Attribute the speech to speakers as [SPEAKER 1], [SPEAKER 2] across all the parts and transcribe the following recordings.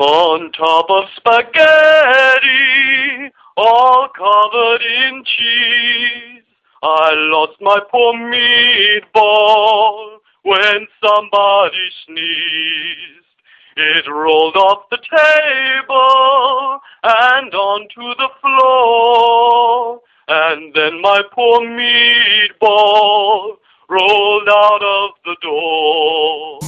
[SPEAKER 1] on top of spaghetti, all covered in cheese. I lost my poor meatball when somebody sneezed. It rolled off the table and onto the floor. And then my poor meatball rolled out of the door.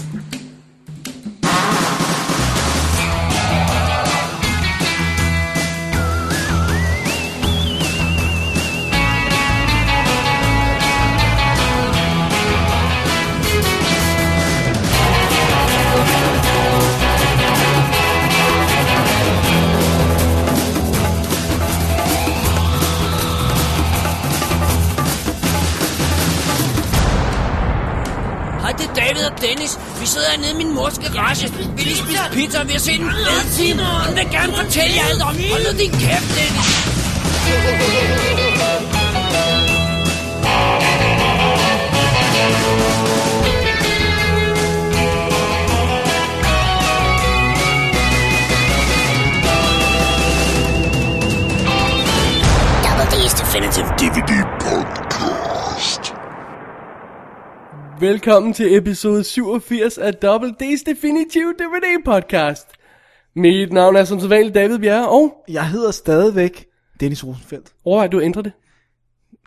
[SPEAKER 2] Hej, det er David og Dennis. Vi sidder nede i min mors garage. Vi lige spise pizza, og vi har set en fed time. Hun vil gerne fortælle jer alt om. Hold nu din kæft, Dennis.
[SPEAKER 3] Double D's Definitive DVD
[SPEAKER 4] Velkommen til episode 87 af Double D's Definitive DVD Podcast. Mit navn er som sædvanligt David Bjerre, og
[SPEAKER 5] Jeg hedder stadigvæk Dennis Rosenfeldt.
[SPEAKER 4] overvej, du ændrer det.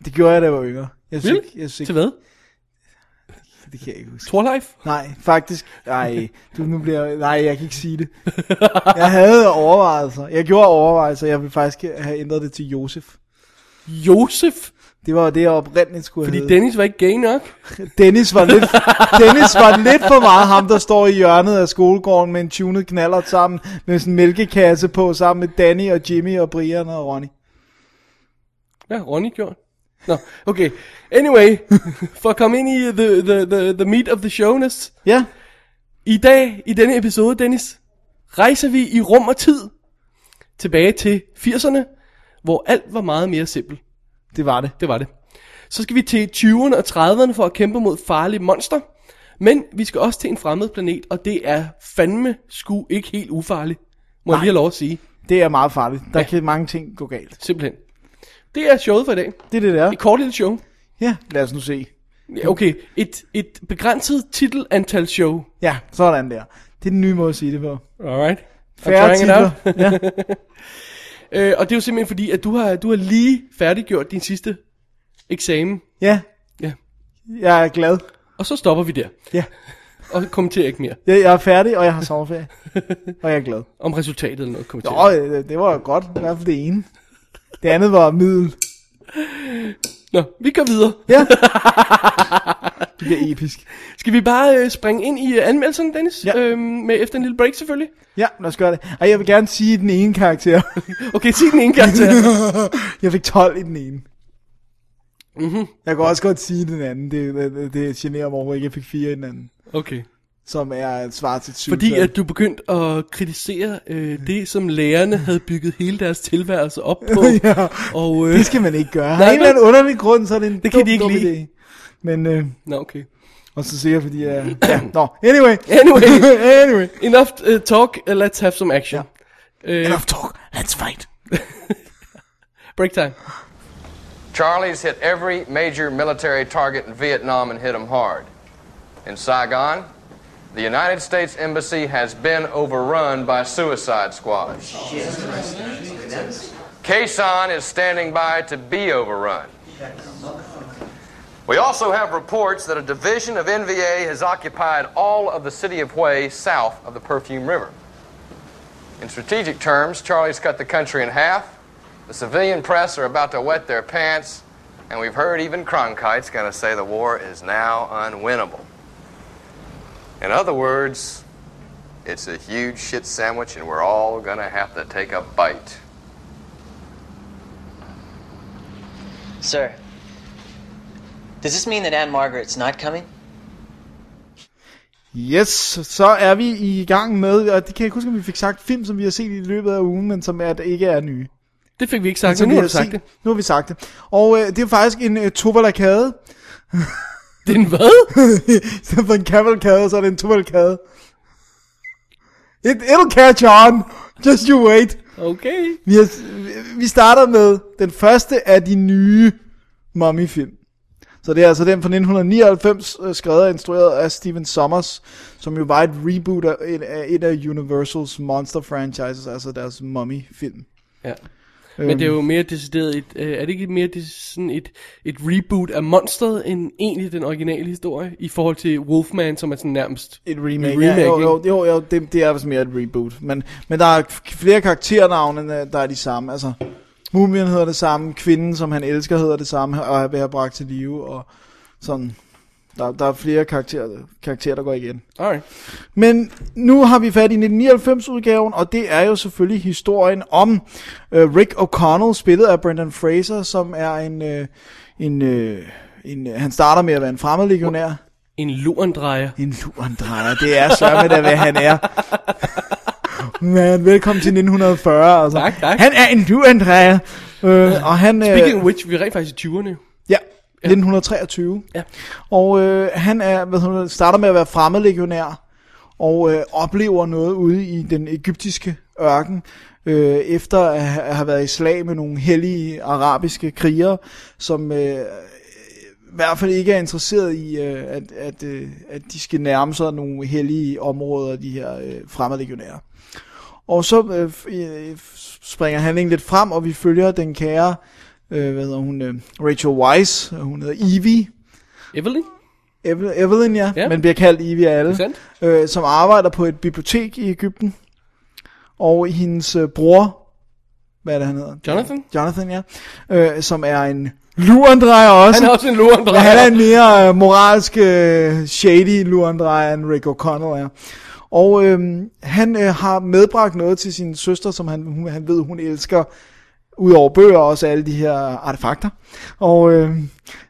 [SPEAKER 5] Det gjorde jeg, da jeg var yngre. Jeg synes
[SPEAKER 4] Really?
[SPEAKER 5] ikke- jeg synes ikke-
[SPEAKER 4] Til hvad?
[SPEAKER 5] Det kan jeg ikke huske.
[SPEAKER 4] Torlife?
[SPEAKER 5] Nej, faktisk. Nej, du, nu bliver jeg- Nej, jeg kan ikke sige det. Jeg havde overvejelser. Jeg gjorde overvejelser. Jeg ville faktisk have ændret det til Josef.
[SPEAKER 4] Josef?
[SPEAKER 5] Det var det, jeg oprindeligt skulle
[SPEAKER 4] Fordi
[SPEAKER 5] have heddet.
[SPEAKER 4] Dennis var ikke gay nok.
[SPEAKER 5] Dennis var, lidt, Dennis var lidt for meget ham, der står i hjørnet af skolegården med en tunet knaller sammen, med sådan en mælkekasse på, sammen med Danny og Jimmy og Brian og Ronny.
[SPEAKER 4] Ja, Ronny gjorde. Nå, okay. Anyway, for at komme ind i the, the, the, the meat of the showness.
[SPEAKER 5] Ja,
[SPEAKER 4] I dag, i denne episode, Dennis, rejser vi i rum og tid tilbage til 80'erne, hvor alt var meget mere simpelt.
[SPEAKER 5] det var det.
[SPEAKER 4] Det var det. Så skal vi til 20'erne og 30'erne for at kæmpe mod farlige monster. Men vi skal også til en fremmed planet, og det er fandme sku ikke helt ufarligt. Må Nej. jeg lige have lov at sige.
[SPEAKER 5] Det er meget farligt. Der
[SPEAKER 4] Ja.
[SPEAKER 5] ja. kan mange ting gå galt.
[SPEAKER 4] Simpelthen. Det er showet for i dag.
[SPEAKER 5] Det er det, der.
[SPEAKER 4] Et kort lille show.
[SPEAKER 5] Ja, lad os nu se.
[SPEAKER 4] Ja, Okay, et, et begrænset titelantal show.
[SPEAKER 5] Ja, sådan der. Det er den nye måde at sige det på.
[SPEAKER 4] Alright.
[SPEAKER 5] Færre titler.
[SPEAKER 4] ja. øh, og det er jo simpelthen fordi, at du har, du har lige færdiggjort din sidste eksamen.
[SPEAKER 5] Ja,
[SPEAKER 4] Ja.
[SPEAKER 5] jeg er glad.
[SPEAKER 4] Og så stopper vi der.
[SPEAKER 5] Ja.
[SPEAKER 4] Og kommenterer ikke mere
[SPEAKER 5] Jeg, jeg er færdig, og jeg har sommerferie. og jeg er glad.
[SPEAKER 4] om resultatet eller noget. Kommenterer.
[SPEAKER 5] Nå, øh, det var godt. I hvert fald det ene. Det andet var middel.
[SPEAKER 4] Nå, vi går videre.
[SPEAKER 5] Ja. Det bliver episk.
[SPEAKER 4] Skal vi bare øh, springe ind i øh, anmeldelsen, Dennis?
[SPEAKER 5] Ja.
[SPEAKER 4] Øhm, med efter en lille break, selvfølgelig.
[SPEAKER 5] Ja, lad os gøre det. Ej, jeg vil gerne sige den ene karakter.
[SPEAKER 4] Okay, sig den ene gang til.
[SPEAKER 5] jeg fik 12 i den ene. Mm-hmm.
[SPEAKER 4] Mhm.
[SPEAKER 5] Jeg kan også godt sige den anden. Det, det, det generer mig overhovedet ikke. Jeg fik 4 i den anden.
[SPEAKER 4] Okay.
[SPEAKER 5] Som er et svar til 20.
[SPEAKER 4] Fordi at du begyndte at kritisere øh, det, som lærerne havde bygget hele deres tilværelse op på.
[SPEAKER 5] Ja.
[SPEAKER 4] Og, øh,
[SPEAKER 5] Det skal man ikke gøre. Nej,
[SPEAKER 4] Nej,
[SPEAKER 5] en eller anden underlig grund, så er det en
[SPEAKER 4] Det kan
[SPEAKER 5] dum,
[SPEAKER 4] de ikke
[SPEAKER 5] dum
[SPEAKER 4] lide.
[SPEAKER 5] Idé. Men, øh,
[SPEAKER 4] nå, okay.
[SPEAKER 5] og så sikkert fordi jeg... Ja, nå, anyway.
[SPEAKER 4] Anyway.
[SPEAKER 5] anyway.
[SPEAKER 4] Enough uh, talk, uh, let's have some action. Ja. Øh,
[SPEAKER 5] Enough talk. Let's fight.
[SPEAKER 4] break time.
[SPEAKER 6] Charlie's hit every major military target in Vietnam and hit them hard. In Saigon, the United States Embassy has been overrun by suicide squads. Quezon is standing by to be overrun. We also have reports that a division of NVA has occupied all of the city of Hue south of the Perfume River. In strategic terms, Charlie's cut the country in half. The civilian press are about to wet their pants. And we've heard even Cronkite's going to say the war is now unwinnable. In other words, it's a huge shit sandwich, and we're all going to have to take a bite.
[SPEAKER 7] Sir, does this mean that Anne Margaret's not coming?
[SPEAKER 5] Yes, så er vi i gang med, og det kan jeg ikke huske, om vi fik sagt, film, som vi har set i løbet af ugen, men som er, der ikke er nye.
[SPEAKER 4] Det fik vi ikke sagt,
[SPEAKER 5] Som
[SPEAKER 4] men Altså, nu har
[SPEAKER 5] vi
[SPEAKER 4] du sagt
[SPEAKER 5] set.
[SPEAKER 4] det.
[SPEAKER 5] Nu har vi sagt det. Og øh, det er faktisk en øh, tovalakade.
[SPEAKER 4] Det er en hvad?
[SPEAKER 5] I stedet for en kavalkade, så er det en tovalkade. It, it'll catch on. Just you wait.
[SPEAKER 4] Okay.
[SPEAKER 5] Vi, har, vi- vi starter med den første af de nye Mummy-film. Så det er altså den fra 1999, øh, skrevet og instrueret af Steven Sommers, som jo var et reboot af en af, et af Universals monster franchises, altså deres Mummy-film.
[SPEAKER 4] Ja.
[SPEAKER 5] Øhm.
[SPEAKER 4] Men det er jo mere decideret et, øh, er det ikke mere det, sådan et, et reboot af monsteret, end egentlig den originale historie, i forhold til Wolfman, som er sådan nærmest...
[SPEAKER 5] Et remake,
[SPEAKER 4] remake,
[SPEAKER 5] ja, jo,
[SPEAKER 4] ikke?
[SPEAKER 5] jo, jo, jo det, det er vist mere et reboot. Men, men der er k- flere karakternavne, øh, der er de samme. Altså, mumien hedder det samme, kvinden, som han elsker, hedder det samme, og han vil have bragt til live, og sådan. Der, der er flere karakterer, karakterer, der går igen.
[SPEAKER 4] Alright.
[SPEAKER 5] Men nu har vi fat i 1999-udgaven, og det er jo selvfølgelig historien om øh, Rick O'Connell, spillet af Brendan Fraser, som er en... Øh, en, øh, en øh, han starter med at være en fremmed legionær.
[SPEAKER 4] En lurendrejer.
[SPEAKER 5] En lurendrejer, det er sørme da, hvad han er. Man, velkommen til 1940. Altså.
[SPEAKER 4] Tak, tak.
[SPEAKER 5] Han er en lurendrejer. Øh, og han...
[SPEAKER 4] Speaking of which, vi er rent faktisk i 20'erne.
[SPEAKER 5] Ja, 1923.
[SPEAKER 4] Ja.
[SPEAKER 5] Og øh, han er, hvad hedder, det, starter med at være fremmedlegionær, og øh, oplever noget ude i den egyptiske ørken, øh, efter at ha- at have været i slag med nogle hellige arabiske krigere, som øh, i hvert fald ikke er interesseret i, øh, at, at, øh, at de skal nærme sig nogle hellige områder, de her øh, fremmedlegionære. Og så øh, f- øh, f- springer handlingen lidt frem, og vi følger den kære, øh, hvad hedder hun, øh, Rachel Weisz, hun hedder Evie,
[SPEAKER 4] Evelyn?
[SPEAKER 5] Eve- Evelyn, ja,
[SPEAKER 4] Ja.
[SPEAKER 5] ja. men bliver kaldt Evie af alle,
[SPEAKER 4] Sandt.
[SPEAKER 5] øh, som arbejder på et bibliotek i Ægypten, og hendes øh, bror, hvad er det, han hedder?
[SPEAKER 4] Jonathan?
[SPEAKER 5] Jonathan, ja, øh, som er en lurendrejer også.
[SPEAKER 4] Han er også en
[SPEAKER 5] Men
[SPEAKER 4] lurendrejer.
[SPEAKER 5] han er en mere øh, moralsk øh, shady lurendrejer, end Rick O'Connell er. Og øhm, han øh, har medbragt noget til sin søster, som han, hun, han ved, hun elsker, udover bøger, også alle de her artefakter. Og øh,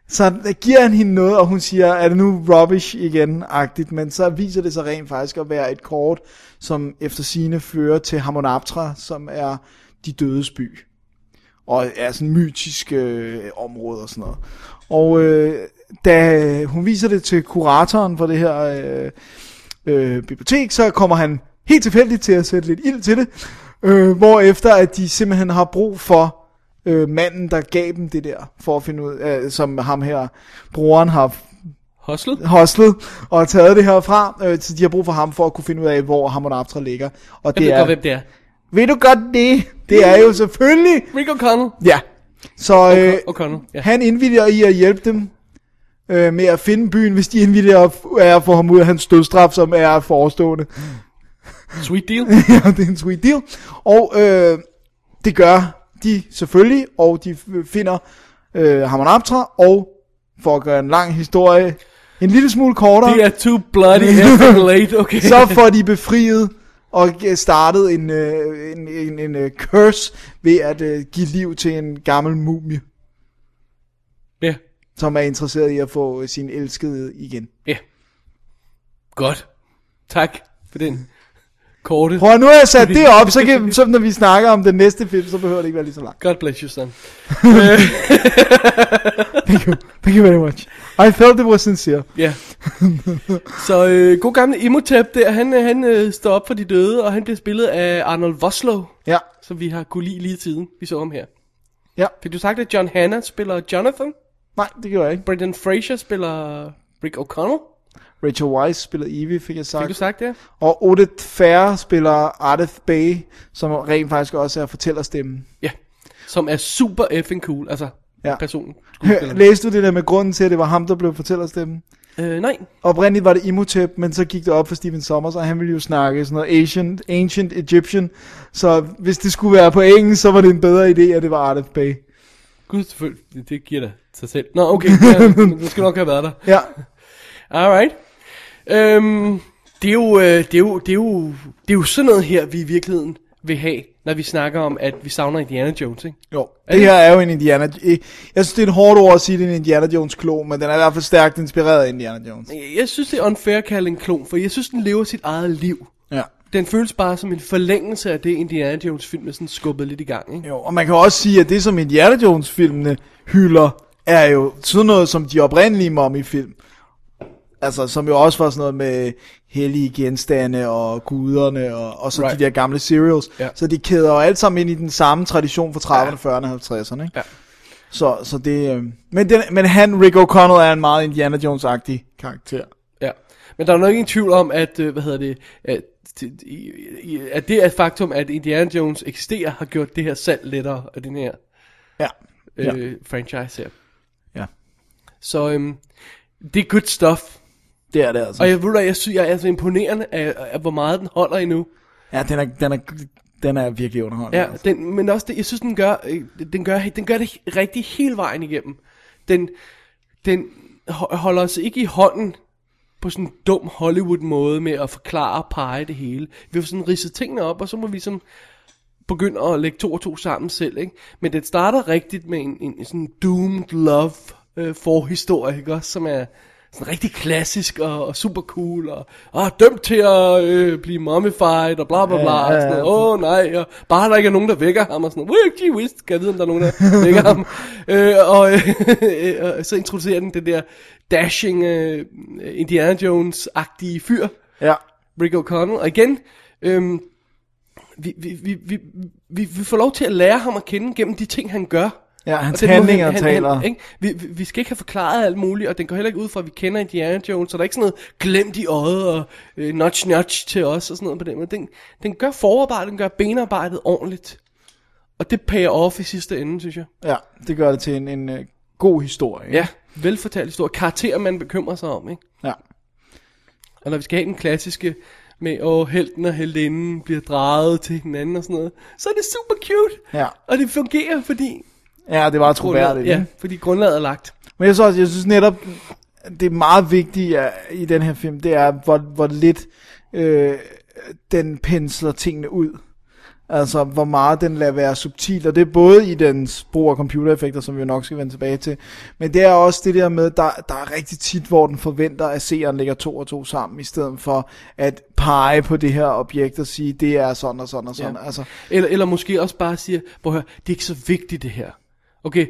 [SPEAKER 5] så giver han hende noget, og hun siger, er det nu rubbish igen-agtigt, men så viser det sig rent faktisk at være et kort, som efter sine fører til Hamonaptra, som er de dødes by og er sådan mytiske øh, områder og sådan noget. Og øh, da hun viser det til kuratoren for det her øh, øh, bibliotek, så kommer han helt tilfældigt til at sætte lidt ild til det, øh, hvorefter at de simpelthen har brug for øh, manden, der gav dem det der, for at finde ud af, øh, som ham her, broren har
[SPEAKER 4] Hustle?
[SPEAKER 5] hostlet og taget det herfra, øh, så de har brug for ham for at kunne finde ud af, hvor Hamon Aptra ligger. Og
[SPEAKER 4] Jeg
[SPEAKER 5] det
[SPEAKER 4] ved
[SPEAKER 5] er,
[SPEAKER 4] godt, hvem det er.
[SPEAKER 5] ved du godt det? Det er jo selvfølgelig
[SPEAKER 4] Rick O'Connell.
[SPEAKER 5] Ja. Så øh,
[SPEAKER 4] O'Connell, ja.
[SPEAKER 5] han indvilliger i at hjælpe dem øh, med at finde byen, hvis de indvilliger at f- er at få ham ud af hans dødstraf, som er forestående.
[SPEAKER 4] Sweet deal.
[SPEAKER 5] ja, det er en sweet deal. Og øh, det gør de selvfølgelig, og de f- finder øh, Hamanaptra, og for at gøre en lang historie en lille smule kortere,
[SPEAKER 4] Det er too bloody effing late, okay.
[SPEAKER 5] så får de befriet og øh, startet en, øh, en, en, en øh, curse ved at øh, give liv til en gammel mumie.
[SPEAKER 4] Ja.
[SPEAKER 5] som er interesseret i at få øh, sin elskede igen.
[SPEAKER 4] Ja. Godt. Tak for den korte.
[SPEAKER 5] Prøv at nu har jeg sat det op, så, kan, så når vi snakker om den næste film, så behøver det ikke være lige så langt.
[SPEAKER 4] God bless you, son.
[SPEAKER 5] Thank you, thank you very much. I felt it was sincere.
[SPEAKER 4] Ja. så øh, god gamle Imhotep der, han, øh, han øh, står op for de døde, og han bliver spillet af Arnold Voslow,
[SPEAKER 5] Ja,
[SPEAKER 4] som vi har kunne lide lige siden, vi så ham her.
[SPEAKER 5] Ja.
[SPEAKER 4] Fik du sagt, at John Hanna spiller Jonathan,
[SPEAKER 5] nej, det gjorde jeg ikke.
[SPEAKER 4] Brendan Fraser spiller Rick O'Connell,
[SPEAKER 5] Rachel Weisz spiller Evie, fik jeg
[SPEAKER 4] fik
[SPEAKER 5] sagt.
[SPEAKER 4] du sagt det?
[SPEAKER 5] Og Odette Fair spiller Ardeth Bay, som rent faktisk også er fortællerstemmen.
[SPEAKER 4] Ja. Som er super effing cool, altså
[SPEAKER 5] Ja.
[SPEAKER 4] personen.
[SPEAKER 5] Hør, Læste du det der med grunden til, at det var ham, der blev fortællerstemmen?
[SPEAKER 4] Øh, nej,
[SPEAKER 5] Oprindeligt var det Imhotep, men så gik det op for Steven Sommers, og han ville jo snakke sådan noget ancient, ancient Egyptian. Så hvis det skulle være på engelsk, så var det en bedre idé, at det var Ardeth Bay.
[SPEAKER 4] gud selvfølgelig, det- det giver da sig selv. Nå, okay, ja, men du skal nok have været der.
[SPEAKER 5] Ja,
[SPEAKER 4] Alright. Øhm, det, er jo, øh, det, er jo, det, er jo, det er jo sådan noget her, vi i virkeligheden vil have, når vi snakker om, at vi savner Indiana Jones, ikke?
[SPEAKER 5] jo. Det her er jo en Indiana... eh, Jeg synes, det er et hårdt ord at sige, det er en Indiana Jones klon, men den er i hvert fald stærkt inspireret af Indiana Jones.
[SPEAKER 4] Jeg- Jeg synes, det er unfair at kalde en klon, for jeg synes, den lever sit eget liv.
[SPEAKER 5] Ja.
[SPEAKER 4] Den føles bare som en forlængelse af det, Indiana Jones film er sådan skubbet lidt i gang, ikke?
[SPEAKER 5] Jo, og man kan også sige, at det, som Indiana Jones-filmene hylder, er jo sådan noget som de oprindelige mommy film Altså, som jo også var sådan noget med hellige genstande og guderne og, og så right.
[SPEAKER 4] Right.
[SPEAKER 5] de der gamle serials.
[SPEAKER 4] Ja.
[SPEAKER 5] Så de kæder jo alle sammen ind i den samme tradition fra 30'erne, 40'erne og 50'erne. Ikke?
[SPEAKER 4] Ja.
[SPEAKER 5] Så, så det... Øh... Men, den, men han, Rick O'Connell, er en meget Indiana Jones-agtig karakter.
[SPEAKER 4] Ja. Men der er nok ingen tvivl om, at, øh, hvad hedder det, at, t- i- i- at det at faktum, at Indiana Jones eksisterer, har gjort det her salg lettere af den her
[SPEAKER 5] Ja. Ja.
[SPEAKER 4] øh, franchise her.
[SPEAKER 5] Ja.
[SPEAKER 4] Så øhm, det er good stuff.
[SPEAKER 5] Det er det altså.
[SPEAKER 4] Og jeg ved du hvad, jeg synes, jeg er altså imponerende af, af, hvor meget den holder endnu.
[SPEAKER 5] Ja, den er, den er, den er virkelig underholdende. altså.
[SPEAKER 4] Ja, den, men også det, jeg synes, den gør, øh, den gør, den gør det rigtig hele vejen igennem. Den, den ho- holder os ikke i hånden på sådan en dum Hollywood-måde med at forklare og pege det hele. Vi har sådan ridset tingene op, og så må vi sådan begynde at lægge to og to sammen selv, ikke? Men det starter rigtigt med en, en, en sådan doomed love øh, forhistorie, ikke også? Som er sådan rigtig klassisk og, og super cool, og, og dømt til at øh, blive mummified, og bla bla bla,
[SPEAKER 5] Ja,
[SPEAKER 4] og sådan
[SPEAKER 5] ja, ja.
[SPEAKER 4] noget. Åh oh, nej, og bare der ikke er nogen, der vækker ham, og sådan noget. Øh, gee whiz, kan jeg vide, om der er nogen, der vækker ham. Øh, og, øh, og så introducerer den det der dashing øh, Indiana Jones-agtige fyr,
[SPEAKER 5] Ja.
[SPEAKER 4] Rick O'Connell. Og igen, øhm, vi, vi, vi, vi, vi, vi får lov til at lære ham at kende gennem de ting, han gør.
[SPEAKER 5] Ja, hans
[SPEAKER 4] den måde,
[SPEAKER 5] handlinger taler.
[SPEAKER 4] ikke? Vi, vi- vi skal ikke have forklaret alt muligt, og den går heller ikke ud fra, at vi kender Indiana Jones, så der er ikke sådan noget glemt i øjet og øh, notch notch til os og sådan noget på den måde. Den, den gør forarbejdet, den gør benarbejdet ordentligt. Og det pager off i sidste ende, synes jeg.
[SPEAKER 5] Ja, det gør det til en, en øh, god historie. ikke?
[SPEAKER 4] Velfortalt historie. Karakterer, man bekymrer sig om, ikke?
[SPEAKER 5] ja.
[SPEAKER 4] Og når vi skal have den klassiske med, åh, helten og heldinden bliver draget til hinanden og sådan noget, så er det super cute.
[SPEAKER 5] Ja.
[SPEAKER 4] Og det fungerer, fordi
[SPEAKER 5] Ja, det var troværdigt.
[SPEAKER 4] grundlaget,
[SPEAKER 5] Ja.
[SPEAKER 4] ja, fordi grundlaget er lagt.
[SPEAKER 5] Men jeg synes, også, jeg synes netop, det er meget vigtigt ja, i den her film, det er, hvor, hvor lidt øh, den pensler tingene ud. Altså, hvor meget den lader være subtil, og det er både i dens brug af computereffekter, som vi jo nok skal vende tilbage til, men det er også det der med, der, der er rigtig tit, hvor den forventer, at seeren lægger to og to sammen, i stedet for at pege på det her objekt og sige, det er sådan og sådan og sådan. Ja.
[SPEAKER 4] Ja.
[SPEAKER 5] Altså,
[SPEAKER 4] Eller, eller måske også bare siger, hvor hør, det er ikke så vigtigt det her. Okay,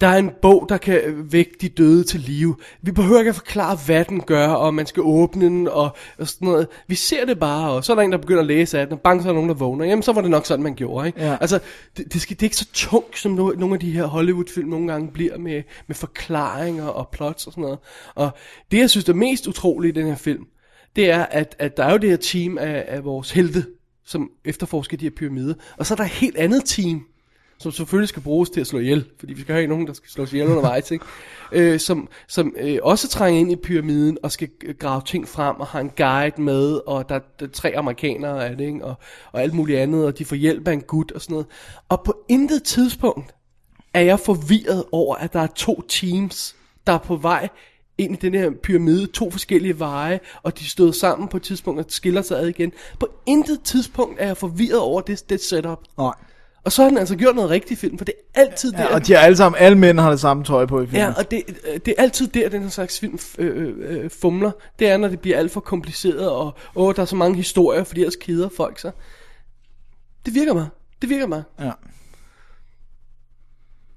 [SPEAKER 4] der er en bog, der kan vække de døde til live. Vi behøver ikke at forklare, hvad den gør, og man skal åbne den, og, og sådan noget. Vi ser det bare, og så er der en, der begynder at læse af den, og bang, så er der nogen, der vågner. Jamen, så var det nok sådan, man gjorde, ikke?
[SPEAKER 5] Ja.
[SPEAKER 4] Altså, det, det, skal, det er ikke så tungt, som no, nogle af de her Hollywood-film nogle gange bliver med, med forklaringer og plots og sådan noget. Og det, jeg synes, der er mest utroligt i den her film, det er, at, at der er jo det her team af, af vores helte, som efterforsker de her pyramider. Og så er der et helt andet team, som selvfølgelig skal bruges til at slå ihjel, fordi vi skal have nogen, der skal slås ihjel undervejs, ikke? Øh, som, som øh, også trænger ind i pyramiden og skal øh, grave ting frem og har en guide med, og der, der er tre amerikanere af det, ikke? Og, og alt muligt andet, og de får hjælp af en gut og sådan noget. Og på intet tidspunkt er jeg forvirret over, at der er to teams, der er på vej ind i den her pyramide, to forskellige veje, og de stod sammen på et tidspunkt og skiller sig ad igen. På intet tidspunkt er jeg forvirret over det, det setup.
[SPEAKER 5] nej.
[SPEAKER 4] Og så har den altså gjort noget rigtigt i filmen, for det er altid der.
[SPEAKER 5] Ja, og de er alle sammen, alle mænd har det samme tøj på i filmen.
[SPEAKER 4] Ja, og det, øh, det er altid der, den her slags film øh, øh, øh, fumler. Det er, når det bliver alt for kompliceret, og åh, der er så mange historier, fordi ellers keder folk sig. Det virker mig. Det virker mig.
[SPEAKER 5] Ja.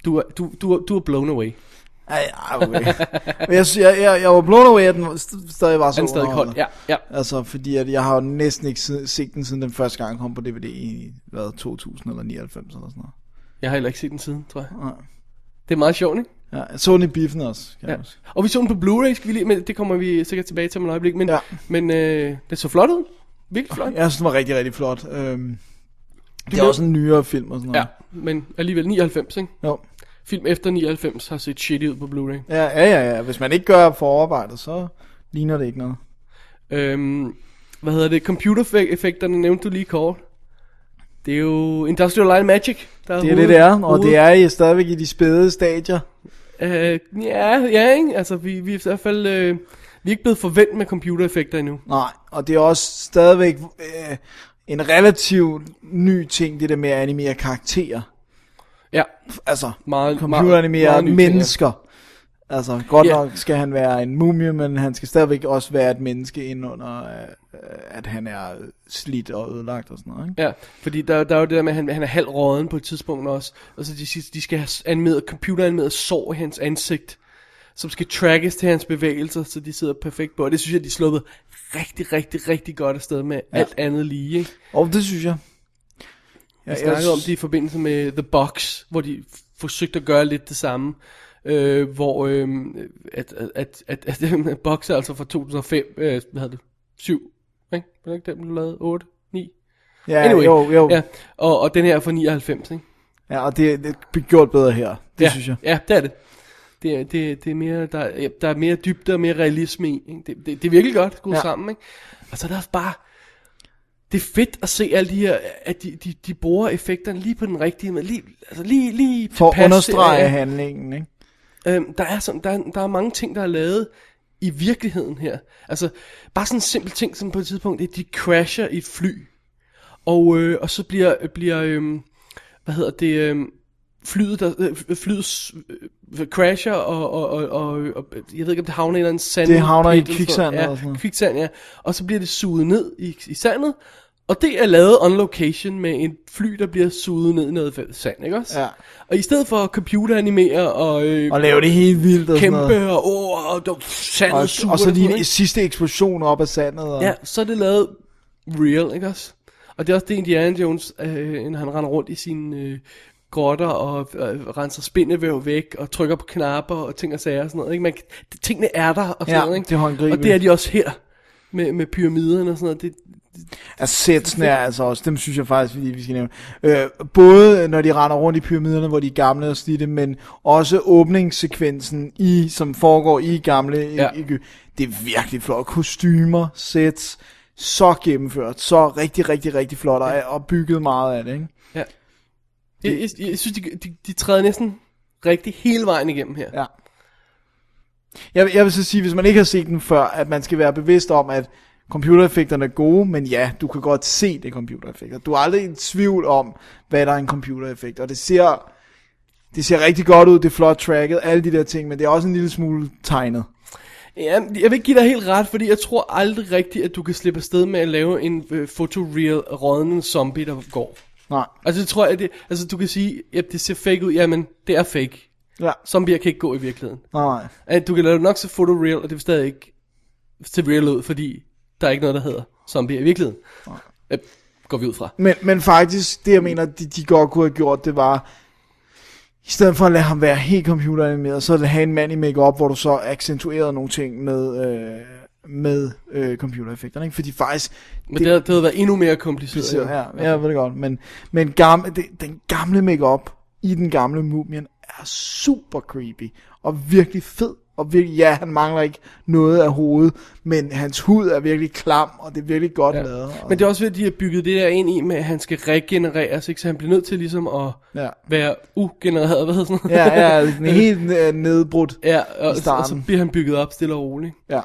[SPEAKER 4] Du er, du, du, er, du er blown away.
[SPEAKER 5] Ej, ej, okay. Men jeg, sy- jeg, jeg, jeg var blown away, at den st- stadig var så
[SPEAKER 4] Han er stadig kold.
[SPEAKER 5] underholdende.
[SPEAKER 4] Ja, ja.
[SPEAKER 5] Altså, fordi at jeg har jo næsten ikke si- set den, siden den første gang kom på DVD i, hvad, 2000 eller 99 eller sådan noget.
[SPEAKER 4] Jeg har heller ikke set den siden, tror jeg.
[SPEAKER 5] Nej.
[SPEAKER 4] Det er meget sjovt, ikke?
[SPEAKER 5] Ja, jeg så den i biffen også, kan
[SPEAKER 4] Ja.
[SPEAKER 5] ja. jeg huske.
[SPEAKER 4] Og vi så den på Blu-ray, skal vi lige, men det kommer vi sikkert tilbage til om et øjeblik. Men,
[SPEAKER 5] Ja.
[SPEAKER 4] ja. men øh, det så flot ud. Virkelig flot.
[SPEAKER 5] Jeg synes, den var rigtig, rigtig flot. Øhm, det er
[SPEAKER 4] ved-
[SPEAKER 5] også en nyere film og sådan
[SPEAKER 4] Ja,
[SPEAKER 5] noget.
[SPEAKER 4] men alligevel 99, ikke?
[SPEAKER 5] Jo.
[SPEAKER 4] Film efter 99 har set shitty ud på Blu-ray.
[SPEAKER 5] Ja, ja, ja, ja. Hvis man ikke gør forarbejdet, så ligner det ikke noget.
[SPEAKER 4] Øhm, hvad hedder det? Computereffekterne nævnte du lige kort. Det er jo Industrial Light and Magic. Der
[SPEAKER 5] Det er det, det er, og det er i, stadigvæk i de spæde stadier.
[SPEAKER 4] Øh, ja, ja, ikke? Altså, vi, vi er i hvert fald... Øh, vi er ikke blevet forventet med computereffekter endnu.
[SPEAKER 5] Nej, og det er også stadigvæk øh, en relativ ny ting, det der med at animere karakterer.
[SPEAKER 4] Ja,
[SPEAKER 5] Altså,
[SPEAKER 4] meget...
[SPEAKER 5] computeranimere
[SPEAKER 4] nye ting, ja.
[SPEAKER 5] mennesker. Altså, godt
[SPEAKER 4] Ja.
[SPEAKER 5] nok skal han være en mumie, men han skal stadigvæk også være et menneske indunder, øh, øh, at han er slidt og ødelagt og sådan noget. Ikke?
[SPEAKER 4] Ja, fordi der, der er jo det der med, at han, han er halv råden på et tidspunkt også. Og så de, sidste- de skal have s- animeret, computeranimeret sår i hans ansigt. som skal trackes til hans bevægelser, så de sidder perfekt på. Og det synes jeg, de er sluppet rigtig, rigtig, rigtig godt afsted med ja. alt andet lige. Ikke?
[SPEAKER 5] Og det synes jeg. Ja,
[SPEAKER 4] Jeg snakkede om det i forbindelse med The Box, hvor de f- forsøgte at gøre lidt det samme. Øh, hvor øh, at, at, at, at, at den box er altså fra 2005, øh, hvad hedder det, 7, ikke? Var det ikke den, blev lavet? 8, 9?
[SPEAKER 5] Ja, anyway, jo, jo.
[SPEAKER 4] Ja,
[SPEAKER 5] Ja,
[SPEAKER 4] og, og den her er fra 99, ikke?
[SPEAKER 5] ja og det, det bliver gjort bedre her. Det
[SPEAKER 4] ja,
[SPEAKER 5] synes jeg.
[SPEAKER 4] Ja, det er det. Det, er- det, det er mere, der, er- ja, der er mere dybde og mere realisme i. Ikke? Det, det, det er virkelig godt skruet
[SPEAKER 5] Ja.
[SPEAKER 4] ja. sammen. Ikke? Og så er der også bare... Det er fedt at se alle de her, at de, de, de bruger effekterne lige på den rigtige måde. Lige, altså lige, lige
[SPEAKER 5] For at
[SPEAKER 4] tilpas til,
[SPEAKER 5] understrege
[SPEAKER 4] at-
[SPEAKER 5] handlingen, ikke?
[SPEAKER 4] Øhm, der, er sådan, der, er- der er mange ting, der er lavet i virkeligheden her. Altså, bare sådan en simpel ting, som på et tidspunkt, at de crasher i et fly. Og, øh, og så bliver, bliver øhm, hvad hedder det, øhm, flyet, der, øh, flyet øh, crasher, og, og, og, og, og, jeg ved ikke, om det havner i en eller anden sand.
[SPEAKER 5] Det havner
[SPEAKER 4] et
[SPEAKER 5] i
[SPEAKER 4] eller andet
[SPEAKER 5] kviksand
[SPEAKER 4] sted.
[SPEAKER 5] eller sådan
[SPEAKER 4] Ja,
[SPEAKER 5] noget.
[SPEAKER 4] kviksand, ja. Og så bliver det suget ned i, i sandet, og det er lavet on location med en fly, der bliver suget ned i noget sand, ikke også?
[SPEAKER 5] Ja.
[SPEAKER 4] Og i stedet for at computeranimere og... Øh,
[SPEAKER 5] Og lave det helt vildt og sådan noget.
[SPEAKER 4] kæmpe og åh, og der- sandet
[SPEAKER 5] Og,
[SPEAKER 4] suger
[SPEAKER 5] og så
[SPEAKER 4] det sådan,
[SPEAKER 5] lige
[SPEAKER 4] ikke?
[SPEAKER 5] en sidste eksplosion op af sandet. Og,
[SPEAKER 4] Ja, så er det lavet real, ikke også? Og det er også det, Indiana Jones, øh, når han render rundt i sine øh, grotter og øh, renser spindevæv væk og trykker på knapper og ting og sager og sådan noget. Ikke? Man, kan- det, tingene er der og sådan
[SPEAKER 5] Ja,
[SPEAKER 4] noget. Ikke?
[SPEAKER 5] det er håndgribeligt.
[SPEAKER 4] Og det er de også her med, med pyramiderne og sådan noget. Det,
[SPEAKER 5] Altså sætsene er altså også, dem synes jeg faktisk, vi, vi skal nævne. Øh, både når de render rundt i pyramiderne, hvor de er gamle og slidte, men også åbningssekvensen, i, som foregår i gamle ja.
[SPEAKER 4] Ja.
[SPEAKER 5] Egypten. Det er virkelig flot. Kostymer, sæts, så gennemført, så rigtig, rigtig, rigtig flot, og, og bygget meget af det, ikke?
[SPEAKER 4] jeg, jeg, jeg synes, de, de, de træder næsten rigtig hele vejen igennem her.
[SPEAKER 5] Ja. Jeg, vil- jeg vil så sige, hvis man ikke har set den før, at man skal være bevidst om, at computereffekterne er gode, men ja, du kan godt se det er computereffekter. Du er aldrig i tvivl om, hvad der er en computereffekt, og det ser, det ser rigtig godt ud, det er flot tracket, alle de der ting, men det er også en lille smule tegnet.
[SPEAKER 4] Ja, jeg vil ikke give dig helt ret, fordi jeg tror aldrig rigtigt, at du kan slippe afsted med at lave en øh, fotoreal rådende zombie, der går.
[SPEAKER 5] Nej,
[SPEAKER 4] Altså, det tror jeg, det, altså du kan sige, at det ser fake ud, jamen, det er fake.
[SPEAKER 5] ja,
[SPEAKER 4] Zombier kan ikke gå i virkeligheden.
[SPEAKER 5] nej, nej.
[SPEAKER 4] At du kan lave det nok så fotoreal, og det vil stadig ikke se real ud, fordi der er ikke noget, der hedder zombier i virkeligheden. Øh, går vi ud fra.
[SPEAKER 5] Men, men faktisk, det jeg mener, de, de godt kunne have gjort, det var, i stedet for at lade ham være helt computeranimeret, så have en mand i makeup, hvor du så accentuerede nogle ting med, øh, med øh, computereffekterne, ikke? Fordi faktisk,
[SPEAKER 4] Men det, det, havde, det havde været endnu mere kompliceret.
[SPEAKER 5] det, ja, ja, jeg ved det godt, men, men gamle, det, den gamle makeup i den gamle mumien er super creepy, og virkelig fed, og virkelig, ja, han mangler ikke noget af hovedet, men hans hud er virkelig klam, og det er virkelig godt ja. lavet. Og,
[SPEAKER 4] Men det er også ved, at de har bygget det der ind i med, at han skal regenereres, ikke? så han bliver nødt til ligesom at
[SPEAKER 5] ja.
[SPEAKER 4] være ugenereret, hvad hedder sådan noget?
[SPEAKER 5] ja, ja, den er helt øh, nedbrudt.
[SPEAKER 4] ja og,
[SPEAKER 5] I
[SPEAKER 4] og,
[SPEAKER 5] starten.
[SPEAKER 4] så bliver han bygget op stille og roligt.
[SPEAKER 5] Ja.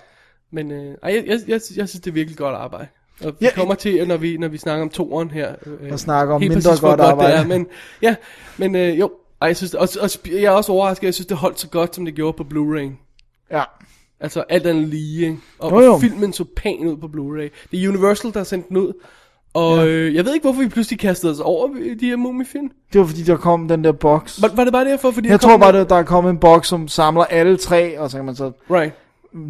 [SPEAKER 4] Men øh, ej, jeg, jeg, jeg, jeg synes, det er virkelig godt arbejde. Og vi
[SPEAKER 5] Ja,
[SPEAKER 4] ja, kommer til, at når vi, når vi snakker om toren her. Øh,
[SPEAKER 5] Og snakker om
[SPEAKER 4] helt
[SPEAKER 5] mindre
[SPEAKER 4] præcis, hvor
[SPEAKER 5] godt arbejde.
[SPEAKER 4] Det er, men, ja, men øh, jo. Ej, jeg, synes, og, og, sp- jeg er også overrasket, jeg synes, det holdt så godt, som det gjorde på Blu-ray.
[SPEAKER 5] Ja.
[SPEAKER 4] Altså alt andet lige. ikke? Og,
[SPEAKER 5] Jo, jo.
[SPEAKER 4] og filmen så pæn ud på Blu-ray. Det er Universal, der har sendt den ud. Og ja. øh, jeg ved ikke, hvorfor vi pludselig kastede os over øh, de her mumifilm.
[SPEAKER 5] Det var fordi, der kom den der boks.
[SPEAKER 4] Var, var det bare derfor? Fordi
[SPEAKER 5] Jeg
[SPEAKER 4] der
[SPEAKER 5] tror
[SPEAKER 4] kom
[SPEAKER 5] bare,
[SPEAKER 4] den-
[SPEAKER 5] der, der er kommet en boks, som samler alle tre, og så kan man så
[SPEAKER 4] Right.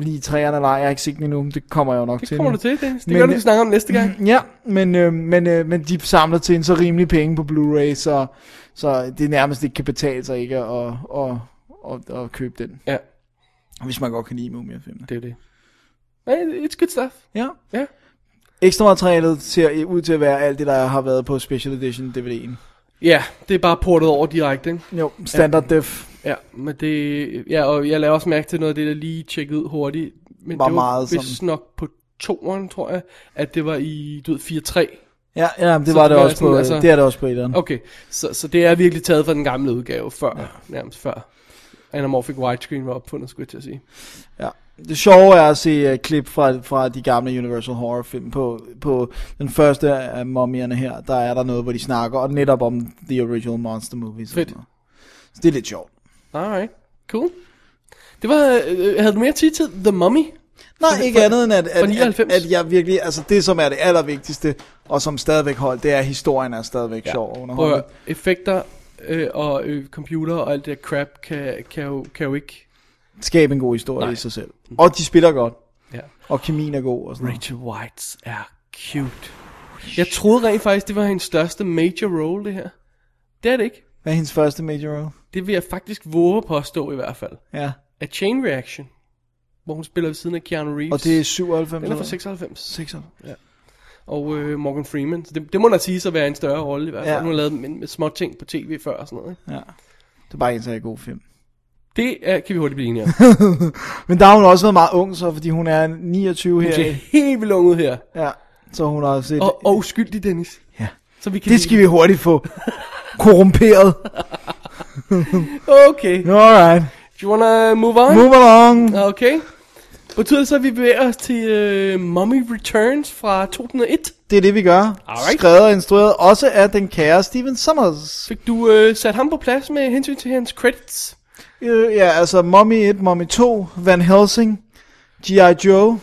[SPEAKER 5] lige træerne eller ej. Jeg har ikke set den endnu, men det kommer jeg jo nok
[SPEAKER 4] Det
[SPEAKER 5] til.
[SPEAKER 4] kommer
[SPEAKER 5] nu.
[SPEAKER 4] du til, Dennis. Det
[SPEAKER 5] Men,
[SPEAKER 4] gør du,
[SPEAKER 5] øh,
[SPEAKER 4] vi snakker om næste gang.
[SPEAKER 5] Ja, men, øh, men, øh, men de samler til en så rimelig penge på Blu-ray, så, så det nærmest ikke kan betale sig ikke at, at, at, at, at købe den.
[SPEAKER 4] Ja,
[SPEAKER 5] Hvis man godt kan lide Mumia-filmene.
[SPEAKER 4] det er det. Hey, it's good stuff.
[SPEAKER 5] Ja.
[SPEAKER 4] Ja.
[SPEAKER 5] Ekstra materialet ser ud til at være alt det, der har været på Special Edition DVD'en.
[SPEAKER 4] Ja, det er bare portet over direkte, ikke?
[SPEAKER 5] Jo, standard ja. def.
[SPEAKER 4] Ja, men det, ja, og jeg lader også mærke til noget af det, der lige tjekkede ud hurtigt. Men
[SPEAKER 5] Var
[SPEAKER 4] det var
[SPEAKER 5] meget
[SPEAKER 4] vist
[SPEAKER 5] sådan-
[SPEAKER 4] nok på toeren, tror jeg, at det var i, du ved, 4-3.
[SPEAKER 5] Ja, ja men det
[SPEAKER 4] Så
[SPEAKER 5] var
[SPEAKER 4] det
[SPEAKER 5] det,
[SPEAKER 4] var
[SPEAKER 5] også
[SPEAKER 4] sådan,
[SPEAKER 5] på,
[SPEAKER 4] altså-
[SPEAKER 5] det er det også på etteren.
[SPEAKER 4] Okay, så, så det er virkelig taget fra den gamle udgave, før, ja. nærmest før anamorphic widescreen var opfundet, skulle jeg til at sige.
[SPEAKER 5] Ja. Det sjove er at se uh, klip fra, fra de gamle Universal Horror film på, på den første af mummierne her, der er der noget, hvor de snakker og netop om The Original Monster Movie.
[SPEAKER 4] Fedt.
[SPEAKER 5] Så det er lidt sjovt.
[SPEAKER 4] Alright, cool. Det var, øh, havde du mere tid til The Mummy?
[SPEAKER 5] Nej, ikke andet end at,
[SPEAKER 4] fra
[SPEAKER 5] at, at,
[SPEAKER 4] 99?
[SPEAKER 5] at jeg virkelig, altså det som er det allervigtigste, og som stadigvæk holdt, det er, at historien er stadigvæk ja. sjov og
[SPEAKER 4] Prøv at
[SPEAKER 5] underholdende.
[SPEAKER 4] høre, effekter øh, og øh, computer og alt det der crap kan, kan, jo, kan jo ikke
[SPEAKER 5] skabe en god historie Nej. i sig selv. Og de spiller godt.
[SPEAKER 4] Ja.
[SPEAKER 5] Og kemien er god og sådan noget.
[SPEAKER 4] Rachel Whites er cute. Jeg troede rent faktisk, det var hendes største major role, det her. Det er det ikke.
[SPEAKER 5] Hvad er hendes første major role?
[SPEAKER 4] Det vil jeg faktisk våge at påstå i hvert fald.
[SPEAKER 5] Ja.
[SPEAKER 4] A Chain Reaction, hvor hun spiller ved siden af Keanu Reeves.
[SPEAKER 5] Og det er 97.
[SPEAKER 4] Den er fra
[SPEAKER 5] eller?
[SPEAKER 4] 96.
[SPEAKER 5] 96.
[SPEAKER 4] Og øh, Morgan Freeman. Så det, det må da sige at være en større rolle i hvert fald.
[SPEAKER 5] Ja.
[SPEAKER 4] Ja. Hun har lavet med, med små ting på tv før og sådan noget. Ikke?
[SPEAKER 5] Ja. Det er bare en særlig god film.
[SPEAKER 4] Det er, kan vi hurtigt blive enige om.
[SPEAKER 5] Men der har hun også været meget ung, så fordi hun er 29
[SPEAKER 4] Hun ser
[SPEAKER 5] her.
[SPEAKER 4] helt vildt ung ud her.
[SPEAKER 5] Ja, så hun har set...
[SPEAKER 4] Og, og uskyldig, Dennis.
[SPEAKER 5] Ja.
[SPEAKER 4] Så vi kan
[SPEAKER 5] Det skal vi hurtigt få korrumperet.
[SPEAKER 4] Okay.
[SPEAKER 5] Alright.
[SPEAKER 4] Do you wanna move on?
[SPEAKER 5] Move along.
[SPEAKER 4] Okay. Betyder det så, at vi bevæger os til øh, Mummy Returns fra 2001?
[SPEAKER 5] Det er det, vi gør.
[SPEAKER 4] Alright.
[SPEAKER 5] Skrevet og instrueret også af den kære Steven Summers.
[SPEAKER 4] Fik du øh, sat ham på plads med hensyn til hans credits?
[SPEAKER 5] Øh, ja, altså Mommy 1, Mommy 2, Van Helsing, G.I. Joe.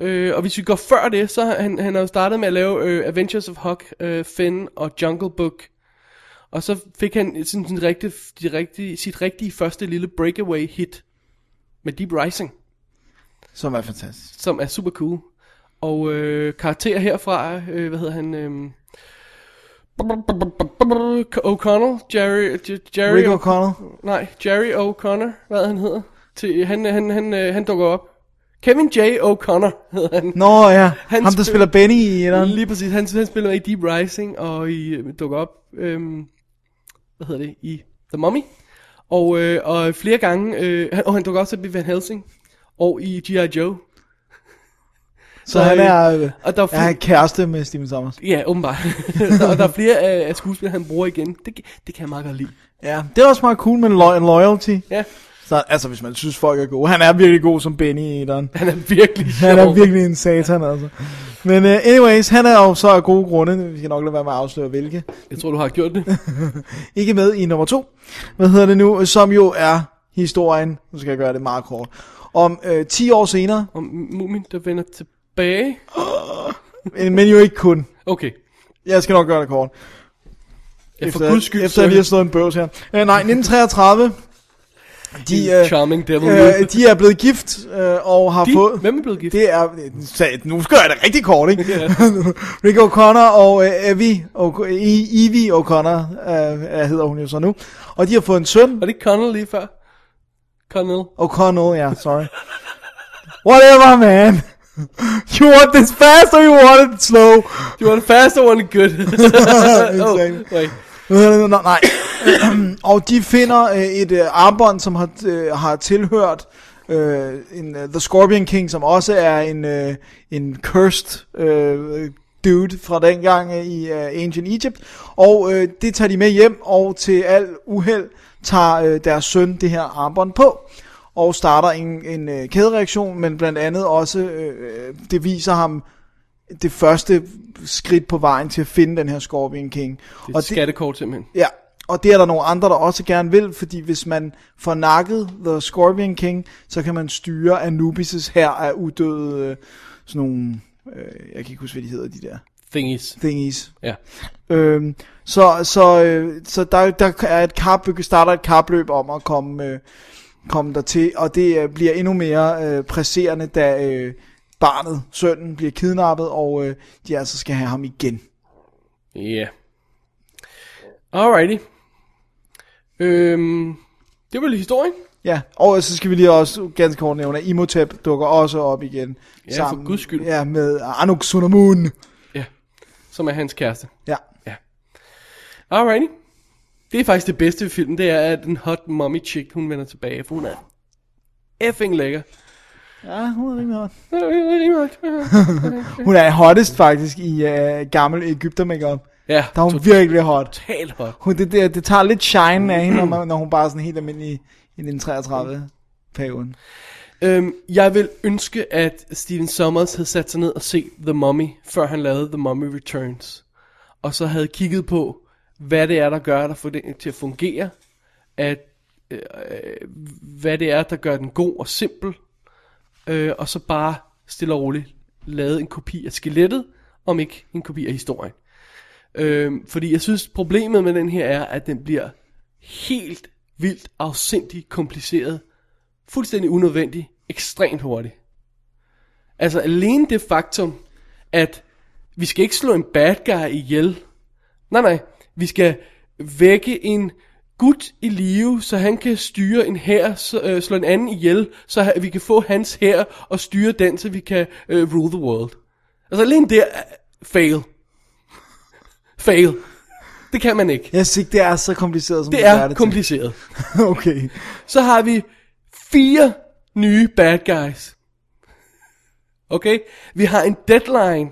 [SPEAKER 4] Øh, og hvis vi går før det, så har han, han har jo startet med at lave øh, Adventures of Huck, øh, Finn og Jungle Book. Og så fik han sin, sin rigtige, de rigtige, sit rigtige første lille breakaway hit med Deep Rising,
[SPEAKER 5] Som er fantastisk.
[SPEAKER 4] som er super cool. Og øh, karakterer herfra, øh, hvad hedder han? Øh, O'Connell, Jerry, J- Jerry,
[SPEAKER 5] Rick O'Connell.
[SPEAKER 4] nej, Jerry O'Connor, hvad han hedder. Til, han, han, han, øh, han dukker op. Kevin J. O'Connor hedder han.
[SPEAKER 5] Nå ja,
[SPEAKER 4] Han
[SPEAKER 5] ham der
[SPEAKER 4] spil-
[SPEAKER 5] spiller Benny i etteren.
[SPEAKER 4] Lige præcis, han, han spiller med i Deep Rising og i, øh, dukker op, øhm, hvad hedder det, i The Mummy. Og, øh, og flere gange, øh, han, og han dukker også op i Van Helsing og i G.I. Joe.
[SPEAKER 5] Så han er, øh,
[SPEAKER 4] Og der er,
[SPEAKER 5] er han kæreste med Steven Summers.
[SPEAKER 4] Ja, åbenbart. Der- og der er flere øh, af, af skuespillere, han bruger igen. Det, det kan jeg meget godt lide.
[SPEAKER 5] Ja, det er også meget cool med lo- loyalty.
[SPEAKER 4] Ja,
[SPEAKER 5] Så, altså hvis man synes folk er gode. Han er virkelig god som Benny i etteren.
[SPEAKER 4] han er virkelig sjov.
[SPEAKER 5] Han er virkelig en satan altså. Men uh, anyways, han er jo så af gode grunde, vi skal nok lade være med at afsløre hvilke,
[SPEAKER 4] Jeg tror, du har gjort det.
[SPEAKER 5] ikke med i nummer to, hvad hedder det nu, som jo er historien, nu skal jeg gøre det meget kort, om øh, 10 år senere,
[SPEAKER 4] Om Mumin, der vender tilbage.
[SPEAKER 5] men men jo ikke kun.
[SPEAKER 4] Okay.
[SPEAKER 5] Jeg skal nok gøre det kort.
[SPEAKER 4] Ja, for guds skyld,
[SPEAKER 5] efter jeg lige har slået en bøvs her. Øh, nej, 1933, de, øh,
[SPEAKER 4] Charming Devil.
[SPEAKER 5] øh, de er blevet gift, øh, og har
[SPEAKER 4] de,
[SPEAKER 5] fået...
[SPEAKER 4] hvem er blevet gift?
[SPEAKER 5] Det er... så- Nu skal jeg det rigtig kort, ikke? Rick O'Connor og øh, Evie, o- E- Evie O'Connor, øh, hedder hun jo så nu. Og de har fået en søn.
[SPEAKER 4] Var det ikke Connell lige før? Connell.
[SPEAKER 5] O'Connell, ja, sorry. Whatever, man. You want this fast, or you want it slow?
[SPEAKER 4] You want a faster one good. oh,
[SPEAKER 5] Exactly.
[SPEAKER 4] wait.
[SPEAKER 5] Øh, Nå, nej. og de finder øh, et øh, armbånd, som har, øh, har tilhørt øh, en, øh, The Scorpion King, som også er en, øh, en cursed øh, dude fra dengang øh, i øh, Ancient Egypt. Og øh, det tager de med hjem, og til al uheld tager øh, deres søn det her armbånd på. Og starter en, en øh, kædereaktion, men blandt andet også, øh, øh, det viser ham det første skridt på vejen til at finde den her Scorpion King.
[SPEAKER 4] Det er et skattekort simpelthen.
[SPEAKER 5] Ja, og det er der nogle andre, der også gerne vil, fordi hvis man får nakket The Scorpion King, så kan man styre Anubis' her af udøde øh, sådan nogle, øh, jeg kan ikke huske, hvad de hedder, de der
[SPEAKER 4] Thingies.
[SPEAKER 5] thingies.
[SPEAKER 4] Ja.
[SPEAKER 5] Øhm, så så, øh, så der, der er et kap, starter et kapløb om at komme, øh, komme dertil, og det øh, bliver endnu mere øh, presserende, da øh, barnet, sønnen, bliver kidnappet, og øh, de altså skal have ham igen.
[SPEAKER 4] Ja. Yeah. Alrighty. Øhm, det var lige historien.
[SPEAKER 5] Ja, og så skal vi lige også ganske kort nævne, at Imhotep dukker også op igen.
[SPEAKER 4] Ja, for guds skyld.
[SPEAKER 5] Ja, med Anuk Sunamun.
[SPEAKER 4] Ja. Som er hans kæreste.
[SPEAKER 5] Ja,
[SPEAKER 4] Alrighty. Det er faktisk det bedste ved filmen, det er, at den hot mommy chick, hun vender tilbage, for hun er effing lækker.
[SPEAKER 5] ja hun er rimelig hot.
[SPEAKER 4] Ja, det er rimelig hot.
[SPEAKER 5] Hun er hottest faktisk i uh, gammel Ægypter makeup.
[SPEAKER 4] Ja,
[SPEAKER 5] Der er hun virkelig hot.
[SPEAKER 4] totalt hot.
[SPEAKER 5] Hun, det, det, det tager lidt shine af hende, når, man, når hun bare er sådan helt almindelig i 1933 perioden.
[SPEAKER 4] Øhm, jeg vil ønske, at Steven Sommers havde sat sig ned og set The Mummy, før han lavede The Mummy Returns. Og så havde kigget på, hvad det er, der gør, der får den til at fungere. At, øh, øh, hvad det er, der gør den god og simpel. Øh, og så bare stille og roligt lavet en kopi af skelettet, om ikke en kopi af historien. Øh, fordi jeg synes, problemet med den her er, at den bliver helt vildt afsindig kompliceret fuldstændig unødvendig, ekstremt hurtig. Altså alene det faktum, at vi skal ikke slå en bad guy ihjel. Nej, nej. Vi skal vække en gut i live, så han kan styre en her, så, øh, slå en anden ihjel, så ha- vi kan få hans her og styre den, så vi kan øh, rule the world. Altså alene der, fail. fail. Det kan man ikke.
[SPEAKER 5] Jeg synes ikke, det er så kompliceret, som
[SPEAKER 4] Det er
[SPEAKER 5] til.
[SPEAKER 4] kompliceret.
[SPEAKER 5] okay.
[SPEAKER 4] Så har vi fire nye bad guys. Okay? Vi har en deadline.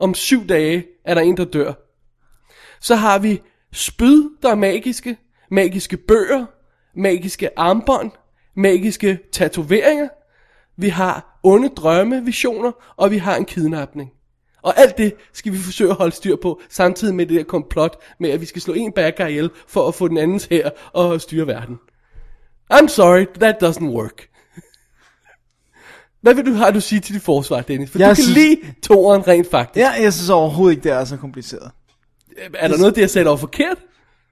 [SPEAKER 4] Om syv dage er der en, der dør. Så har vi spyd, der er magiske. Magiske bøger. Magiske armbånd. Magiske tatoveringer. Vi har onde drømme, visioner. Og vi har en kidnapning. Og alt det skal vi forsøge at holde styr på, samtidig med det der komplot med, at vi skal slå en bad guy ihjel for at få den andens her og styre verden. I'm sorry, that doesn't work. Hvad vil du, har du at sige til dit forsvar, Dennis? For jeg du
[SPEAKER 5] Jeg
[SPEAKER 4] kan
[SPEAKER 5] synes-
[SPEAKER 4] lide toeren rent faktisk.
[SPEAKER 5] Ja, jeg synes overhovedet ikke, det er så kompliceret.
[SPEAKER 4] Er der noget, det jeg sagde, der var forkert?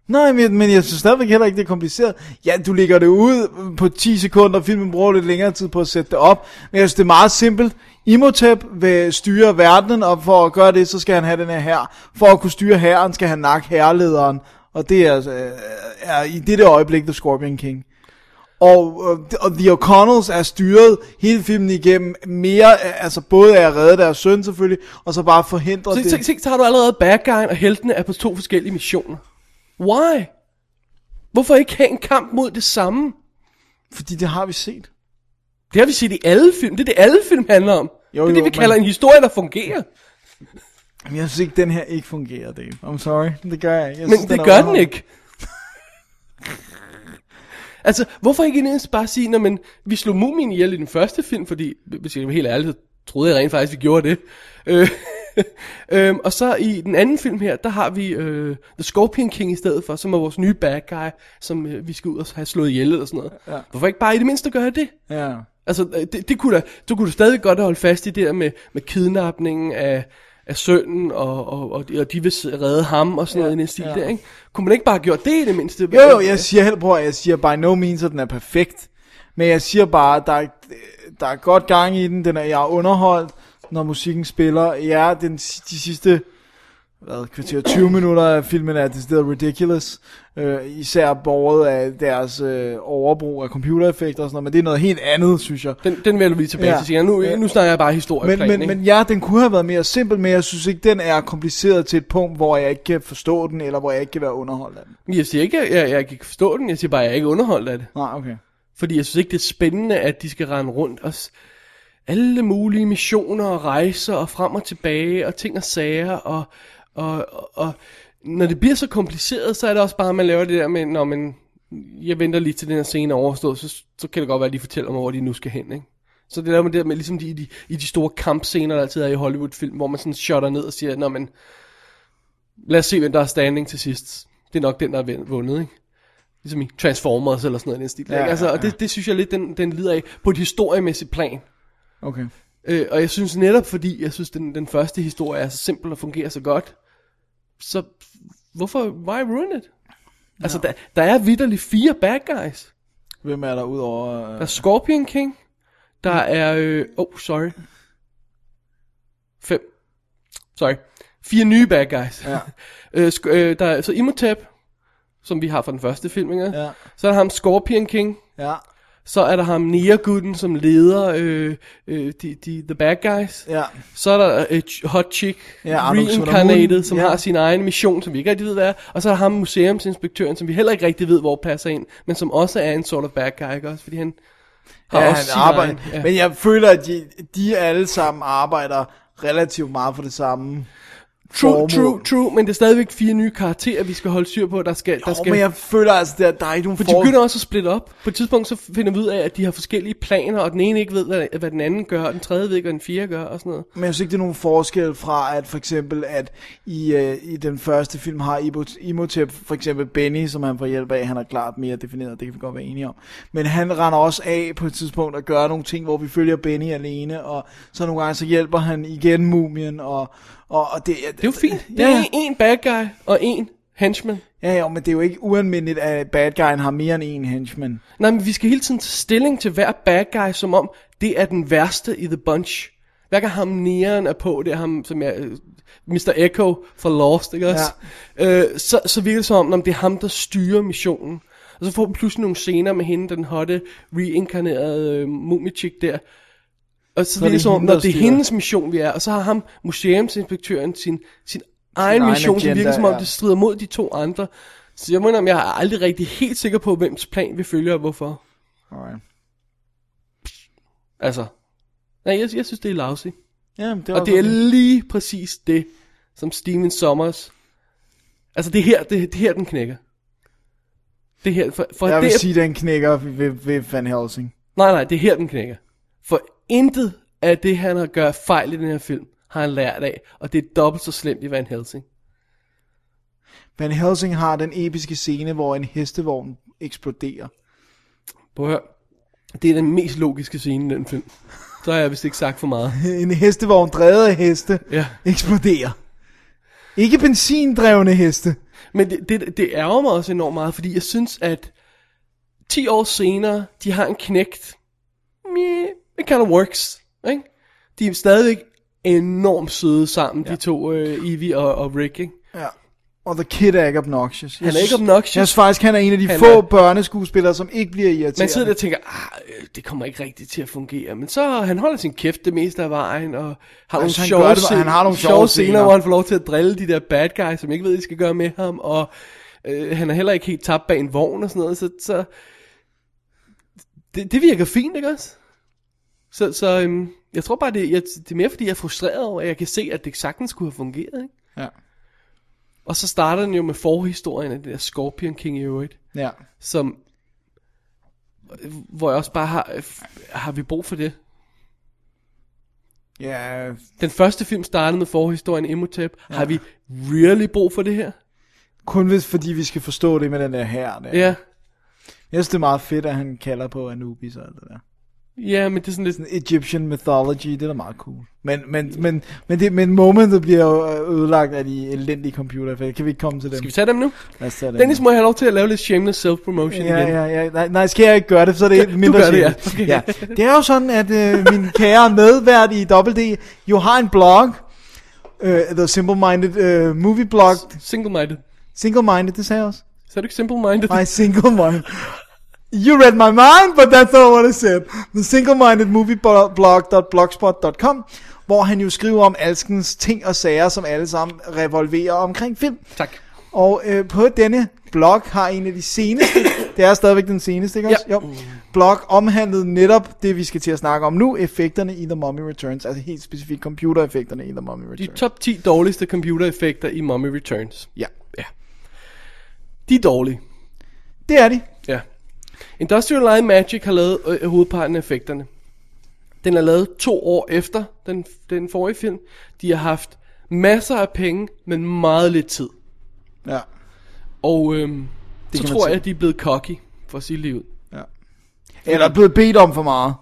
[SPEAKER 5] Nej, men, men jeg synes stadigvæk heller ikke, det er kompliceret. Ja, du lægger det ud på 10 sekunder, og filmen bruger lidt længere tid på at sætte det op. Men jeg synes, det er meget simpelt. Imhotep vil styre verdenen, og for at gøre det, så skal han have den her her. For at kunne styre herren, skal han nakke herrelederen. Og det er, altså, øh, er i dette øjeblik The Scorpion King. Og, øh, og The O'Connells er styret hele filmen igennem mere, øh, altså både af at redde deres søn selvfølgelig, og så bare forhindre
[SPEAKER 4] Så,
[SPEAKER 5] det.
[SPEAKER 4] så, så, så har du allerede bad guyen, og heltene er på to forskellige missioner. Why? Hvorfor ikke have en kamp mod det samme?
[SPEAKER 5] Fordi det har vi set.
[SPEAKER 4] Det har vi set i alle film. Det er det, alle film handler om. Jo,
[SPEAKER 5] Jo,
[SPEAKER 4] det er det,
[SPEAKER 5] jo,
[SPEAKER 4] vi
[SPEAKER 5] men-
[SPEAKER 4] kalder en historie, der fungerer.
[SPEAKER 5] Men jeg synes ikke, den her ikke fungerer, Dave. I'm sorry, det gør jeg ikke. Jeg
[SPEAKER 4] Men
[SPEAKER 5] synes,
[SPEAKER 4] det
[SPEAKER 5] er
[SPEAKER 4] gør den
[SPEAKER 5] underholdende.
[SPEAKER 4] ikke. altså, hvorfor ikke inden bare sige, når man, vi slog mumien ihjel i den første film, fordi, hvis jeg er helt ærlig, så troede jeg rent faktisk, vi gjorde det. Øh, øhm, og så i den anden film her, der har vi øh, The Scorpion King i stedet for, som er vores nye bad guy, som øh, vi skal ud og have slået ihjel eller sådan noget. Ja. Hvorfor ikke bare i det mindste gøre det?
[SPEAKER 5] Ja.
[SPEAKER 4] Altså, øh, det, det kunne da, du kunne da stadig godt holde fast i det der med, med kidnapningen af, af sønnen, og, og, og, de- og de vil s- redde ham og sådan ja, noget i den stil ja. der, ikke? Kunne man ikke bare have gjort det i det mindste?
[SPEAKER 5] Jo, jo, jeg siger heller på, at jeg siger by no means, at den er perfekt. Men jeg siger bare, at der er, der er godt gang i den. Den er, jeg er underholdt, når musikken spiller. Ja, den, si- de sidste hvad, kvarter 20 minutter af filmen er decideret ridiculous. Øh, især borget af deres øh, overbrug af computereffekter og sådan noget. Men det er noget helt andet, synes jeg.
[SPEAKER 4] Den, den vender vi tilbage ja.
[SPEAKER 5] Ja.
[SPEAKER 4] til senere. Nu,
[SPEAKER 5] Ja.
[SPEAKER 4] nu snakker jeg bare historie
[SPEAKER 5] Men, men,
[SPEAKER 4] ikke?
[SPEAKER 5] men ja, den kunne have været mere simpel, men jeg synes ikke, den er kompliceret til et punkt, hvor jeg ikke kan forstå den, eller hvor jeg ikke kan være underholdt af den.
[SPEAKER 4] Men jeg siger ikke, at jeg, jeg kan ikke forstå den. Jeg siger bare, at jeg er ikke underholdt af det.
[SPEAKER 5] Nej, okay.
[SPEAKER 4] Fordi jeg synes ikke, det er spændende, at de skal rende rundt og s- alle mulige missioner og rejser og frem og tilbage og ting og sager. Og, og, og, og når det bliver så kompliceret, så er det også bare, at man laver det der med, når man, jeg venter lige til den her scene er overstået, så, så kan det godt være, at de fortæller mig, hvor de nu skal hen, ikke? Så det der med, det der med ligesom de, i de, i de store kampscener, der altid er i Hollywood-film, hvor man sådan shotter ned og siger, Nå, men lad os se, hvem der er standing til sidst. Det er nok den, der har vundet, ikke? Ligesom i Transformers eller sådan noget i den stil. Ja, ikke? Altså, og det, det synes jeg lidt, den, den lider af på et historiemæssigt plan.
[SPEAKER 5] Okay.
[SPEAKER 4] Øh, og jeg synes netop, fordi jeg synes, den, den første historie er så simpel og fungerer så godt, så hvorfor, why ruin it? Altså, der, der er vidderligt fire bad guys.
[SPEAKER 5] Hvem er der udover...
[SPEAKER 4] Der
[SPEAKER 5] Øh,
[SPEAKER 4] er Scorpion King, der
[SPEAKER 5] Mm.
[SPEAKER 4] er, øh, oh, sorry. Fem. Sorry. Fire nye bad guys.
[SPEAKER 5] Ja.
[SPEAKER 4] øh, sk- øh, der er så Imhotep, som vi har fra den første film, ikke?
[SPEAKER 5] Ja.
[SPEAKER 4] Så er der ham Scorpion King,
[SPEAKER 5] ja,
[SPEAKER 4] Så er der ham Neerguden, som leder øh, øh, de, de, The Bad Guys.
[SPEAKER 5] ja,
[SPEAKER 4] Så er der øh, ch- Hot Chick,
[SPEAKER 5] Ja, Arnold
[SPEAKER 4] Reincarnated,
[SPEAKER 5] Schwarzenegger.
[SPEAKER 4] som
[SPEAKER 5] Ja.
[SPEAKER 4] har sin egen mission, som vi ikke rigtig ved, hvad er. Og så er der ham museumsinspektøren, som vi heller ikke rigtig ved, hvor passer ind, men som også er en sort of bad guy, ikke også? Fordi han har
[SPEAKER 5] ja
[SPEAKER 4] også
[SPEAKER 5] han
[SPEAKER 4] sin
[SPEAKER 5] arbejder.
[SPEAKER 4] egen-
[SPEAKER 5] Ja. Men jeg føler, at de, de alle sammen arbejder relativt meget for det samme.
[SPEAKER 4] True,
[SPEAKER 5] formål.
[SPEAKER 4] true, true, men det er stadigvæk fire nye karakterer, vi skal holde styr på, der skal... der
[SPEAKER 5] Jo,
[SPEAKER 4] skal
[SPEAKER 5] men jeg føler altså, der, der er ikke nogen
[SPEAKER 4] For de begynder også at splitte op. På et tidspunkt så finder vi ud af, at de har forskellige planer, og den ene ikke ved, hvad, hvad den anden gør, og den tredje ved ikke, hvad den fjerde gør, og sådan noget.
[SPEAKER 5] Men jeg synes ikke, det er nogen forskel fra, at for eksempel, at i, øh, i den første film har Ibo- Imhotep, for eksempel Benny, som han får hjælp af, han er klart mere defineret, det kan vi godt være enige om. Men han render også af på et tidspunkt og gør nogle ting, hvor vi følger Benny alene, og så nogle gange så hjælper han igen mumien, og, og, og det,
[SPEAKER 4] Det er jo fint. Det er en bad guy og en henchman.
[SPEAKER 5] Ja, ja, men det er jo ikke ualmindeligt, at bad guyen har mere end en henchman.
[SPEAKER 4] Nej, men vi skal hele tiden tage stilling til hver bad guy, som om det er den værste i The Bunch. Hver gang ham næren er på, det er ham, som jeg, øh, Mr. Echo fra Lost, ikke også? Ja. Øh, så, så virker det som om, om, det er ham, der styrer missionen. Og så får vi pludselig nogle scener med hende, den hotte, reinkarnerede øh, mumichik der. Og så, så
[SPEAKER 5] er
[SPEAKER 4] virker det
[SPEAKER 5] det
[SPEAKER 4] som om,
[SPEAKER 5] hende, der
[SPEAKER 4] når det er
[SPEAKER 5] styrer.
[SPEAKER 4] hendes mission, vi er, og så har ham, museumsinspektøren, sin, sin egen
[SPEAKER 5] egen
[SPEAKER 4] mission, som
[SPEAKER 5] agenda,
[SPEAKER 4] virker som om,
[SPEAKER 5] ja.
[SPEAKER 4] det strider mod de to andre. Så jeg mener, om jeg er aldrig rigtig helt sikker på, hvems plan vi følger og hvorfor.
[SPEAKER 5] Alright.
[SPEAKER 4] Altså, nej, jeg, jeg synes, det er lousy.
[SPEAKER 5] Ja, men det er
[SPEAKER 4] Og
[SPEAKER 5] også
[SPEAKER 4] det er
[SPEAKER 5] okay.
[SPEAKER 4] lige præcis det, som Steven Sommers... Altså, det er her, det, det er her den knækker. Det er her, for, for
[SPEAKER 5] Jeg
[SPEAKER 4] det
[SPEAKER 5] vil
[SPEAKER 4] er,
[SPEAKER 5] sige, den knækker ved, ved Van Helsing.
[SPEAKER 4] Nej, nej, det er her, den knækker. For intet af det, han har gjort fejl i den her film, har han lært af. Og det er dobbelt så slemt i Van Helsing.
[SPEAKER 5] Van Helsing har den episke scene, hvor en hestevogn eksploderer.
[SPEAKER 4] Prøv at høre. Det er den mest logiske scene i den film. Så har jeg vist ikke sagt for meget.
[SPEAKER 5] En hestevogn drevet af heste
[SPEAKER 4] Ja.
[SPEAKER 5] eksploderer. Ikke benzindrevne heste.
[SPEAKER 4] Men det, det, det ærger mig også enormt meget, fordi jeg synes, at 10 år senere, de har en knægt. Meh, It kind of works. Ikke? De er stadigvæk enormt søde sammen, ja. de to, øh, Evie og, og Rick. Ikke?
[SPEAKER 5] Og The Kid er ikke obnoxious. Jeg
[SPEAKER 4] Han er ikke
[SPEAKER 5] synes-
[SPEAKER 4] obnoxious.
[SPEAKER 5] Jeg synes faktisk, han er en af de
[SPEAKER 4] Han
[SPEAKER 5] få
[SPEAKER 4] er-
[SPEAKER 5] børneskuespillere, som ikke bliver irriteret.
[SPEAKER 4] Man sidder der og tænker, ah, øh, det kommer ikke rigtigt til at fungere. Men så øh, han holder sin kæft det meste af vejen, og har nogle
[SPEAKER 5] Altså, han
[SPEAKER 4] sjove,
[SPEAKER 5] gør det,
[SPEAKER 4] scener,
[SPEAKER 5] han har nogle sjove
[SPEAKER 4] sjove scener,
[SPEAKER 5] scener.
[SPEAKER 4] hvor han får lov til at drille de der bad guys, som ikke ved, de skal gøre med ham. Og øh, han er heller ikke helt tabt bag en vogn og sådan noget. Så, så det, det virker fint, ikke også? Så, så øhm, jeg tror bare, det, jeg, det er mere fordi, jeg er frustreret over, at jeg kan se, at det sagtens kunne have fungeret. Ikke?
[SPEAKER 5] Ja.
[SPEAKER 4] Og så starter den jo med forhistorien af det der Scorpion King i øvrigt
[SPEAKER 5] Ja.
[SPEAKER 4] som hvor jeg også bare har f- har vi brug for det.
[SPEAKER 5] Ja,
[SPEAKER 4] Den første film startede med forhistorien Imhotep. Ja. Har vi really brug for det her?
[SPEAKER 5] kun hvis, fordi vi skal forstå det med den der her. Der.
[SPEAKER 4] Ja. ja.
[SPEAKER 5] Jeg synes, det er meget fedt, at han kalder på Anubis og alt det der.
[SPEAKER 4] Ja, men det er sådan lidt
[SPEAKER 5] Sådan Egyptian mythology, det er da meget cool. Men, men, men, men, det, men momentet bliver jo øh, ødelagt af de elendige computer. Kan vi ikke komme til dem?
[SPEAKER 4] Skal vi tage dem nu?
[SPEAKER 5] Lad os tage dem.
[SPEAKER 4] Dennis, må jeg have lov til at lave lidt shameless self-promotion
[SPEAKER 5] Ja,
[SPEAKER 4] igen?
[SPEAKER 5] ja, ja. Nej, nej, skal jeg ikke gøre det, så er det mindre
[SPEAKER 4] gør det, ja.
[SPEAKER 5] sjældent. ja. Det er jo sådan, at øh, min kære medvært i WD jo har en blog, øh, The Simple Minded øh, Movie Blog.
[SPEAKER 4] Single-minded.
[SPEAKER 5] Single Minded, det sagde jeg også.
[SPEAKER 4] Så er du ikke simple-minded?
[SPEAKER 5] My Single Minded. You read my mind, but that's not what I said. The singlemindedmovieblog.blogspot.com hvor han jo skriver om alskens ting og sager, som alle sammen revolverer omkring film.
[SPEAKER 4] Tak.
[SPEAKER 5] Og øh, på denne blog har en af de seneste, det er stadigvæk den seneste, ikke også?
[SPEAKER 4] Ja.
[SPEAKER 5] Jo. Blog omhandlede netop det, vi skal til at snakke om nu, effekterne i The Mummy Returns, altså helt specifikt computereffekterne i The Mummy
[SPEAKER 4] De
[SPEAKER 5] Returns.
[SPEAKER 4] top 10 dårligste computereffekter i Mummy Returns.
[SPEAKER 5] Ja,
[SPEAKER 4] De er dårlige.
[SPEAKER 5] det er de.
[SPEAKER 4] Ja. Industrial Light and Magic har lavet øh, hovedparten af effekterne. Den er lavet to år efter den, den forrige film. De har haft masser af penge, men meget lidt tid.
[SPEAKER 5] Ja.
[SPEAKER 4] Og øhm, det så
[SPEAKER 5] kan man
[SPEAKER 4] tror
[SPEAKER 5] se.
[SPEAKER 4] jeg, at de er blevet cocky for sit liv.
[SPEAKER 5] Eller blevet bedt om for meget.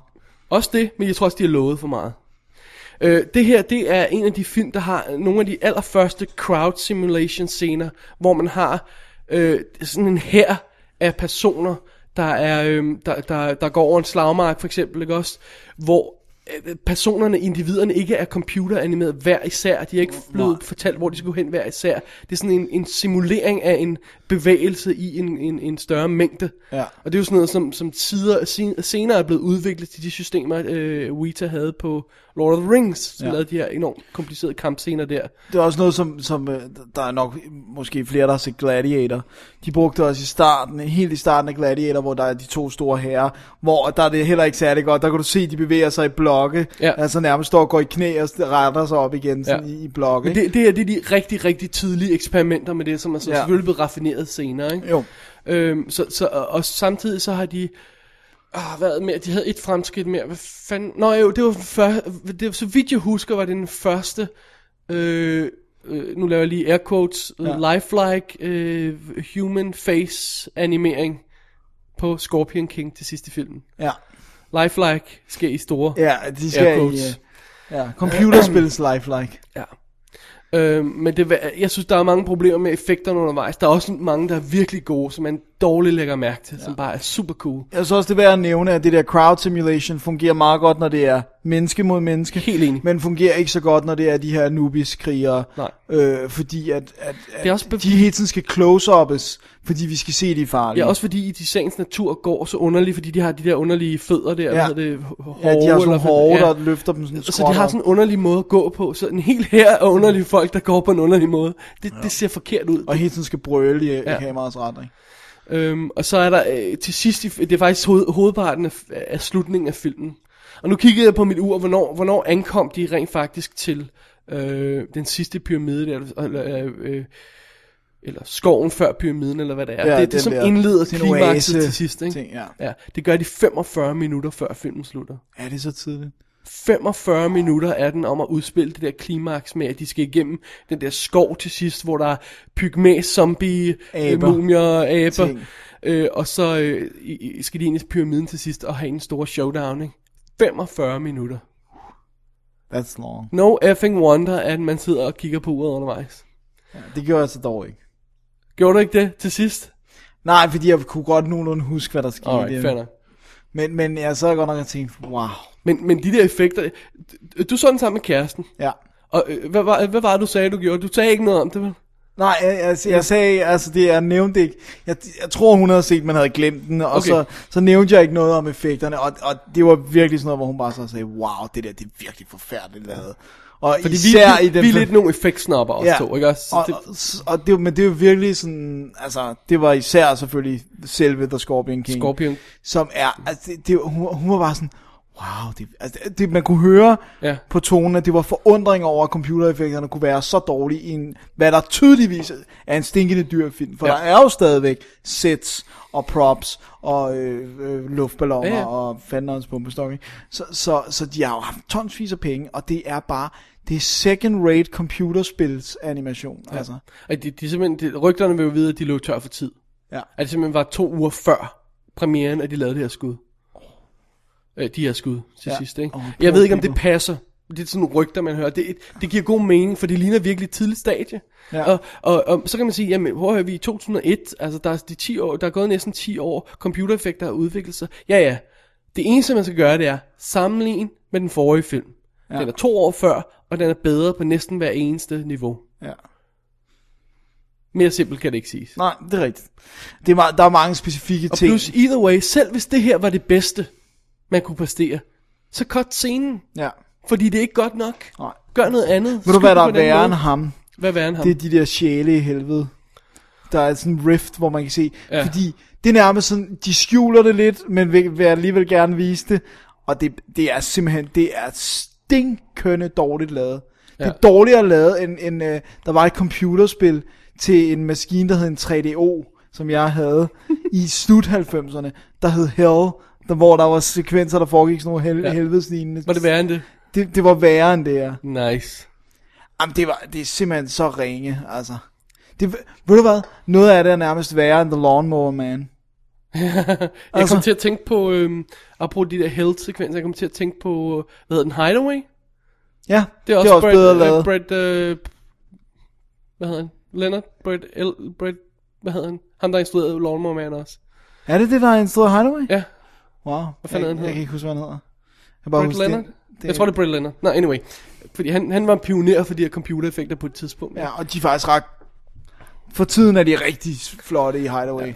[SPEAKER 4] Også det, men jeg tror også, de har lovet for meget. Øh, det her, det er en af de film, der har nogle af de allerførste crowd simulation scener, hvor man har øh, sådan en her af personer, der, er, øh, der, der, der går over en slagmark for eksempel, ikke også? Hvor øh, personerne, individerne ikke er computeranimeret hver især. De er ikke blevet fortalt, hvor de skulle hen hver især. Det er sådan en, en simulering af en bevægelse i en, en, en større mængde.
[SPEAKER 5] Ja.
[SPEAKER 4] Og det er jo sådan noget, som, som tider, sen- senere er blevet udviklet til de systemer, øh, Weta havde på Lord of the Rings, som
[SPEAKER 5] Ja.
[SPEAKER 4] ja. lavede de her enormt komplicerede kampscener der.
[SPEAKER 5] Det er også noget, som, som øh, der er nok måske flere, der har set Gladiator. De brugte også i starten, helt i starten af Gladiator, hvor der er de to store herrer, hvor der er det heller ikke særlig godt. Der kan du se, at de bevæger sig i blokke,
[SPEAKER 4] Ja.
[SPEAKER 5] altså nærmest står og går i knæ og retter sig op igen sådan
[SPEAKER 4] Ja.
[SPEAKER 5] i, i blokke.
[SPEAKER 4] Men det, det her, det er de rigtig, rigtig tidlige eksperimenter med det, som er så
[SPEAKER 5] Ja.
[SPEAKER 4] ja. selvfølgelig blevet raffineret senere. Ikke?
[SPEAKER 5] ikke? Jo.
[SPEAKER 4] Øhm, så, så, og, og samtidig så har de ah, været mere, de havde et fremskridt mere. Hvad fanden? Nå jo, det var, før, det var så vidt jeg husker, var det den første, øh, øh, nu laver jeg lige air quotes, ja. lifelike øh, human face animering på Scorpion King til sidste filmen.
[SPEAKER 5] Ja.
[SPEAKER 4] Lifelike sker i store.
[SPEAKER 5] Ja, de skal
[SPEAKER 4] Air
[SPEAKER 5] i,
[SPEAKER 4] quotes.
[SPEAKER 5] øh, ja, computerspillets lifelike.
[SPEAKER 4] Ja. Øh, men det, var- jeg synes, der er mange problemer med effekterne undervejs. Der er også mange, der er virkelig gode, som man dårligt lægger mærke til, ja. som bare er super cool.
[SPEAKER 5] Jeg synes også, det er værd at nævne, at det der crowd simulation fungerer meget godt, når det er menneske mod menneske.
[SPEAKER 4] Helt enig.
[SPEAKER 5] Men fungerer ikke så godt, når det er de her Anubis-krigere.
[SPEAKER 4] Nej.
[SPEAKER 5] Øh, fordi at, at, at
[SPEAKER 4] Det er også bev-
[SPEAKER 5] de hele tiden skal close-uppes, fordi vi skal se de er farlige.
[SPEAKER 4] Ja, også fordi i sagens natur går så underligt, fordi de har de der underlige fødder der, ja. hvad hedder det, hår,
[SPEAKER 5] ja, de har sådan
[SPEAKER 4] eller
[SPEAKER 5] nogle
[SPEAKER 4] hvad-
[SPEAKER 5] hårde, der løfter dem sådan
[SPEAKER 4] Så de har sådan en underlig måde at gå på, så en hel her af underlige folk, der går på en underlig måde. Det, ja. det ser forkert ud.
[SPEAKER 5] Og hele tiden skal brøle i, ja.
[SPEAKER 4] Ja.
[SPEAKER 5] i kameraets retning.
[SPEAKER 4] Øhm, og så er der øh, til sidst, i f- det er faktisk hoved, hovedparten af, af slutningen af filmen. Og nu kiggede jeg på mit ur, hvornår, hvornår ankom de rent faktisk til øh, den sidste pyramide, der, eller, øh, øh, eller skoven før pyramiden, eller hvad det er. Ja, det er det,
[SPEAKER 5] den
[SPEAKER 4] som
[SPEAKER 5] der-
[SPEAKER 4] indleder
[SPEAKER 5] sådan en
[SPEAKER 4] klimakset
[SPEAKER 5] oase
[SPEAKER 4] til sidst. Ikke?
[SPEAKER 5] ting, ja.
[SPEAKER 4] Ja, det gør de 45 minutter før filmen slutter.
[SPEAKER 5] Er det så tidligt?
[SPEAKER 4] 45 minutter er den om at udspille det der klimaks med, at de skal igennem den der skov til sidst, hvor der er pygmæ, zombie,
[SPEAKER 5] Aber.
[SPEAKER 4] aber. mumier, aber.
[SPEAKER 5] Ting.
[SPEAKER 4] Øh, og så øh, i- i- skal de ind i pyramiden til sidst og have en stor showdown, ikke? 45 minutter.
[SPEAKER 5] That's long.
[SPEAKER 4] No effing wonder, at man sidder og kigger på uret undervejs.
[SPEAKER 5] Det gjorde jeg så dog ikke.
[SPEAKER 4] Gjorde du ikke det til sidst?
[SPEAKER 5] Nej, fordi jeg kunne godt nogenlunde huske, hvad der skete.
[SPEAKER 4] Alright, fair
[SPEAKER 5] Alright,
[SPEAKER 4] nok.
[SPEAKER 5] men, men jeg sad godt nok og tænkte, wow.
[SPEAKER 4] Men, men de der effekter... Du så den sammen med kæresten.
[SPEAKER 5] Ja.
[SPEAKER 4] Og øh, hvad, var, hvad var det, du sagde, du gjorde? Du sagde ikke noget om det, vel?
[SPEAKER 5] Nej, jeg, jeg, jeg sagde, altså det, jeg nævnte ikke. Jeg, jeg tror, hun havde set, man havde glemt den, og okay.
[SPEAKER 4] Okay.
[SPEAKER 5] så, så nævnte jeg ikke noget om effekterne, og, og det var virkelig sådan noget, hvor hun bare så sagde, wow, det der, det er virkelig forfærdeligt lavet. Og
[SPEAKER 4] Fordi
[SPEAKER 5] især
[SPEAKER 4] vi,
[SPEAKER 5] i den
[SPEAKER 4] vi er lidt nogle effektsnapper også ja. to, ikke også? Så
[SPEAKER 5] og,
[SPEAKER 4] det-
[SPEAKER 5] og, og det, var- men det var virkelig sådan, altså, det var især selvfølgelig selve The Scorpion King.
[SPEAKER 4] Scorpion.
[SPEAKER 5] Som er, altså, det, det, hun, hun var bare sådan, wow, det, altså, det, man kunne høre
[SPEAKER 4] Ja.
[SPEAKER 5] på tonen, at det var forundring over, at computereffekterne kunne være så dårlige i en, hvad der tydeligvis er en stinkende dyrfilm, for ja.
[SPEAKER 4] Ja.
[SPEAKER 5] der er jo stadigvæk sets og props og øh, øh, luftballoner
[SPEAKER 4] Ja,
[SPEAKER 5] ja, ja.
[SPEAKER 4] ja.
[SPEAKER 5] og fanderens bombestok, ikke? så, så, så de har jo haft tonsvis af penge, og det er bare, det er second-rate computerspils animation, ja. altså.
[SPEAKER 4] At de, de simpelthen, de, rygterne vil jo vide, at de løb tør for tid.
[SPEAKER 5] Ja.
[SPEAKER 4] At det simpelthen var to uger før premieren, at de lavede det her skud. Øh, de her skud til
[SPEAKER 5] Ja.
[SPEAKER 4] ja. sidst, ikke?
[SPEAKER 5] Åh,
[SPEAKER 4] Oh, jeg ved ikke, om det
[SPEAKER 5] people.
[SPEAKER 4] passer. Det er sådan nogle rygter, man hører. Det, det giver god mening, for det ligner virkelig et tidligt stadie.
[SPEAKER 5] Ja.
[SPEAKER 4] Og, og, og, så kan man sige, jamen, hvor er vi i 2001? Altså, der er, de 10 år, der er gået næsten 10 år. Computereffekter har udviklet sig. Ja, ja. Det eneste, man skal gøre, det er sammenligne med den forrige film. Ja. Den er to år før, og den er bedre på næsten hver eneste niveau.
[SPEAKER 5] Ja.
[SPEAKER 4] Mere simpelt kan det ikke siges.
[SPEAKER 5] Nej, det er rigtigt. Det er meget, der er mange specifikke
[SPEAKER 4] Og
[SPEAKER 5] ting.
[SPEAKER 4] plus, either way, selv hvis det her var det bedste, man kunne præstere, så cut scenen,
[SPEAKER 5] ja.
[SPEAKER 4] fordi det er ikke godt nok.
[SPEAKER 5] Nej.
[SPEAKER 4] Gør noget andet.
[SPEAKER 5] Ved du,
[SPEAKER 4] Skyd
[SPEAKER 5] hvad der
[SPEAKER 4] på
[SPEAKER 5] er
[SPEAKER 4] den
[SPEAKER 5] værre end
[SPEAKER 4] måde.
[SPEAKER 5] ham?
[SPEAKER 4] Hvad er værre end ham?
[SPEAKER 5] Det er de der sjæle i helvede. Der er sådan en rift, hvor man kan se. Ja.
[SPEAKER 4] Ja.
[SPEAKER 5] Fordi det er nærmest sådan, de skjuler det lidt, men vil, vil alligevel gerne vise det. Og det, det er simpelthen, det er stinkønne dårligt lavet. Ja. Det er dårligere lavet, end, end øh, der var et computerspil til en maskine, der hed en 3DO, som jeg havde i slut 90'erne, der hed Hell, der, hvor der var sekvenser, der foregik sådan nogle hel- ja.
[SPEAKER 4] Ja.
[SPEAKER 5] helvedeslignende.
[SPEAKER 4] Var det værre end det?
[SPEAKER 5] Det, det var værre end det her.
[SPEAKER 4] Nice.
[SPEAKER 5] Jamen, det, var, det er simpelthen så ringe, altså. Det, ved du hvad? Noget af det er nærmest værre end The Lawnmower Man.
[SPEAKER 4] Jeg
[SPEAKER 5] Altså-
[SPEAKER 4] kom til at tænke på, øhm, apropos de der health-sekvenser, jeg kom til at tænke på, øh, hvad hedder den, Hideaway?
[SPEAKER 5] Ja,
[SPEAKER 4] Det er også, Brad,
[SPEAKER 5] bedre
[SPEAKER 4] øh,
[SPEAKER 5] lavet.
[SPEAKER 4] Brad, øh, hvad hedder han? Leonard? Brad, L, Brad, hvad hedder han? Ham, der instruerede Lawnmower Man også.
[SPEAKER 5] Er det det, der er en stor Hideaway?
[SPEAKER 4] Ja,
[SPEAKER 5] Wow. Hvad
[SPEAKER 4] fanden er den
[SPEAKER 5] jeg, jeg,
[SPEAKER 4] hedder?
[SPEAKER 5] kan ikke huske, hvad han hedder. Jeg kan bare
[SPEAKER 4] Brad
[SPEAKER 5] huske det-
[SPEAKER 4] Leonard?
[SPEAKER 5] det-
[SPEAKER 4] Jeg tror, det er Brad Leonard. Nej, anyway. Fordi han, han var en pioner for de her computereffekter på et tidspunkt.
[SPEAKER 5] Ja, og de er faktisk ret... For tiden er de rigtig flotte i Hideaway. Ja.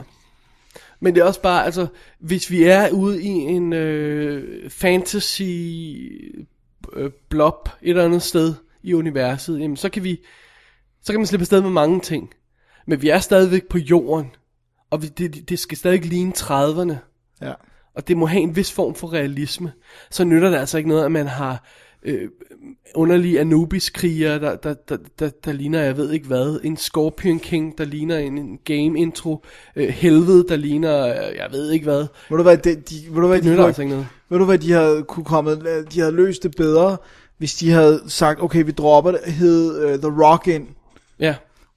[SPEAKER 4] Men det er også bare, altså, hvis vi er ude i en øh, fantasy øh, blob et eller andet sted i universet, jamen, så kan vi, så kan man slippe afsted med mange ting. Men vi er stadigvæk på jorden, og vi, det, det skal stadig ligne 30'erne,
[SPEAKER 5] ja.
[SPEAKER 4] og det må have en vis form for realisme. Så nytter det altså ikke noget, at man har øh, underlige Anubis-krigere, der, der, der, der, der ligner, jeg ved ikke hvad, en Scorpion King, der ligner en, en game-intro, øh, helvede, der ligner, øh, jeg ved ikke hvad.
[SPEAKER 5] Ved du hvad, de, de, ved du hvad,
[SPEAKER 4] Det
[SPEAKER 5] de,
[SPEAKER 4] nytter
[SPEAKER 5] kunne,
[SPEAKER 4] altså ikke noget.
[SPEAKER 5] ved du hvad, de havde kunne komme, de havde løst det bedre, hvis de havde sagt, okay, vi dropper det, hed uh, The Rock ind,
[SPEAKER 4] Ja,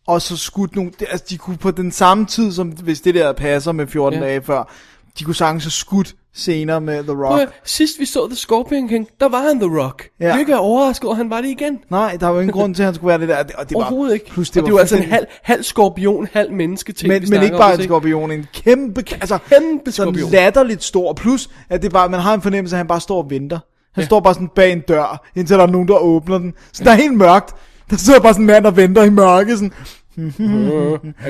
[SPEAKER 5] og så skudt nogle, det- altså de kunne på den samme tid, som hvis det der passer med 14
[SPEAKER 4] Ja.
[SPEAKER 5] dage før, De kunne sagtens have skudt scener med The
[SPEAKER 4] Prøv at
[SPEAKER 5] Rock.
[SPEAKER 4] høre, Sidst vi så The Scorpion King, der var han The Rock.
[SPEAKER 5] Ja.
[SPEAKER 4] Ja. Hvilket er overrasket over, at han var det igen.
[SPEAKER 5] Nej, der var ingen grund til, at han skulle være det der. Og det, og det
[SPEAKER 4] Overhovedet
[SPEAKER 5] var,
[SPEAKER 4] ikke.
[SPEAKER 5] Plus,
[SPEAKER 4] det og det var altså en
[SPEAKER 5] fuldstændig-
[SPEAKER 4] halv, halv skorpion, halv menneske ting, vi
[SPEAKER 5] men, men
[SPEAKER 4] snakker
[SPEAKER 5] ikke
[SPEAKER 4] om,
[SPEAKER 5] bare en
[SPEAKER 4] ikke?
[SPEAKER 5] skorpion, en kæmpe, altså
[SPEAKER 4] Kæmpe
[SPEAKER 5] sådan
[SPEAKER 4] skorpion.
[SPEAKER 5] latterligt stor, plus at det er bare, man har en fornemmelse af, at han bare står og venter. Han ja. står bare sådan bag en dør, indtil der er nogen, der åbner den. Så der er helt mørkt. Der sidder bare sådan en mand, der venter i mørke, sådan,
[SPEAKER 4] Ja, Øh,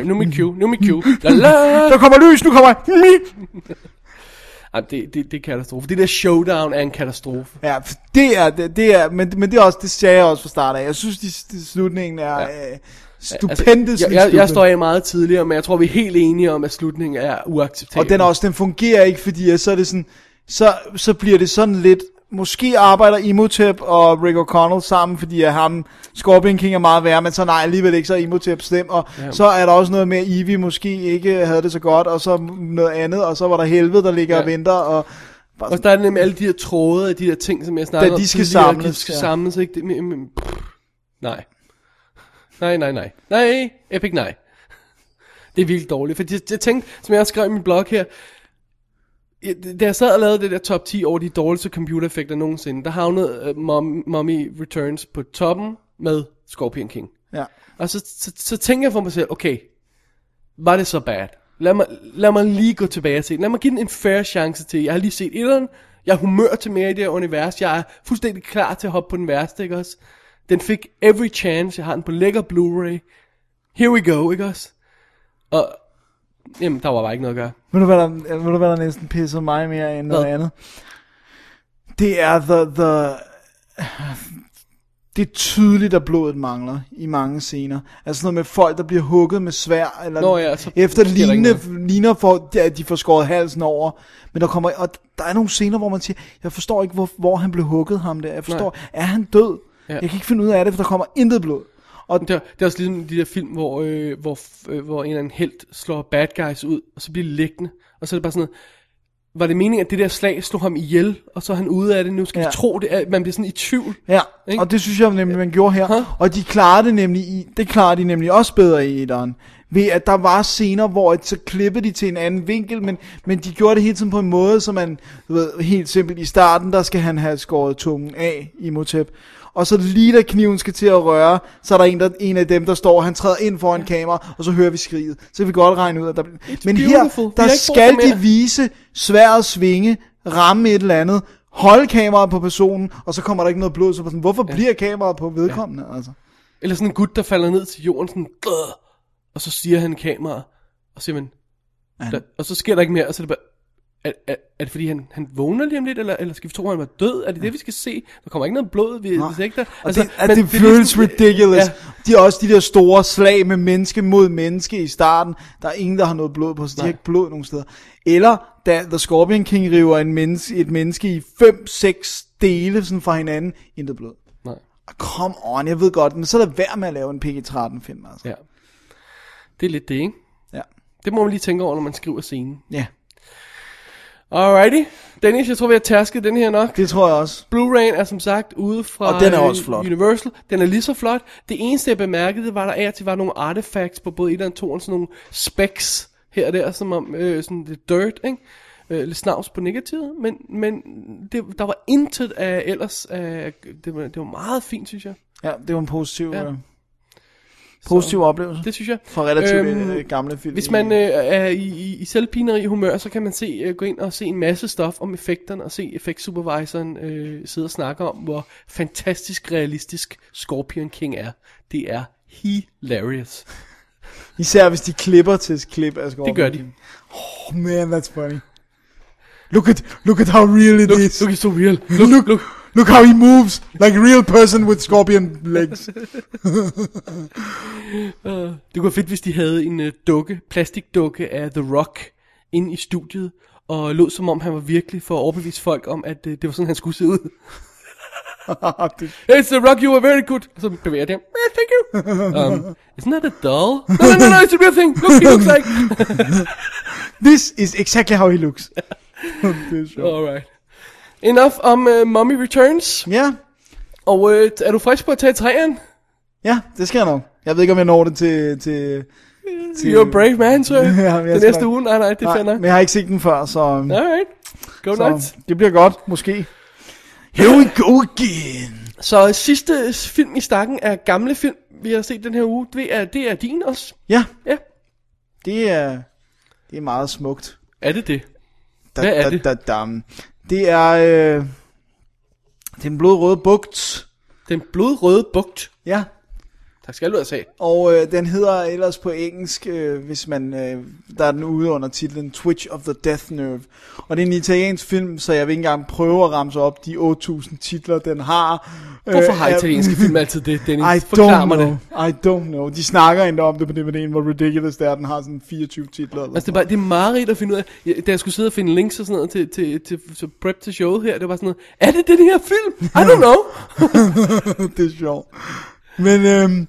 [SPEAKER 4] nu er min cue, nu er min cue. La la.
[SPEAKER 5] der kommer lys, nu kommer jeg.
[SPEAKER 4] Ej, det, det, det er katastrofe. Det der showdown er en katastrofe.
[SPEAKER 5] Ja, f- det er, det, det er, men, men det er også, det sagde jeg også fra start af. Jeg synes, de, de slutningen er ja. øh, stupendest.
[SPEAKER 4] Altså, jeg, jeg, jeg står af meget tidligere, men jeg tror, vi er helt enige om, at slutningen er uacceptabel.
[SPEAKER 5] Og den er også, den fungerer ikke, fordi at så er det sådan, så, så bliver det sådan lidt, måske arbejder Imhotep og Rick O'Connell sammen, fordi at ham, Scorpion King er meget værre, men så nej, alligevel ikke, så er Imhotep slem, og ja. så er der også noget med, at Evie måske ikke havde det så godt, og så noget andet, og så var der helvede, der ligger ja. og venter, og bare
[SPEAKER 4] Og
[SPEAKER 5] sådan,
[SPEAKER 4] der er nemlig alle de her tråde af de her ting, som jeg snakkede
[SPEAKER 5] Da
[SPEAKER 4] om
[SPEAKER 5] de skal
[SPEAKER 4] tidligere,
[SPEAKER 5] samles,
[SPEAKER 4] De skal
[SPEAKER 5] ja.
[SPEAKER 4] samles, ikke? Det, men, men, pff, nej. Nej, nej, nej. Nej, Epic nej. Det er virkelig dårligt, for jeg, jeg tænkte, som jeg også skrev i min blog her, jeg, da jeg sad og lavede det der top 10 over de dårligste computereffekter nogensinde, der havnede uh, Mom, Mommy Returns på toppen med Scorpion King.
[SPEAKER 5] ja.
[SPEAKER 4] Og så, så, så tænker jeg for mig selv, okay, var det så bad? Lad mig, lad mig lige gå tilbage og se. den. Lad mig give den en fair chance til. Jeg har lige set etteren. Jeg er humør til mere i det her univers. Jeg er fuldstændig klar til at hoppe på den værste, ikke også? Den fik every chance. Jeg har den på lækker Blu-ray. Here we go, ikke også? Og, jamen, der var bare ikke noget at gøre.
[SPEAKER 5] Ved du, hvad der, øh, ved du, hvad der næsten pisser mig mere end noget
[SPEAKER 4] Hvad?
[SPEAKER 5] andet? Det er the, the... Det er tydeligt, at blodet mangler i mange scener. Altså sådan noget med folk, der bliver hugget med svær, eller
[SPEAKER 4] Nå ja, så sker
[SPEAKER 5] efter
[SPEAKER 4] der ikke
[SPEAKER 5] lignende, ligner, for, at de får skåret halsen over. Men der kommer, og der er nogle scener, hvor man siger, jeg forstår ikke, hvor, hvor han blev hugget ham der. Jeg forstår, Nej. er han død? Ja.
[SPEAKER 4] Ja.
[SPEAKER 5] Jeg kan ikke finde ud af det, for der kommer intet blod. Og
[SPEAKER 4] Det er, det er også ligesom de der film, hvor, øh, hvor, f- øh, hvor en eller anden held slår bad guys ud, og så bliver de liggende. Og så er det bare sådan noget, var det meningen, at det der slag slog ham ihjel, og så er han ude af det nu? Skal ja.
[SPEAKER 5] Ja.
[SPEAKER 4] vi tro det? Er, man bliver sådan i tvivl.
[SPEAKER 5] Ja,
[SPEAKER 4] Ikke?
[SPEAKER 5] og det synes jeg nemlig, man gjorde her.
[SPEAKER 4] Huh?
[SPEAKER 5] Og de klarede det nemlig i, det klarede de nemlig også bedre i etteren. Ved at der var scener, hvor at så klippede de til en anden vinkel, men, men de gjorde det hele tiden på en måde, så man, du ved, helt simpelt i starten, der skal han have skåret tungen af i Motep. Og så lige da kniven skal til at røre, så er der en, der, en af dem, der står, han træder ind foran kamera, og så hører vi skriget. Så kan vi godt regne ud, at der... Men
[SPEAKER 4] beautiful. Vi
[SPEAKER 5] her,
[SPEAKER 4] har
[SPEAKER 5] der
[SPEAKER 4] ikke brug for
[SPEAKER 5] skal de
[SPEAKER 4] mere.
[SPEAKER 5] vise sværet svinge, ramme et eller andet, holde kameraet på personen, og så kommer der ikke noget blod. Så er man sådan, hvorfor ja. bliver kameraet på vedkommende? Ja. Altså?
[SPEAKER 4] Eller sådan en gut, der falder ned til jorden, sådan, "Grr!" og så siger han kamera, og så siger man, der, og så sker der ikke mere, og så er det bare, er, er, er det fordi, han, han vågner lige om lidt, eller, eller skal vi tro, at han var død? Er det det, vi skal se? Der kommer ikke noget blod, vi, vi ser ikke der.
[SPEAKER 5] Og altså, det, at
[SPEAKER 4] men
[SPEAKER 5] det, det
[SPEAKER 4] er
[SPEAKER 5] føles
[SPEAKER 4] ligesom-
[SPEAKER 5] ridiculous.
[SPEAKER 4] Ja.
[SPEAKER 5] Ja. De er også de der store slag med menneske mod menneske i starten. Der er ingen, der har noget blod på, så de har ikke blod nogen steder. Eller da The Scorpion King river en menneske, et menneske i 5-6 dele sådan fra hinanden, intet blod.
[SPEAKER 4] Nej.
[SPEAKER 5] Ah, Come on, jeg ved godt, men så er det værd med at lave en PG-13-film, altså.
[SPEAKER 4] Ja. Det er lidt det, ikke?
[SPEAKER 5] Ja.
[SPEAKER 4] Det må man lige tænke over, når man skriver scenen.
[SPEAKER 5] ja.
[SPEAKER 4] Alrighty. Dennis, jeg tror, vi har tærsket den her nok.
[SPEAKER 5] Det tror jeg også.
[SPEAKER 4] Blu-ray'en er som sagt ude fra
[SPEAKER 5] Og den er
[SPEAKER 4] øh,
[SPEAKER 5] også flot.
[SPEAKER 4] Universal. Den er lige så flot. Det eneste, jeg bemærkede, det var, der af og til var nogle artifacts på både 1 og 2, sådan nogle specs her og der, som om øh, sådan lidt dirt, ikke? Øh, lidt snavs på negativet, men, men det, der var intet af ellers. Af, det, var, det var meget fint, synes jeg.
[SPEAKER 5] Ja, det var en positiv,
[SPEAKER 4] Ja.
[SPEAKER 5] ja. positiv så, oplevelse.
[SPEAKER 4] Det synes jeg.
[SPEAKER 5] fra relativt øhm, gamle film.
[SPEAKER 4] Hvis man øh, er i, i, i selvpineri humør, så kan man se, øh, gå ind og se en masse stof om effekterne, og se effektsupervisoren øh, sidde og snakke om, hvor fantastisk realistisk Scorpion King er. Det er hilarious.
[SPEAKER 5] Især hvis de klipper til et klip af Scorpion.
[SPEAKER 4] Det gør de.
[SPEAKER 5] Oh man, that's funny. Look at, look at how real it
[SPEAKER 4] Look,
[SPEAKER 5] is.
[SPEAKER 4] look, it's so real.
[SPEAKER 5] look, look, look, look how he moves like a real person with scorpion legs.
[SPEAKER 4] Det kunne være fedt, hvis de havde en øh, dukke, plastikdukke af The Rock inde i studiet, og lå som om han var virkelig for at overbevise folk om, at øh, det var sådan, han skulle se ud.
[SPEAKER 5] Det-
[SPEAKER 4] It's the rock, you are very good. Og så bevæger det. Eh, thank you. Um, isn't that a doll? No, no, no, no, it's a real thing. Look, he looks like.
[SPEAKER 5] This is exactly how he looks. det er sjovt.
[SPEAKER 4] Alright. Enough om uh, Mommy Returns.
[SPEAKER 5] Ja,
[SPEAKER 4] Og øh, uh, er du frisk på at tage træerne?
[SPEAKER 5] ja, det skal jeg nok. Jeg ved ikke, om jeg når det til, til til-
[SPEAKER 4] You're a brave man, sir.
[SPEAKER 5] Jamen, jeg
[SPEAKER 4] den
[SPEAKER 5] skal
[SPEAKER 4] næste
[SPEAKER 5] nok-
[SPEAKER 4] uge, nej, nej, det
[SPEAKER 5] Nej,
[SPEAKER 4] finder
[SPEAKER 5] men jeg har ikke set den før, så,
[SPEAKER 4] Alright. Go
[SPEAKER 5] så
[SPEAKER 4] nuts.
[SPEAKER 5] det bliver godt, måske. Here we go again.
[SPEAKER 4] Så øh, sidste film i stakken er gamle film, vi har set den her uge. Det er, det er din også.
[SPEAKER 5] Ja,
[SPEAKER 4] Ja.
[SPEAKER 5] det er, det er meget smukt.
[SPEAKER 4] Er det det?
[SPEAKER 5] Da,
[SPEAKER 4] Hvad er
[SPEAKER 5] da,
[SPEAKER 4] det?
[SPEAKER 5] Da, dam. det er øh, den blodrøde bugt.
[SPEAKER 4] Den blodrøde bugt.
[SPEAKER 5] Ja,
[SPEAKER 4] Tak skal du have sagt.
[SPEAKER 5] og øh, den hedder ellers på engelsk, øh, hvis man øh, der er den ude under titlen Twitch of the Death Nerve. Og det er en italiensk film, så jeg vil ikke engang prøve at ramse op de 8000 titler, den har.
[SPEAKER 4] Hvorfor har
[SPEAKER 5] Øh,
[SPEAKER 4] italienske film altid det, Dennis?
[SPEAKER 5] I
[SPEAKER 4] Forklar
[SPEAKER 5] don't
[SPEAKER 4] mig
[SPEAKER 5] know.
[SPEAKER 4] det.
[SPEAKER 5] Det. I don't know. De snakker endda om det på DVD'en, hvor ridiculous det er, at den har sådan 24 titler.
[SPEAKER 4] Altså,
[SPEAKER 5] Eller
[SPEAKER 4] det
[SPEAKER 5] sådan
[SPEAKER 4] er, bare, det er mareridt at finde ud af. Jeg- Da jeg skulle sidde og finde links og sådan noget til, til, til, til prep til showet her, det var sådan noget, er det den her film? I don't know.
[SPEAKER 5] noget. det er sjovt. Men øhm,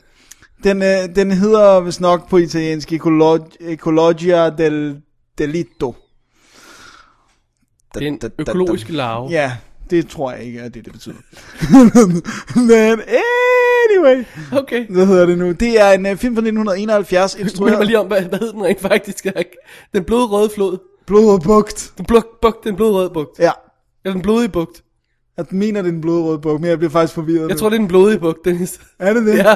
[SPEAKER 5] den, øh, den hedder vist nok på italiensk Ecologi- Ecologia del Delitto. Da-
[SPEAKER 4] Den
[SPEAKER 5] da- da- da-
[SPEAKER 4] økologiske larve.
[SPEAKER 5] Ja, det tror jeg ikke er det, det betyder. Men anyway,
[SPEAKER 4] Okay.
[SPEAKER 5] hvad hedder det nu? Det er en øh, film fra 1971,
[SPEAKER 4] Du minder mig
[SPEAKER 5] instrueret
[SPEAKER 4] lige om, hvad, hvad hed den rent faktisk? Jack? Den blodrøde flod.
[SPEAKER 5] Blod og Bugt.
[SPEAKER 4] Den, blok, bugt, den blodrøde bugt.
[SPEAKER 5] Ja,
[SPEAKER 4] Ja, den blodige bugt.
[SPEAKER 5] jeg mener, det er en blodrød bugt, men jeg bliver faktisk forvirret.
[SPEAKER 4] Jeg
[SPEAKER 5] nu.
[SPEAKER 4] tror, det er den blodige bugt, Dennis.
[SPEAKER 5] Er det det?
[SPEAKER 4] Ja.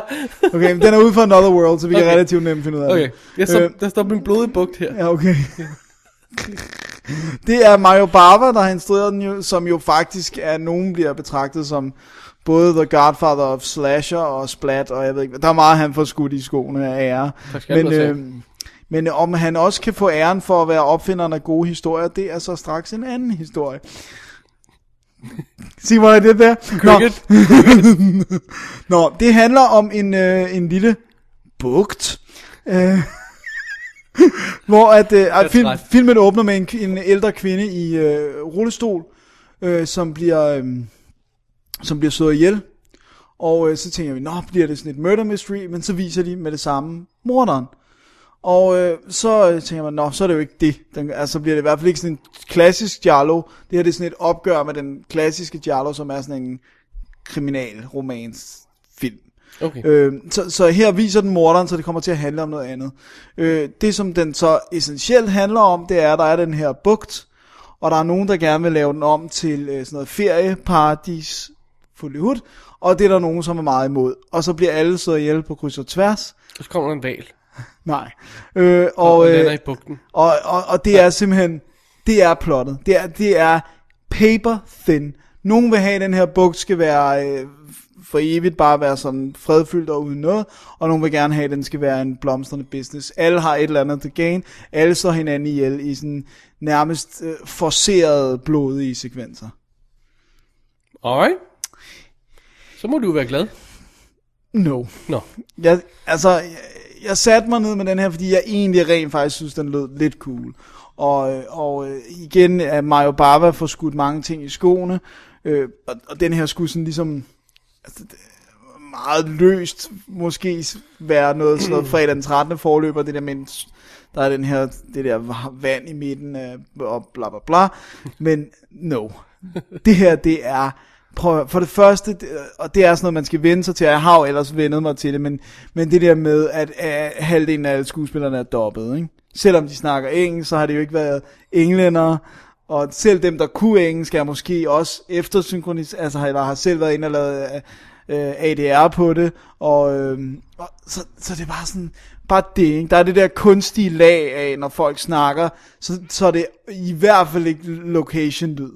[SPEAKER 5] Okay, men den er ude for Another World, så vi okay.
[SPEAKER 4] Okay.
[SPEAKER 5] kan relativt nemt finde ud af
[SPEAKER 4] Okay.
[SPEAKER 5] det.
[SPEAKER 4] Jeg står,
[SPEAKER 5] Øh.
[SPEAKER 4] der står min blodige bugt her.
[SPEAKER 5] Ja, okay. det er Mario Bava, der har instrueret den jo, som jo faktisk er, nogen bliver betragtet som både The Godfather of Slasher og Splat, og jeg ved ikke, hvad. der er meget, han får skudt i skoene af ære. øh,
[SPEAKER 4] Tak skal du have.
[SPEAKER 5] men om han også kan få æren for at være opfinderen af gode historier, det er så straks en anden historie. Sig mig, er det der? Nå,
[SPEAKER 4] Cricket.
[SPEAKER 5] Nå, det handler om en, øh, en lille bugt, øh, hvor at, øh, at film,
[SPEAKER 4] træt.
[SPEAKER 5] filmen åbner med en, kv- en ældre kvinde i øh, rullestol, øh, som bliver øh, som bliver slået ihjel. Og øh, så tænker vi, nå, bliver det sådan et murder mystery, men så viser de med det samme morderen. Og øh, så øh, tænker man, nå, så er det jo ikke det. Den, altså bliver det i hvert fald ikke sådan en klassisk giallo. Det her det er sådan et opgør med den klassiske giallo, som er sådan en kriminalromans film.
[SPEAKER 4] Okay.
[SPEAKER 5] Øh, så, så her viser den morderen, så det kommer til at handle om noget andet. Øh, det som den så essentielt handler om, det er, at der er den her bugt, og der er nogen, der gerne vil lave den om til øh, sådan noget ferieparadis, Hollywood, og det er der nogen, som er meget imod. Og så bliver alle slået ihjel på kryds og tværs.
[SPEAKER 4] Og så kommer der en val.
[SPEAKER 5] Nej. Øh, og,
[SPEAKER 4] Og, og
[SPEAKER 5] øh,
[SPEAKER 4] lander i bugten.
[SPEAKER 5] og, og, og det er simpelthen, det er plottet. Det er, det er paper thin. Nogen vil have, at den her bugt skal være øh, for evigt bare være sådan fredfyldt og uden noget, og nogen vil gerne have, at den skal være en blomstrende business. Alle har et eller andet til gain. Alle slår hinanden ihjel i sådan nærmest øh, forcerede blodige sekvenser.
[SPEAKER 4] Alright. Så må du jo være glad.
[SPEAKER 5] No.
[SPEAKER 4] Nå.
[SPEAKER 5] Jeg, altså, jeg, jeg satte mig ned med den her, fordi jeg egentlig rent faktisk synes, den lød lidt cool. Og, øh, og øh, igen er Mario Bava får skudt mange ting i skoene, øh, og, og den her skulle sådan ligesom altså, det er meget løst måske s- være noget sådan noget fredag den 13. forløber, det der med en s- der er den her, det der va- vand i midten, øh, og bla bla bla, men no. Det her, det er, prøv, at- for det første, det, og det er sådan noget, man skal vende sig til, og jeg har jo ellers vendet mig til det, men, men det der med, at, at halvdelen af alle skuespillerne er dobbet, ikke? Selvom de snakker engelsk, så har det jo ikke været englænder, og selv dem, der kunne engelsk, er måske også eftersynkronis, altså har, eller har selv været inde og lavet øh, ADR på det, og, øh, og så, så det er bare sådan, bare det, ikke? Der er det der kunstige lag af, når folk snakker, så, så er det i hvert fald ikke location-lyd.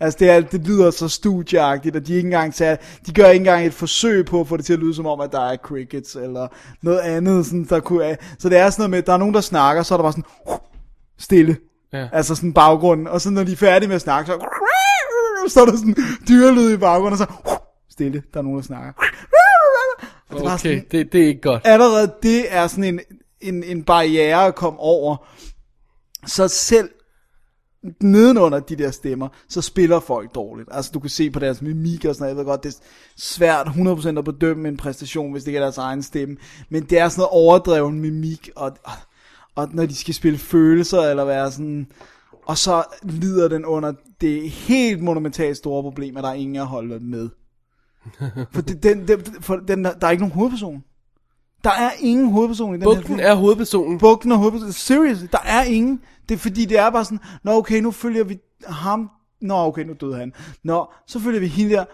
[SPEAKER 5] Altså det, er, det lyder så studieagtigt, og de ikke engang tager, de gør ikke engang et forsøg på at få det til at lyde som om, at der er crickets eller noget andet, sådan, der kunne, så det er sådan noget med, at der er nogen, der snakker, så er der bare sådan, stille.
[SPEAKER 4] Ja.
[SPEAKER 5] Altså sådan baggrunden, og så når de er færdige med at snakke, så, så er der sådan dyrelyd i baggrunden, og så stille, der er nogen, der snakker. Og det er bare
[SPEAKER 4] Okay,
[SPEAKER 5] sådan,
[SPEAKER 4] det, det er ikke godt.
[SPEAKER 5] allerede det er sådan en, en, en barriere at komme over. Så selv nedenunder de der stemmer, så spiller folk dårligt. Altså du kan se på deres mimik og sådan noget, jeg ved godt, det er svært 100% at bedømme en præstation, hvis det ikke er deres egen stemme, men det er sådan noget overdreven mimik, og, og, og når de skal spille følelser, eller være sådan, og så lider den under det helt monumentalt store problem, at der er ingen at holde med. For, det, den, den, for den, der er ikke nogen hovedperson. Der er ingen hovedperson i den her
[SPEAKER 4] Bugten
[SPEAKER 5] film.
[SPEAKER 4] er hovedpersonen.
[SPEAKER 5] Bugten og hovedpersonen. Seriously, der er ingen. Det er fordi, det er bare sådan, nå okay, nu følger vi ham. Nå okay, nu døde han. Nå, så følger vi hende der.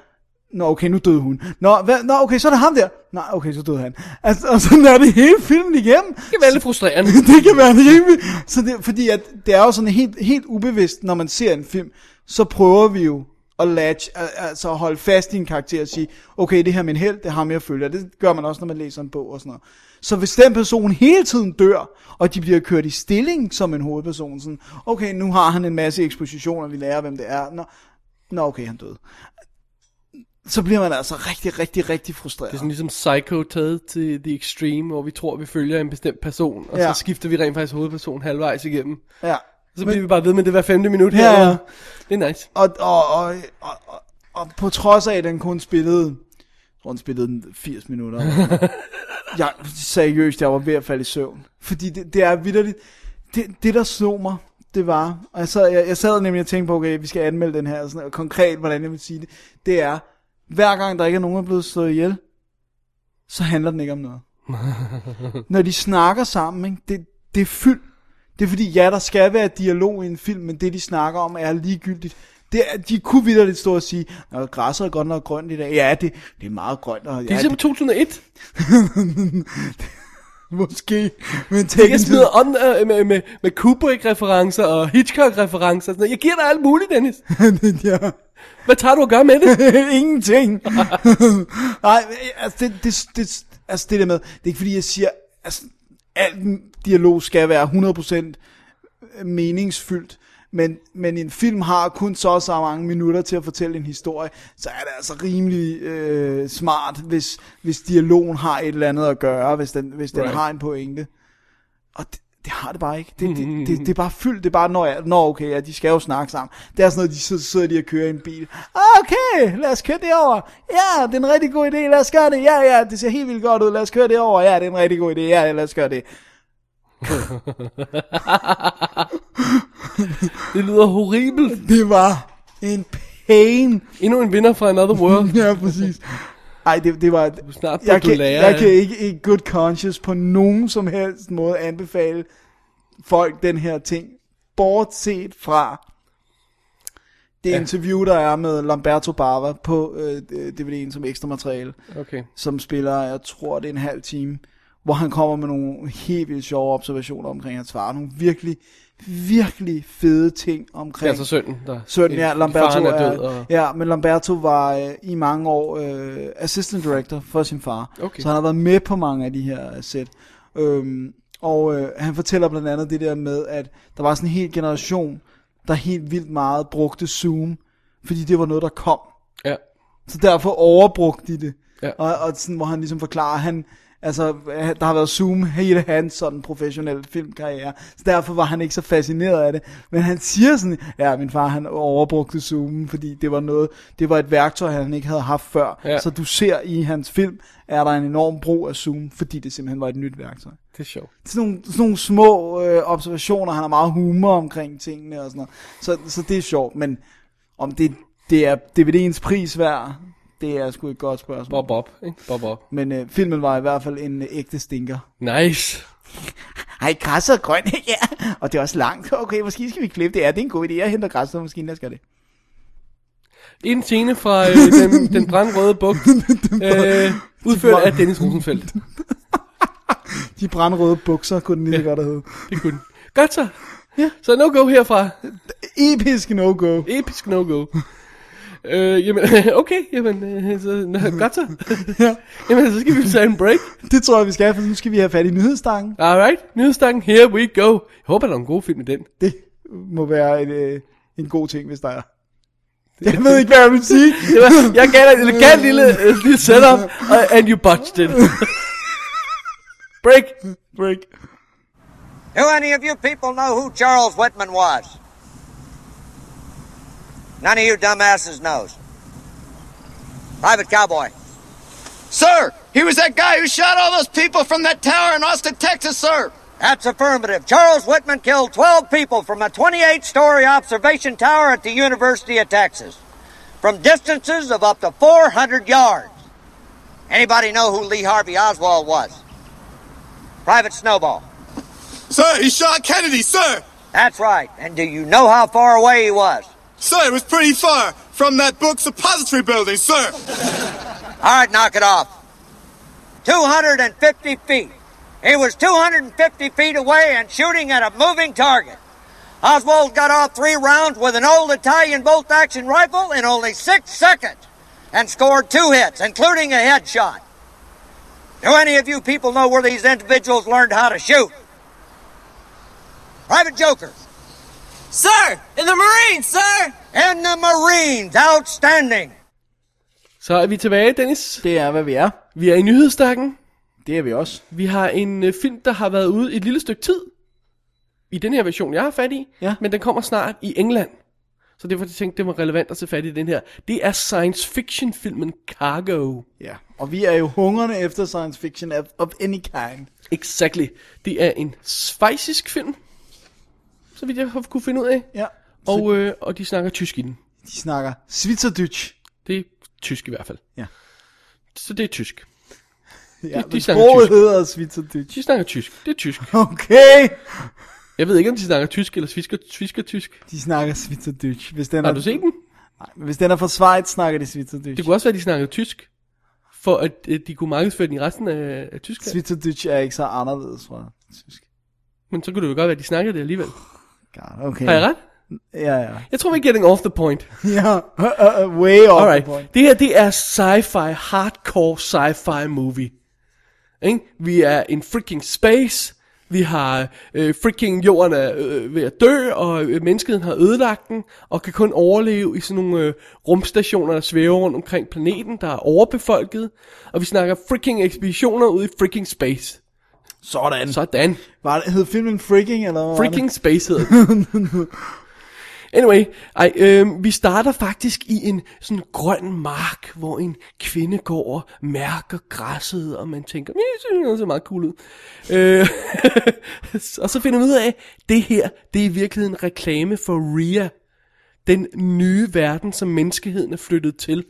[SPEAKER 5] Nå okay, nu døde hun. Nå, hvad? Nå okay, så er det ham der. Nej, okay, så døde han. Altså, og sådan er det hele filmen igennem.
[SPEAKER 4] Det kan være lidt frustrerende.
[SPEAKER 5] det kan være rimeligt. Så det, fordi at det er jo sådan helt, helt ubevidst, når man ser en film, så prøver vi jo at latch, al- altså at holde fast i en karakter og sige, okay, det her er min held, det er ham, jeg følger. Det gør man også, når man læser en bog og sådan noget. Så hvis den person hele tiden dør, og de bliver kørt i stilling som en hovedperson, sådan, okay, nu har han en masse ekspositioner, vi lærer, hvem det er. Nå, nå okay, han døde. Så bliver man altså rigtig, rigtig, rigtig frustreret.
[SPEAKER 4] Det er sådan ligesom Psycho taget til The Extreme, hvor vi tror, vi følger en bestemt person, og
[SPEAKER 5] Ja.
[SPEAKER 4] så skifter vi rent faktisk hovedpersonen halvvejs igennem.
[SPEAKER 5] ja.
[SPEAKER 4] Så bliver vi bare ved med det hver femte minut
[SPEAKER 5] Ja,
[SPEAKER 4] her.
[SPEAKER 5] ja.
[SPEAKER 4] og- Det er nice.
[SPEAKER 5] og, og, og, og, og, og på trods af, at den kun spillede, jeg tror, den spillede den 80 minutter. jeg, seriøst, jeg var ved at falde i søvn. Fordi det, det er vidderligt, det, det der slog mig, det var, og jeg sad, jeg, jeg sad nemlig og tænkte på, okay, vi skal anmelde den her, og, sådan, og konkret, hvordan jeg vil sige det, det er, hver gang der ikke er nogen, der er blevet slået ihjel, så handler den ikke om noget. Når de snakker sammen, ikke, det, det er fyldt. Det er fordi, ja, der skal være dialog i en film, men det, de snakker om, er ligegyldigt. Det er, de kunne vidderligt stå og sige, at græsset er godt nok grønt i dag. Ja, det, det er meget grønt. Og, ja,
[SPEAKER 4] Det er ligesom 2001.
[SPEAKER 5] Måske. Men
[SPEAKER 4] Jeg
[SPEAKER 5] teknisk...
[SPEAKER 4] smider on, øh, med, med, med Kubrick-referencer og Hitchcock-referencer. og sådan noget. Jeg giver dig alt muligt, Dennis.
[SPEAKER 5] ja.
[SPEAKER 4] Hvad tager du at gøre med det?
[SPEAKER 5] Ingenting. Nej, men, altså det, det, det, altså det der med, det er ikke fordi, jeg siger, altså al dialog skal være 100% meningsfyldt, men, men en film har kun så og så mange minutter til at fortælle en historie, så er det altså rimelig øh, smart, hvis, hvis dialogen har et eller andet at gøre, hvis den, hvis den
[SPEAKER 4] Right.
[SPEAKER 5] har en pointe. Og det, det har det bare ikke. Det, det, det, det, er bare fyldt. Det er bare, når, jeg, når okay, ja, de skal jo snakke sammen. Det er sådan noget, de sidder, sidder de og kører i en bil. Ah, Okay, lad os køre derover. Ja, det er en rigtig god idé. Lad os gøre det. Ja, ja, det ser helt vildt godt ud. Lad os køre derover. Ja, det er en rigtig god idé. Ja, lad os gøre det.
[SPEAKER 4] Det lyder horribelt.
[SPEAKER 5] Det var en pain.
[SPEAKER 4] Endnu en vinder fra Another World.
[SPEAKER 5] Ja, præcis. Ej, det, det var...
[SPEAKER 4] Snart burde
[SPEAKER 5] Jeg
[SPEAKER 4] du
[SPEAKER 5] kan,
[SPEAKER 4] lære.
[SPEAKER 5] jeg kan ikke i good conscience på nogen som helst måde anbefale folk den her ting. Bortset fra det ja. interview, der er med Lamberto Bava på øh, DVD'en som ekstra materiale,
[SPEAKER 4] Okay.
[SPEAKER 5] som spiller, jeg tror det er en halv time, hvor han kommer med nogle helt vildt sjove observationer omkring hans far. Nogle virkelig, virkelig fede ting
[SPEAKER 4] Det er
[SPEAKER 5] omkring...
[SPEAKER 4] altså sønnen, der...
[SPEAKER 5] Sønnen, ja, Lamberto
[SPEAKER 4] Faren
[SPEAKER 5] er,
[SPEAKER 4] er død,
[SPEAKER 5] og...
[SPEAKER 4] og...
[SPEAKER 5] ja, men Lamberto var øh, i mange år øh, assistant director for sin far.
[SPEAKER 4] Okay.
[SPEAKER 5] Så han har været med på mange af de her øh, sæt. Øhm, og øh, han fortæller blandt andet det der med, at der var sådan en hel generation, der helt vildt meget brugte Zoom, fordi det var noget, der kom.
[SPEAKER 4] Ja.
[SPEAKER 5] Så derfor overbrugte de det.
[SPEAKER 4] Ja.
[SPEAKER 5] Og, og sådan, hvor han ligesom forklarer, han, altså, der har været Zoom hele hans sådan professionelle filmkarriere, så derfor var han ikke så fascineret af det. Men han siger sådan, ja, min far, han overbrugte Zoom, fordi det var noget, det var et værktøj, han ikke havde haft før.
[SPEAKER 4] Ja.
[SPEAKER 5] Så du ser i hans film, er der en enorm brug af Zoom, fordi det simpelthen var et nyt værktøj
[SPEAKER 4] Det er sjovt.
[SPEAKER 5] sådan nogle, sådan nogle små øh, observationer, han har meget humor omkring tingene og sådan noget. Så, så det er sjovt, men om det, det er DVD'ens pris værd, det er sgu et godt spørgsmål.
[SPEAKER 4] Bob op, ikke? Bob op.
[SPEAKER 5] Men øh, filmen var i hvert fald en øh, ægte stinker.
[SPEAKER 4] Nice.
[SPEAKER 5] Ej, græsset er grønt, ja. Og det er også langt. Okay, måske skal vi klippe det. Ja, det er en god idé. Jeg henter græsset, og måske jeg skal det.
[SPEAKER 4] En scene fra øh, den, den brandrøde bugt, øh, udført af Dennis Rosenfeldt.
[SPEAKER 5] De brandrøde bukser kunne den lige så godt have heddet.
[SPEAKER 4] Det kunne den. Godt så. Ja. Så no-go herfra.
[SPEAKER 5] Episk no-go.
[SPEAKER 4] Episk no-go. øh, jamen, okay, jamen, øh, så, nå, godt så.
[SPEAKER 5] Ja.
[SPEAKER 4] jamen, så skal vi tage en break.
[SPEAKER 5] Det tror jeg, vi skal, for nu skal vi have fat i nyhedsstangen.
[SPEAKER 4] Alright, nyhedsstangen, here we go. Jeg håber, der er en god film i den.
[SPEAKER 5] Det må være en, øh, en god ting, hvis der er. Jeg ved ikke, hvad jeg vil sige.
[SPEAKER 4] Det var, jeg gav dig et elegant lille, øh, lille setup, og, and you botched it. break. Break.
[SPEAKER 8] Do any of you people know who Charles Whitman was? None of you dumbasses knows. Private Cowboy.
[SPEAKER 3] Sir, he was that guy who shot all those people from that tower in Austin, Texas, sir.
[SPEAKER 8] That's affirmative. Charles Whitman killed 12 people from a 28 story observation tower at the University of Texas from distances of up to 400 yards. Anybody know who Lee Harvey Oswald was? Private Snowball.
[SPEAKER 3] Sir, he shot Kennedy, sir!
[SPEAKER 8] That's right. And do you know how far away he was?
[SPEAKER 3] Sir, it was pretty far from that book's depository building, sir!
[SPEAKER 8] All right, knock it off. 250 feet. He was 250 feet away and shooting at a moving target. Oswald got off three rounds with an old Italian bolt action rifle in only six seconds and scored two hits, including a headshot. Do any of you people know where these individuals learned how to shoot? Private Joker.
[SPEAKER 9] Sir! In the Marines, sir!
[SPEAKER 8] And the Marines, outstanding.
[SPEAKER 4] Så er vi tilbage, Dennis.
[SPEAKER 5] Det er, hvad vi er.
[SPEAKER 4] Vi er i nyhedsdakken.
[SPEAKER 5] Det er vi også.
[SPEAKER 4] Vi har en øh, film, der har været ude et lille stykke tid. I den her version, jeg har fat i.
[SPEAKER 5] Ja.
[SPEAKER 4] Men den kommer snart i England. Så derfor tænkte jeg, det var relevant at tage fat i den her. Det er science fiction filmen Cargo.
[SPEAKER 5] Ja. Og vi er jo hungrende efter science fiction of, of any kind.
[SPEAKER 4] Exactly. Det er en svejsisk film. Så vidt jeg har kunne finde ud af.
[SPEAKER 5] Ja.
[SPEAKER 4] Og, øh, og de snakker tysk i den.
[SPEAKER 5] De snakker Switzerdeutsch.
[SPEAKER 4] Det er tysk i hvert fald.
[SPEAKER 5] Ja.
[SPEAKER 4] Så det er tysk.
[SPEAKER 5] Ja,
[SPEAKER 4] de
[SPEAKER 5] men
[SPEAKER 4] snakker
[SPEAKER 5] sproget
[SPEAKER 4] tysk.
[SPEAKER 5] hedder Switzerdeutsch.
[SPEAKER 4] De snakker tysk. Det er tysk.
[SPEAKER 5] Okay.
[SPEAKER 4] Jeg ved ikke, om de snakker tysk eller svisker, svisker tysk.
[SPEAKER 5] De snakker Switzerdeutsch. Hvis den
[SPEAKER 4] Har
[SPEAKER 5] er,
[SPEAKER 4] du set den?
[SPEAKER 5] Nej, men hvis den er fra Schweiz, snakker de Switzerdeutsch.
[SPEAKER 4] Det kunne også være, at de snakkede tysk. For at øh, de kunne markedsføre den i resten af, af Tyskland.
[SPEAKER 5] Switzerdeutsch er ikke så anderledes fra tysk.
[SPEAKER 4] Men så kunne det jo godt være, at de snakkede det alligevel.
[SPEAKER 5] God, okay.
[SPEAKER 4] Har jeg ret?
[SPEAKER 5] Ja, ja.
[SPEAKER 4] Jeg tror, vi er getting off the point.
[SPEAKER 5] Ja, uh, uh, uh, way off the point.
[SPEAKER 4] Alright. Det her, det er sci-fi, hardcore sci-fi movie. Ikke? Vi er in freaking space. Vi har øh, freaking jorden er øh, ved at dø, og øh, menneskeheden har ødelagt den, og kan kun overleve i sådan nogle øh, rumstationer, der svæver rundt omkring planeten, der er overbefolket. Og vi snakker freaking ekspeditioner ud i freaking space.
[SPEAKER 5] Sådan.
[SPEAKER 4] Sådan.
[SPEAKER 5] Var det, hed filmen Freaking, eller hvad
[SPEAKER 4] Freaking space hedder den. Anyway, ej, øh, vi starter faktisk i en sådan grøn mark, hvor en kvinde går og mærker græsset, og man tænker, "Mm, det ser meget cool ud. Øh, og så finder man ud af, at det her, det er i virkeligheden en reklame for RIA, den nye verden, som menneskeheden er flyttet til.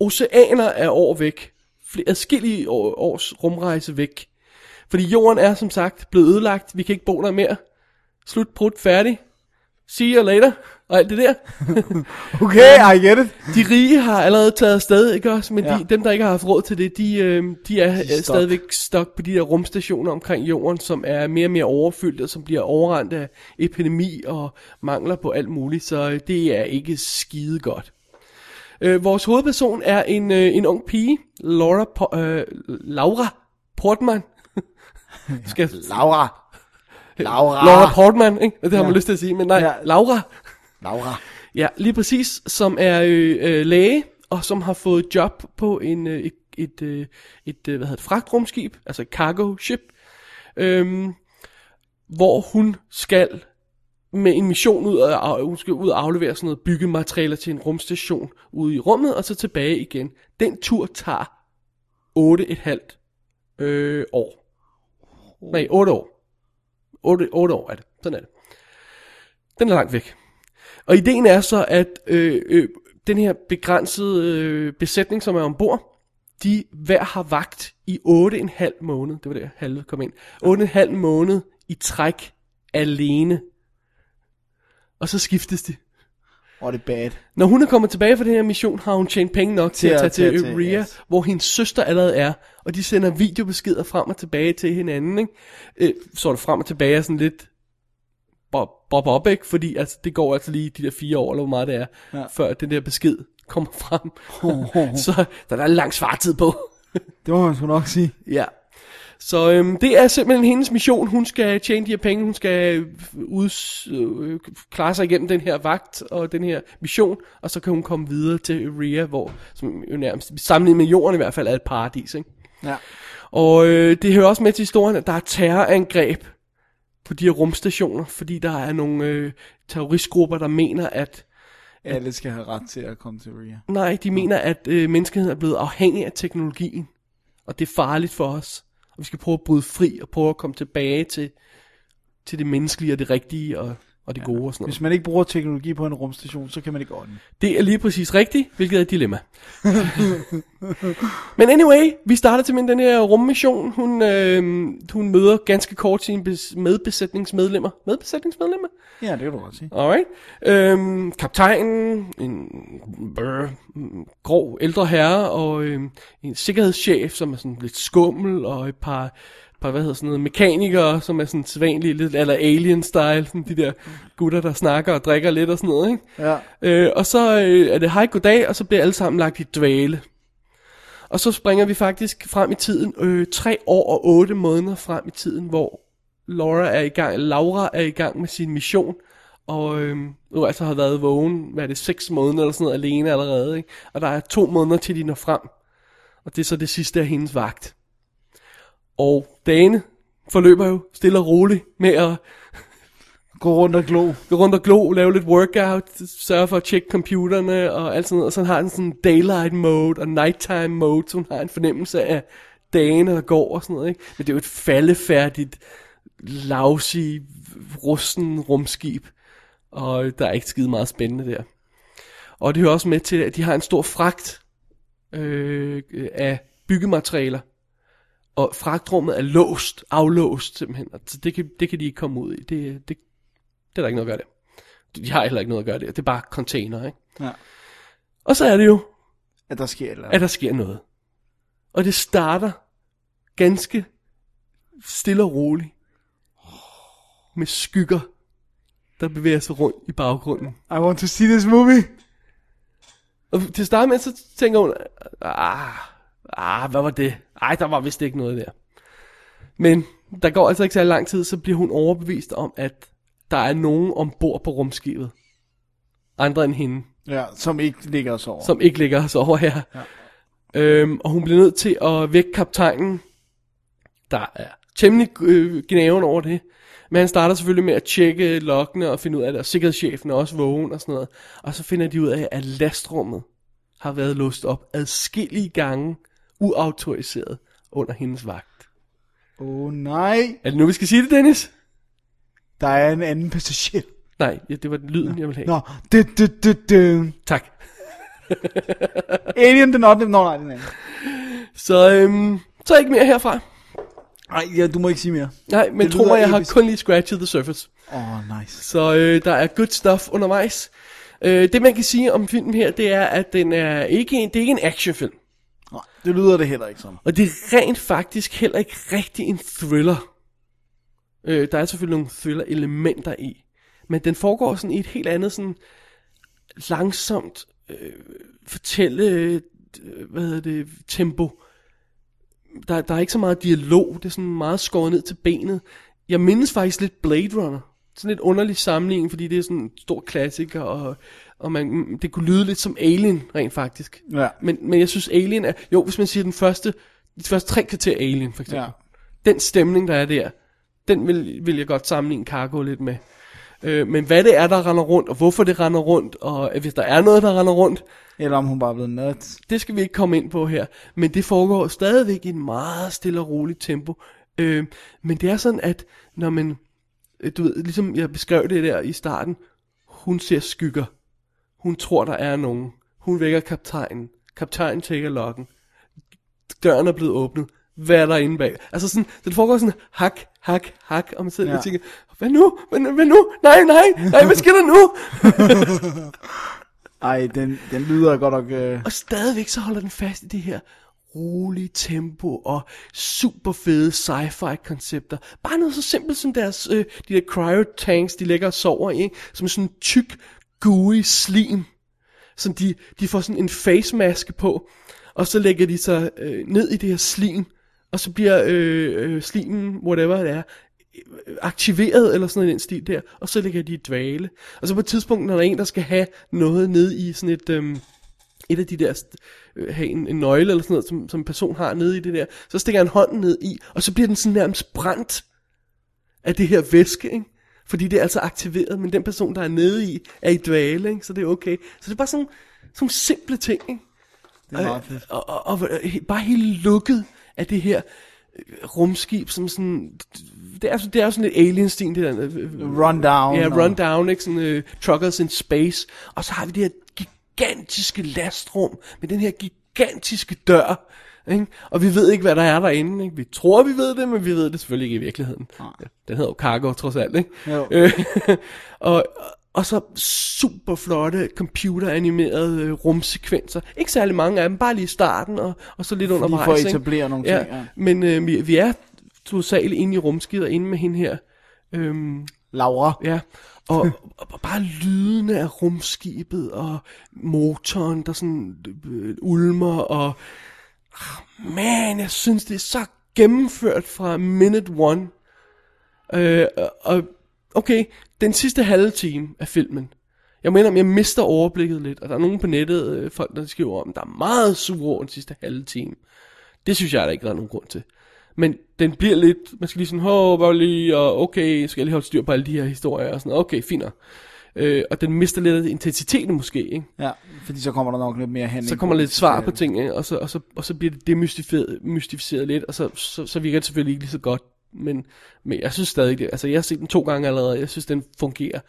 [SPEAKER 4] Oceaner er år væk, Fl- adskillige år, års rumrejse væk. Fordi jorden er som sagt blevet ødelagt, vi kan ikke bo der mere. Slut, prut, færdig. See you later. Og alt det der.
[SPEAKER 5] det? Okay, I get it.
[SPEAKER 4] De rige har allerede taget afsted, ikke også? Men ja.
[SPEAKER 5] Ja.
[SPEAKER 4] de, dem, der ikke har haft råd til det, de, øh, de er de
[SPEAKER 5] stuck.
[SPEAKER 4] stadigvæk stok på de der rumstationer omkring jorden, som er mere og mere overfyldt, og som bliver overrendt af epidemi og mangler på alt muligt. Så øh, det er ikke skide godt. Øh, vores hovedperson er en, øh, en ung pige, Laura, po- øh, Laura Portman. Skal,
[SPEAKER 5] Laura. Laura.
[SPEAKER 4] Laura Portman, ikke? Det har man lyst til at sige, men nej, ja.
[SPEAKER 5] Ja.
[SPEAKER 4] Laura.
[SPEAKER 5] Laura.
[SPEAKER 4] Ja, lige præcis, som er øh, øh, læge, og som har fået job på en, øh, et, et, øh, et øh, hvad hedder det, fragtrumskib, altså et cargo ship, øhm, hvor hun skal med en mission ud og hun skal ud og aflevere sådan noget byggematerialer til en rumstation ude i rummet, og så tilbage igen. Den tur tager 8,5 øh, år. Nej, 8 år. 8, 8 år er det. Sådan er det. Den er langt væk. Og ideen er så, at øh, øh, den her begrænsede øh, besætning, som er ombord, de hver har vagt i 8,5 måned. Det var det, halve kom ind. 8,5 måned i træk alene. Og så skiftes de.
[SPEAKER 5] Og det er bad.
[SPEAKER 4] Når hun er kommet tilbage fra den her mission, har hun tjent penge nok til,
[SPEAKER 5] Til
[SPEAKER 4] at tage
[SPEAKER 5] at-
[SPEAKER 4] til,
[SPEAKER 5] til
[SPEAKER 4] til
[SPEAKER 5] at- til-
[SPEAKER 4] Ria,
[SPEAKER 5] yes.
[SPEAKER 4] hvor hendes søster allerede er, og de sender videobeskeder frem og tilbage til hinanden, ikke? Øh, så er det frem og tilbage er sådan lidt bob bob op, ikke? Fordi altså, det går altså lige de der fire år, eller hvor meget det er, ja. før den der besked kommer frem. så der er lang svartid på.
[SPEAKER 5] Det må man sgu nok sige.
[SPEAKER 4] Ja. Så øhm, det er simpelthen hendes mission. Hun skal tjene de her penge, hun skal øh, uds, øh, klare sig igennem den her vagt og den her mission, og så kan hun komme videre til Rhea, hvor som jo nærmest sammenlignet med jorden i hvert fald er et paradis. Ikke?
[SPEAKER 5] Ja.
[SPEAKER 4] Og øh, det hører også med til historien, at der er terrorangreb på de her rumstationer, fordi der er nogle øh, terroristgrupper, der mener, at
[SPEAKER 5] Alle skal have ret til at komme til Ria.
[SPEAKER 4] Nej, de mener, at øh, menneskeheden er blevet afhængig af teknologien, og det er farligt for os. Og vi skal prøve at bryde fri og prøve at komme tilbage til, til det menneskelige og det rigtige og, og det gode og sådan noget.
[SPEAKER 5] Hvis man ikke bruger teknologi på en rumstation, så kan man ikke ånde.
[SPEAKER 4] Det er lige præcis rigtigt, hvilket er et dilemma. Men anyway, vi starter til med den her rummission. Hun, øh, hun møder ganske kort sine bes- medbesætningsmedlemmer. Medbesætningsmedlemmer?
[SPEAKER 5] Ja, det kan du godt sige.
[SPEAKER 4] Alright. Øhm, kaptajnen, en brr, mm, grå ældre herre, og øhm, en sikkerhedschef, som er sådan lidt skummel, og et par, par hvad hedder sådan noget, mekanikere, som er sådan sædvanlige, lidt eller alien-style, sådan de der gutter, der snakker og drikker lidt og sådan noget, ikke?
[SPEAKER 5] Ja.
[SPEAKER 4] Øh, og så øh, er det hej, goddag, og så bliver alle sammen lagt i dvale. Og så springer vi faktisk frem i tiden, øh, tre år og otte måneder frem i tiden, hvor Laura er i gang, Laura er i gang med sin mission, og øh, nu altså har været vågen, hvad er det, seks måneder eller sådan noget alene allerede, ikke? og der er to måneder til de når frem, og det er så det sidste af hendes vagt. Og dagene forløber jo stille og roligt med at
[SPEAKER 5] Gå rundt og glo.
[SPEAKER 4] gå rundt og glo, lave lidt workout, sørge for at tjekke computerne og alt sådan noget. Og så har den sådan daylight mode og nighttime mode, så hun har en fornemmelse af dagene, der går og sådan noget. Ikke? Men det er jo et faldefærdigt, lousy, rusten rumskib. Og der er ikke skide meget spændende der. Og det hører også med til, at de har en stor fragt øh, af byggematerialer. Og fragtrummet er låst, aflåst simpelthen. Og Så det kan, det kan de ikke komme ud i. Det, det, det er der ikke noget at gøre der. De har heller ikke noget at gøre der. Det er bare container, ikke?
[SPEAKER 5] Ja.
[SPEAKER 4] Og så er det jo,
[SPEAKER 5] At der sker et eller andet.
[SPEAKER 4] at der sker noget. Og det starter ganske stille og roligt med skygger, der bevæger sig rundt i baggrunden.
[SPEAKER 5] I want to see this movie.
[SPEAKER 4] Og til at starte med, så tænker hun, ah, ah, hvad var det? Ej, der var vist ikke noget der. Men der går altså ikke så lang tid, så bliver hun overbevist om, at der er nogen ombord på rumskibet. Andre end hende.
[SPEAKER 5] Ja, som ikke ligger os over.
[SPEAKER 4] som ikke ligger os over her. Ja. Øhm, og hun bliver nødt til at vække kaptajnen, der er temmelig øh, gnaven over det. Men han starter selvfølgelig med at tjekke lokkene og finde ud af det, og sikkerhedschefen er også vågen og sådan noget. Og så finder de ud af, at lastrummet har været låst op adskillige gange, uautoriseret under hendes vagt.
[SPEAKER 5] Åh oh, nej.
[SPEAKER 4] Er det nu, vi skal sige det, Dennis?
[SPEAKER 5] Der er en anden passager.
[SPEAKER 4] Nej, ja, det var den lyden, jeg ville have.
[SPEAKER 5] Nå, det, det, det, det.
[SPEAKER 4] Tak.
[SPEAKER 5] Alien den 8. Nå, nej, den anden.
[SPEAKER 4] Så, øhm, så ikke mere herfra.
[SPEAKER 5] Nej, ja, du må ikke sige mere.
[SPEAKER 4] Nej, men
[SPEAKER 5] Det
[SPEAKER 4] tro
[SPEAKER 5] lyder
[SPEAKER 4] mig, jeg har
[SPEAKER 5] episk.
[SPEAKER 4] kun lige scratched the surface.
[SPEAKER 5] Åh, oh, nice.
[SPEAKER 4] Så øh, der er good stuff undervejs. Øh, det man kan sige om filmen her, det er, at den er ikke en, det er ikke en actionfilm.
[SPEAKER 5] Nej, det lyder det heller ikke som.
[SPEAKER 4] Og det er rent faktisk heller ikke rigtig en thriller. Øh, der er selvfølgelig nogle thriller-elementer i. Men den foregår sådan i et helt andet sådan langsomt øh, fortælle, øh, hvad hedder det, tempo. Der, der er ikke så meget dialog, det er sådan meget skåret ned til benet. Jeg mindes faktisk lidt Blade Runner. Sådan lidt underlig sammenligning, fordi det er sådan en stor klassiker, og, og man, det kunne lyde lidt som Alien rent faktisk.
[SPEAKER 5] Ja.
[SPEAKER 4] Men, men jeg synes Alien er, jo hvis man siger den første, de første tre kvarter af Alien for eksempel.
[SPEAKER 5] Ja.
[SPEAKER 4] Ja. Den stemning der er der, den vil, vil jeg godt sammenligne Cargo lidt med. Øh, men hvad det er, der render rundt, og hvorfor det render rundt, og øh, hvis der er noget, der render rundt,
[SPEAKER 5] Eller om hun bare er blevet nuts.
[SPEAKER 4] det skal vi ikke komme ind på her. Men det foregår stadigvæk i en meget stille og roligt tempo. Øh, men det er sådan, at når man, øh, du ved, ligesom jeg beskrev det der i starten, hun ser skygger. Hun tror, der er nogen. Hun vækker kaptajnen. Kaptajnen tjekker lokken. Døren er blevet åbnet. Hvad er der inde bag? Altså sådan, så det foregår sådan, hak, hak, hak, og man sidder ja.
[SPEAKER 5] Ja.
[SPEAKER 4] og tænker, hvad nu? Hvad, nu? hvad nu? Nej, nej, nej, hvad sker der nu?
[SPEAKER 5] Ej, den, den lyder godt nok... Øh...
[SPEAKER 4] Og stadigvæk så holder den fast i det her rolige tempo og super fede sci-fi koncepter. Bare noget så simpelt som deres, øh, de der cryotanks, de ligger og sover i, ikke? som sådan en tyk, gooey slim. Som de, de får sådan en face maske på, og så lægger de sig øh, ned i det her slim, og så bliver øh, øh, slimen, whatever det er, aktiveret eller sådan noget i den stil der, og så ligger de i dvale. Og så på et tidspunkt, når der er en, der skal have noget ned i sådan et... Øh, et af de der, st- øh, have en, en nøgle eller sådan noget, som, som en person har nede i det der, så stikker han hånden ned i, og så bliver den sådan nærmest brændt af det her væske, ikke? Fordi det er altså aktiveret, men den person, der er nede i, er i dvale, ikke? Så det er okay. Så det er bare sådan nogle simple ting, ikke?
[SPEAKER 5] Det er meget fedt.
[SPEAKER 4] Og, og, og, og he- bare helt lukket af det her øh, rumskib, som sådan... Det er, det er jo sådan lidt alien-stil, det der... øh,
[SPEAKER 5] Rundown.
[SPEAKER 4] Ja,
[SPEAKER 5] og-
[SPEAKER 4] Rundown, ikke? Sådan uh, Truckers in Space. Og så har vi det her gigantiske lastrum med den her gigantiske dør. Ikke? Og vi ved ikke, hvad der er derinde. Ikke? Vi tror, vi ved det, men vi ved det selvfølgelig ikke i virkeligheden. Ja, Den hedder jo Cargo, trods alt. Ikke?
[SPEAKER 5] Jo.
[SPEAKER 4] Øh, og, og så super flotte computeranimerede øh, rumsekvenser. Ikke særlig mange af dem, bare lige i starten, og, og så lidt undervejs.
[SPEAKER 5] for at
[SPEAKER 4] ikke?
[SPEAKER 5] etablere nogle ting, ja.
[SPEAKER 4] Men øh, vi, vi er totalt inde i rumskid og inde med hende her. Øhm,
[SPEAKER 5] Laura.
[SPEAKER 4] Ja, og, og- og bare lyden af rumskibet og motoren, der sådan øh, ulmer, og ah, man, jeg synes, det er så gennemført fra minute one. Øh, og- og okay, den sidste halve time af filmen, jeg mener, jeg mister overblikket lidt, og der er nogen på nettet, øh, folk, der skriver om, der er meget sure over den sidste halve time. Det synes jeg, der ikke der er nogen grund til. Men den bliver lidt, man skal lige sådan, hov, bare lige, og okay, skal jeg lige holde styr på alle de her historier, og sådan, okay, fint nok. Øh, og den mister lidt af intensiteten måske, ikke?
[SPEAKER 5] Ja, fordi så kommer der nok lidt mere handling.
[SPEAKER 4] Så kommer
[SPEAKER 5] på
[SPEAKER 4] lidt
[SPEAKER 5] det.
[SPEAKER 4] svar på ting, ikke? Og, så, og, så, og så bliver det demystificeret mystificeret lidt, og så, så, så virker det selvfølgelig ikke lige så godt. Men, men jeg synes stadig, det, altså jeg har set den to gange allerede, jeg synes, den fungerer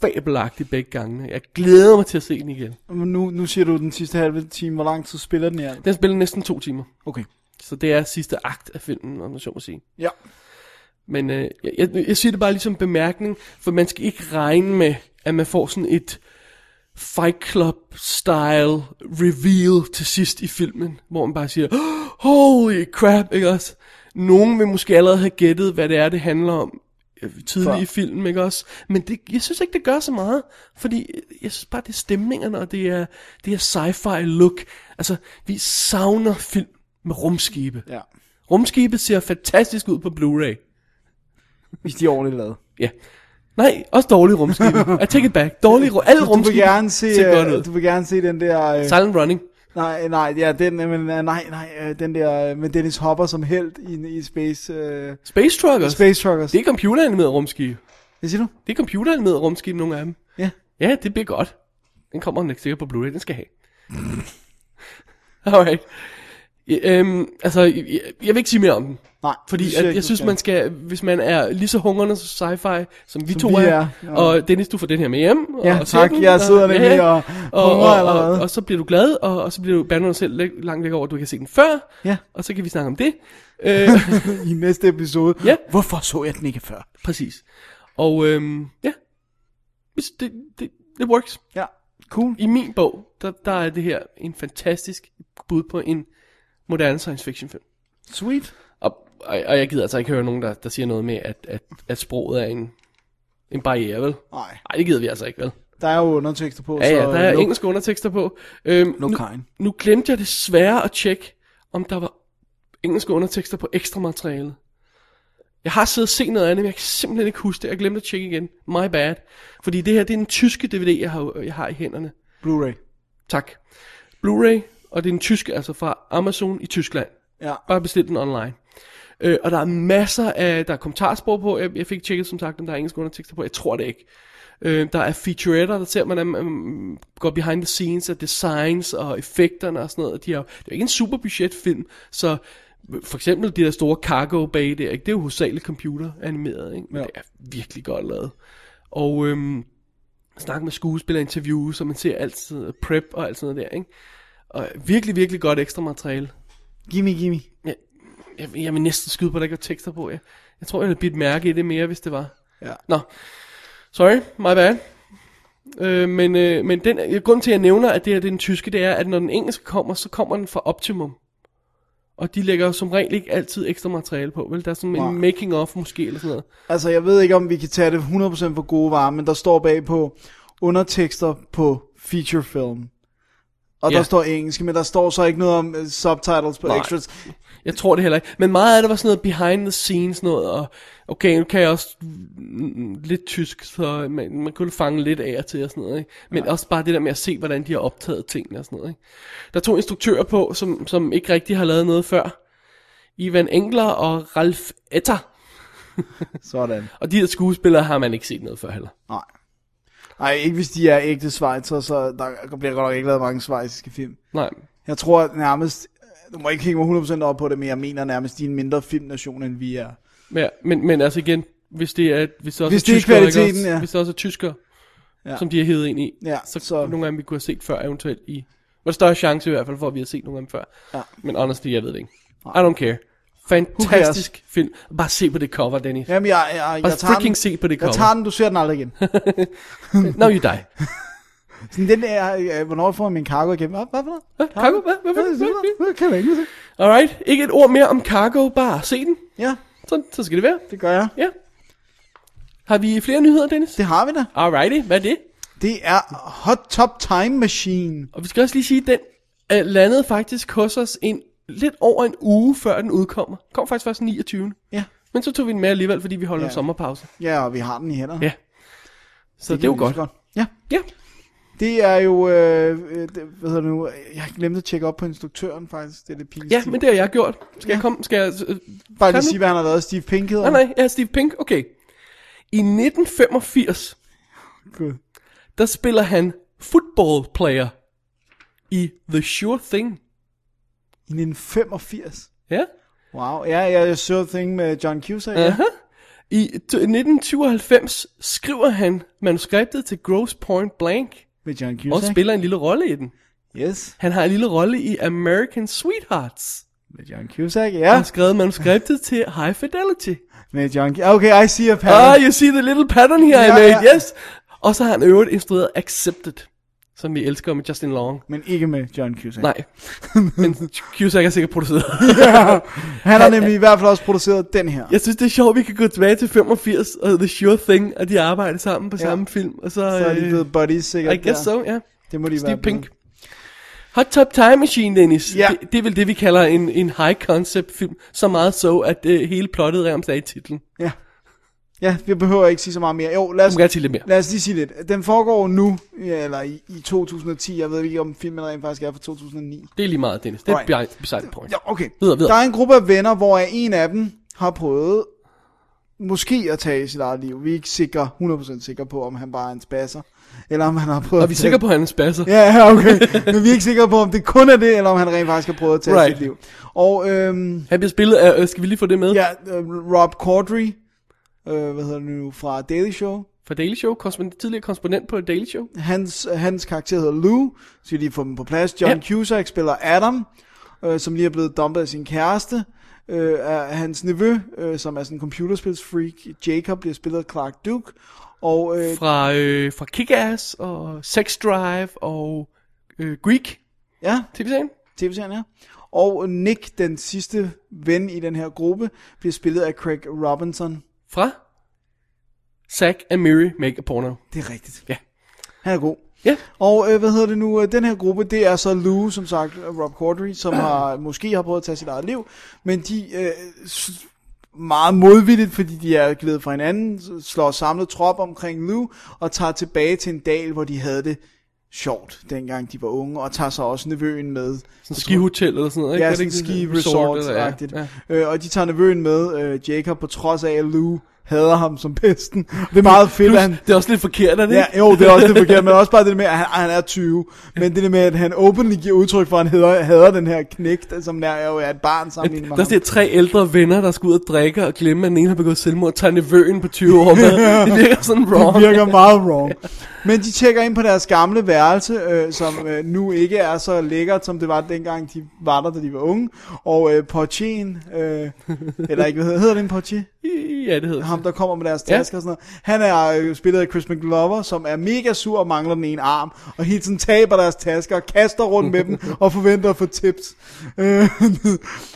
[SPEAKER 4] fabelagtigt begge gange. Jeg glæder mig til at se den igen.
[SPEAKER 5] Øh, Men Nu, nu siger du den sidste halve time. Hvor lang tid spiller den her?
[SPEAKER 4] Den spiller næsten to timer,
[SPEAKER 5] Okay.
[SPEAKER 4] så det er sidste akt af filmen, om man så må sige.
[SPEAKER 5] Ja.
[SPEAKER 4] Men øh, jeg, jeg, jeg siger det bare lige som bemærkning, for man skal ikke regne med, at man får sådan et Fight Club-style reveal til sidst i filmen, hvor man bare siger, "Oh, holy crap, ikke også? Nogen vil måske allerede have gættet, hvad det er, det handler om øh, tidligt
[SPEAKER 5] Før.
[SPEAKER 4] i filmen, ikke også? Men det, jeg synes ikke, det gør så meget, fordi øh, jeg synes bare, det er stemningerne, og det er, det er sci-fi look. Altså, vi savner film med rumskibe.
[SPEAKER 5] Ja.
[SPEAKER 4] Rumskibet ser fantastisk ud på Blu-ray.
[SPEAKER 5] Hvis de er ordentligt lavet.
[SPEAKER 4] Ja. Nej, også dårlige rumskibe. I take it back. Dårlige ru- Alle
[SPEAKER 5] Du vil
[SPEAKER 4] rumskibe
[SPEAKER 5] gerne se,
[SPEAKER 4] ser godt ud.
[SPEAKER 5] øh, du vil gerne se den der... Øh,
[SPEAKER 4] Silent Running.
[SPEAKER 5] nej, nej, ja, den, øh, men, øh, nej, nej, øh, den der øh, med Dennis Hopper som held i, i Space, øh,
[SPEAKER 4] Space Truckers.
[SPEAKER 5] space Truckers.
[SPEAKER 4] Det er computeranimerede rumskibe.
[SPEAKER 5] Hvad siger du?
[SPEAKER 4] Det er computeranimerede rumskibe, nogle af dem.
[SPEAKER 5] Ja.
[SPEAKER 4] Ja, det bliver godt. Den kommer den ikke sikkert på Blu-ray. Den skal jeg have. Alright. Ja, Øhm, altså, jeg, jeg- jeg vil ikke sige mere om den.
[SPEAKER 5] Nej, det
[SPEAKER 4] Fordi
[SPEAKER 5] synes jeg
[SPEAKER 4] at,
[SPEAKER 5] ikke,
[SPEAKER 4] jeg
[SPEAKER 5] du
[SPEAKER 4] synes,
[SPEAKER 5] skal.
[SPEAKER 4] man skal, hvis man er lige så hungrende som sci-fi, som vi
[SPEAKER 5] Som
[SPEAKER 4] to
[SPEAKER 5] vi
[SPEAKER 4] er,
[SPEAKER 5] er, ja.
[SPEAKER 4] og Dennis, du får den her med hjem.
[SPEAKER 5] Ja,
[SPEAKER 4] og ser
[SPEAKER 5] tak.
[SPEAKER 4] den,
[SPEAKER 5] Jeg sidder
[SPEAKER 4] og-
[SPEAKER 5] nemlig og
[SPEAKER 4] og,
[SPEAKER 5] hungrer
[SPEAKER 4] og, og,
[SPEAKER 5] allerede.
[SPEAKER 4] og, så bliver du glad, og, og så bliver du bandet dig selv læ- langt væk over, at du ikke har set den før,
[SPEAKER 5] Ja.
[SPEAKER 4] og så kan vi snakke om det. Øh,
[SPEAKER 5] I næste episode.
[SPEAKER 4] Ja.
[SPEAKER 5] Hvorfor så jeg den ikke før?
[SPEAKER 4] præcis. Og øhm, ja, Hvis det, det, det works.
[SPEAKER 5] Ja. Cool.
[SPEAKER 4] I min bog, der, der er det her en fantastisk bud på en moderne science fiction film.
[SPEAKER 5] Sweet.
[SPEAKER 4] Og, og, og jeg gider altså ikke høre nogen, der, der siger noget med, at, at, at sproget er en, en barriere, vel?
[SPEAKER 5] Nej,
[SPEAKER 4] Nej, det gider vi altså ikke, vel?
[SPEAKER 5] der er jo undertekster på,
[SPEAKER 4] Ja,
[SPEAKER 5] så...
[SPEAKER 4] ja, der er
[SPEAKER 5] øh, luk-
[SPEAKER 4] engelske undertekster på. Øhm,
[SPEAKER 5] luk
[SPEAKER 4] nu,
[SPEAKER 5] hegn.
[SPEAKER 4] nu glemte jeg desværre at tjekke, om der var engelske undertekster på ekstra materiale. Jeg har siddet og set noget andet, men jeg kan simpelthen ikke huske det. Jeg glemte at tjekke igen. My bad. Fordi det her, det er den tyske DVD, jeg har, jeg har i hænderne.
[SPEAKER 5] Blu-ray.
[SPEAKER 4] Tak. Blu-ray, og det er den tyske, altså fra Amazon i Tyskland.
[SPEAKER 5] Ja.
[SPEAKER 4] Bare bestil den online. Øh, og der er masser af, der er kommentarspor på, jeg, jeg fik ikke tjekket som sagt, om der er engelske undertekster på, jeg tror det ikke. Øh, der er featuretter, der ser man, at man mm, går behind the scenes af designs og effekterne og sådan noget. De har, det er jo ikke en super budgetfilm, så for eksempel de der store cargo bag der, ikke? det er jo hovedsageligt computer animeret, ikke? men
[SPEAKER 5] Ja.
[SPEAKER 4] det er virkelig godt lavet. Og øhm, snakke med skuespillerinterview, så man ser altid prep og alt sådan noget der, ikke? Og virkelig, virkelig godt ekstra materiale.
[SPEAKER 5] Gimme, gimme.
[SPEAKER 4] Jeg, jeg, jeg vil næsten skyde på, at der ikke var tekster på. Jeg, jeg tror, jeg ville bidt mærke i det mere, hvis det var.
[SPEAKER 5] Ja.
[SPEAKER 4] Nå, sorry, my bad. Øh, men øh, men den, øh, grunden til, at jeg nævner, at det her det er den tyske, det er, at når den engelske kommer, så kommer den fra Optimum. Og de lægger jo som regel ikke altid ekstra materiale på, vel? Der er sådan
[SPEAKER 5] Nej.
[SPEAKER 4] en making of måske, eller sådan noget.
[SPEAKER 5] Altså, jeg ved ikke, om vi kan tage det 100% for gode varer, men der står bag på undertekster på feature film. Og
[SPEAKER 4] Ja.
[SPEAKER 5] der står engelsk, men der står så ikke noget om øh, subtitles på
[SPEAKER 4] Nej.
[SPEAKER 5] extras.
[SPEAKER 4] Jeg tror det heller ikke. Men meget af det var sådan noget behind the scenes noget, og okay, nu kan jeg også mm, lidt tysk, så man, man kunne fange lidt af og til og sådan noget, ikke? Men også bare det der med at se, hvordan de har optaget tingene og sådan noget, ikke? Der er to instruktører på, som, som ikke rigtig har lavet noget før. Ivan Engler og Ralf Etter.
[SPEAKER 5] Sådan.
[SPEAKER 4] Og de her skuespillere har man ikke set noget før heller.
[SPEAKER 5] Nej. Nej, ikke hvis de er ægte svejser, så der bliver godt nok ikke lavet mange svejsiske film.
[SPEAKER 4] Nej,
[SPEAKER 5] Jeg tror at nærmest, du må ikke hænge mig 100% op på det, men jeg mener nærmest, de er en mindre filmnation, end vi er.
[SPEAKER 4] Ja, men, men altså igen, hvis det er, hvis det også
[SPEAKER 5] Hvis
[SPEAKER 4] er
[SPEAKER 5] det er
[SPEAKER 4] tyskere, ikke
[SPEAKER 5] kvaliteten,
[SPEAKER 4] også,
[SPEAKER 5] ja.
[SPEAKER 4] hvis det også er tysker,
[SPEAKER 5] Ja.
[SPEAKER 4] ja. som de har hævet ind i,
[SPEAKER 5] Ja,
[SPEAKER 4] så,
[SPEAKER 5] så-
[SPEAKER 4] så, nogle af dem vi kunne have set før eventuelt i, var der større chance i hvert fald for, at vi har set nogle af dem før.
[SPEAKER 5] Ja.
[SPEAKER 4] Men honestly, jeg ved det ikke. I don't care. Fantastisk film. Bare se på det cover, Dennis.
[SPEAKER 5] Jamen, jeg, jeg, jeg,
[SPEAKER 4] Bare
[SPEAKER 5] jeg tager
[SPEAKER 4] freaking
[SPEAKER 5] den.
[SPEAKER 4] se på det
[SPEAKER 5] Jeg
[SPEAKER 4] cover.
[SPEAKER 5] tager den, du ser den aldrig igen.
[SPEAKER 4] Now you die.
[SPEAKER 5] Sådan den der, øh, hvornår får jeg min cargo igen? Hvad, hvad for noget?
[SPEAKER 4] Hvad? Cargo? Hvad? Hvad? Hvad? Hvad? Hvad?
[SPEAKER 5] Det kan jeg ikke se.
[SPEAKER 4] Alright, ikke et ord mere om Cargo, bare se den.
[SPEAKER 5] Ja,
[SPEAKER 4] Så, så skal det være.
[SPEAKER 5] det gør jeg.
[SPEAKER 4] Ja. Har vi flere nyheder, Dennis?
[SPEAKER 5] Det har vi da.
[SPEAKER 4] Alrighty, hvad er det?
[SPEAKER 5] Det er Hot Top Time Machine.
[SPEAKER 4] Og vi skal også lige sige, at den øh, landede faktisk hos os en, lidt over en uge, før den udkommer. Kom faktisk først den 29.
[SPEAKER 5] Ja.
[SPEAKER 4] Men så tog vi den med alligevel, fordi vi holder
[SPEAKER 5] Ja.
[SPEAKER 4] ja. sommerpause.
[SPEAKER 5] Ja, og vi har den i hænderne.
[SPEAKER 4] Ja. Så det, det er jo
[SPEAKER 5] kan vi
[SPEAKER 4] godt.
[SPEAKER 5] lige så Ja.
[SPEAKER 4] Ja.
[SPEAKER 5] Det er jo, øh, øh, det, hvad hedder det nu, jeg glemte at tjekke op på instruktøren faktisk, det er det pinligt.
[SPEAKER 4] ja, men det har jeg gjort. Skal ja. jeg komme? Skal jeg... Øh,
[SPEAKER 5] Bare
[SPEAKER 4] kan du?
[SPEAKER 5] lige sige, hvad han har lavet, Steve Pink hedder.
[SPEAKER 4] nej, nej, jeg er Steve Pink. Okay. I 1985,
[SPEAKER 5] Gud.
[SPEAKER 4] der spiller han football player i The Sure Thing.
[SPEAKER 5] I 1985.
[SPEAKER 4] Ja.
[SPEAKER 5] Wow, ja, ja, jeg så Thing med John Cusack. Ja.
[SPEAKER 4] Aha. I t- 1997 skriver han manuskriptet til Gross Point Blank,
[SPEAKER 5] Med John
[SPEAKER 4] og
[SPEAKER 5] Cusack.
[SPEAKER 4] spiller en lille rolle i den.
[SPEAKER 5] Yes,
[SPEAKER 4] Han har en lille rolle i American Sweethearts.
[SPEAKER 5] med John Cusack,
[SPEAKER 4] Han
[SPEAKER 5] ja.
[SPEAKER 4] har skrevet manuskriptet til High Fidelity.
[SPEAKER 5] Med John Cusack. Okay, I see a pattern.
[SPEAKER 4] Ah, you see the little pattern here I
[SPEAKER 5] Ja,
[SPEAKER 4] made,
[SPEAKER 5] ja.
[SPEAKER 4] yes. Og så har han i øvrigt instrueret Accepted, som vi elsker med Justin Long.
[SPEAKER 5] Men ikke med John Cusack.
[SPEAKER 4] Nej, men Cusack er sikkert produceret.
[SPEAKER 5] Han har nemlig i hvert fald også produceret den her.
[SPEAKER 4] Jeg synes, det er sjovt, at vi kan gå tilbage til 85 og The Sure Thing, og de arbejder sammen på ja. samme film. Og så,
[SPEAKER 5] Så er de
[SPEAKER 4] øh,
[SPEAKER 5] blevet buddies sikkert.
[SPEAKER 4] I guess
[SPEAKER 5] der.
[SPEAKER 4] so, ja.
[SPEAKER 5] Det må de
[SPEAKER 4] Steve
[SPEAKER 5] være blevet.
[SPEAKER 4] Pink. Hot Top Time Machine, Dennis.
[SPEAKER 5] Ja.
[SPEAKER 4] Det, det er vel det, vi kalder en, en high concept film. Så meget så, at øh, hele plottet er om sig i titlen.
[SPEAKER 5] Ja. Ja, vi behøver ikke sige så meget mere. Jo, lad os,
[SPEAKER 4] Du må gerne sige lidt mere.
[SPEAKER 5] lad os lige sige lidt. Den foregår nu, ja, eller i, i 2010. Jeg ved ikke, om filmen rent faktisk er fra 2009.
[SPEAKER 4] Det er lige meget, Dennis. Det er
[SPEAKER 5] Alright.
[SPEAKER 4] right. beside the point.
[SPEAKER 5] Ja, okay.
[SPEAKER 4] Videre, videre.
[SPEAKER 5] Der er en gruppe af venner, hvor en af dem har prøvet måske at tage sit eget liv. Vi er ikke sikre, 100% sikre på, om han bare er en spasser. Eller om han har prøvet
[SPEAKER 4] Og vi er
[SPEAKER 5] at
[SPEAKER 4] sikre på, at han er spasser.
[SPEAKER 5] Ja, ja, okay. Men vi er ikke sikre på, om det kun er det, eller om han rent faktisk har prøvet at tage
[SPEAKER 4] Right.
[SPEAKER 5] sit liv. Og øhm,
[SPEAKER 4] Han bliver spillet af, øh, skal vi lige få det med?
[SPEAKER 5] Ja, øh, Rob Corddry, øh, hvad hedder det nu, fra Daily Show.
[SPEAKER 4] Fra Daily Show, korrespondent, tidligere korrespondent på Daily Show.
[SPEAKER 5] Hans, hans karakter hedder Lou, så vi lige får dem på plads. John ja.
[SPEAKER 4] Ja.
[SPEAKER 5] Cusack spiller Adam, øh, som lige er blevet dumpet af sin kæreste. Øh, er hans nevø, øh, som er sådan en computerspilsfreak, Jacob, bliver spillet af Clark Duke. Og øh,
[SPEAKER 4] Fra, øh, fra Kick-Ass og Sex Drive og øh, Greek,
[SPEAKER 5] ja,
[SPEAKER 4] tv-serien.
[SPEAKER 5] tv-serien er. Og Nick, den sidste ven i den her gruppe, bliver spillet af Craig Robinson.
[SPEAKER 4] Fra Zack and Miri Make a Porno.
[SPEAKER 5] Det er rigtigt.
[SPEAKER 4] Ja.
[SPEAKER 5] Han er god.
[SPEAKER 4] Ja.
[SPEAKER 5] Og øh, hvad hedder det nu, øh, den her gruppe, det er så Lou, som sagt, og Rob Corddry, som har, måske har prøvet at tage sit eget liv, men de øh, s- meget modvilligt, fordi de er glædet fra hinanden, s- slår samlet trop omkring Lou, og tager tilbage til en dal, hvor de havde det sjovt, dengang de var unge, og tager så også nevøen med.
[SPEAKER 4] Sådan skihotel eller sådan noget, ikke?
[SPEAKER 5] Ja,
[SPEAKER 4] Er det
[SPEAKER 5] sådan
[SPEAKER 4] ikke
[SPEAKER 5] ski
[SPEAKER 4] sådan
[SPEAKER 5] resort
[SPEAKER 4] eller-
[SPEAKER 5] agtigt ja. øh, Og de tager nevøen med, øh, Jacob, på trods af, at Lou hader ham som pesten. Det er meget fedt, at han,
[SPEAKER 4] Plus, det er også lidt forkert, er det
[SPEAKER 5] Ja,
[SPEAKER 4] ikke?
[SPEAKER 5] jo, det er også det forkert, men også bare det med, at han, han er 20, men det der med, at han openly giver udtryk for, at han hader, hader den her knægt, som nær jo er et barn sammenlignet med
[SPEAKER 4] Der er
[SPEAKER 5] ham.
[SPEAKER 4] sådan tre ældre venner, der skal ud og drikke og glemme, at den ene har begået selvmord og tager nevøen på 20 år med. Det virker sådan wrong.
[SPEAKER 5] Det virker meget wrong. Men de tjekker ind på deres gamle værelse, øh, som øh, nu ikke er så lækkert, som det var dengang, de var der, da de var unge. Og øh, Portien, øh, eller ikke, hvad hedder, hedder det en Portier?
[SPEAKER 4] Ja, det hedder
[SPEAKER 5] Ham, der kommer med deres
[SPEAKER 4] Ja.
[SPEAKER 5] tasker og sådan noget. Han er øh, spillet af Chris McGlover, som er mega sur og mangler den ene arm, og hele tiden taber deres tasker, kaster rundt med dem og forventer at få tips. Øh,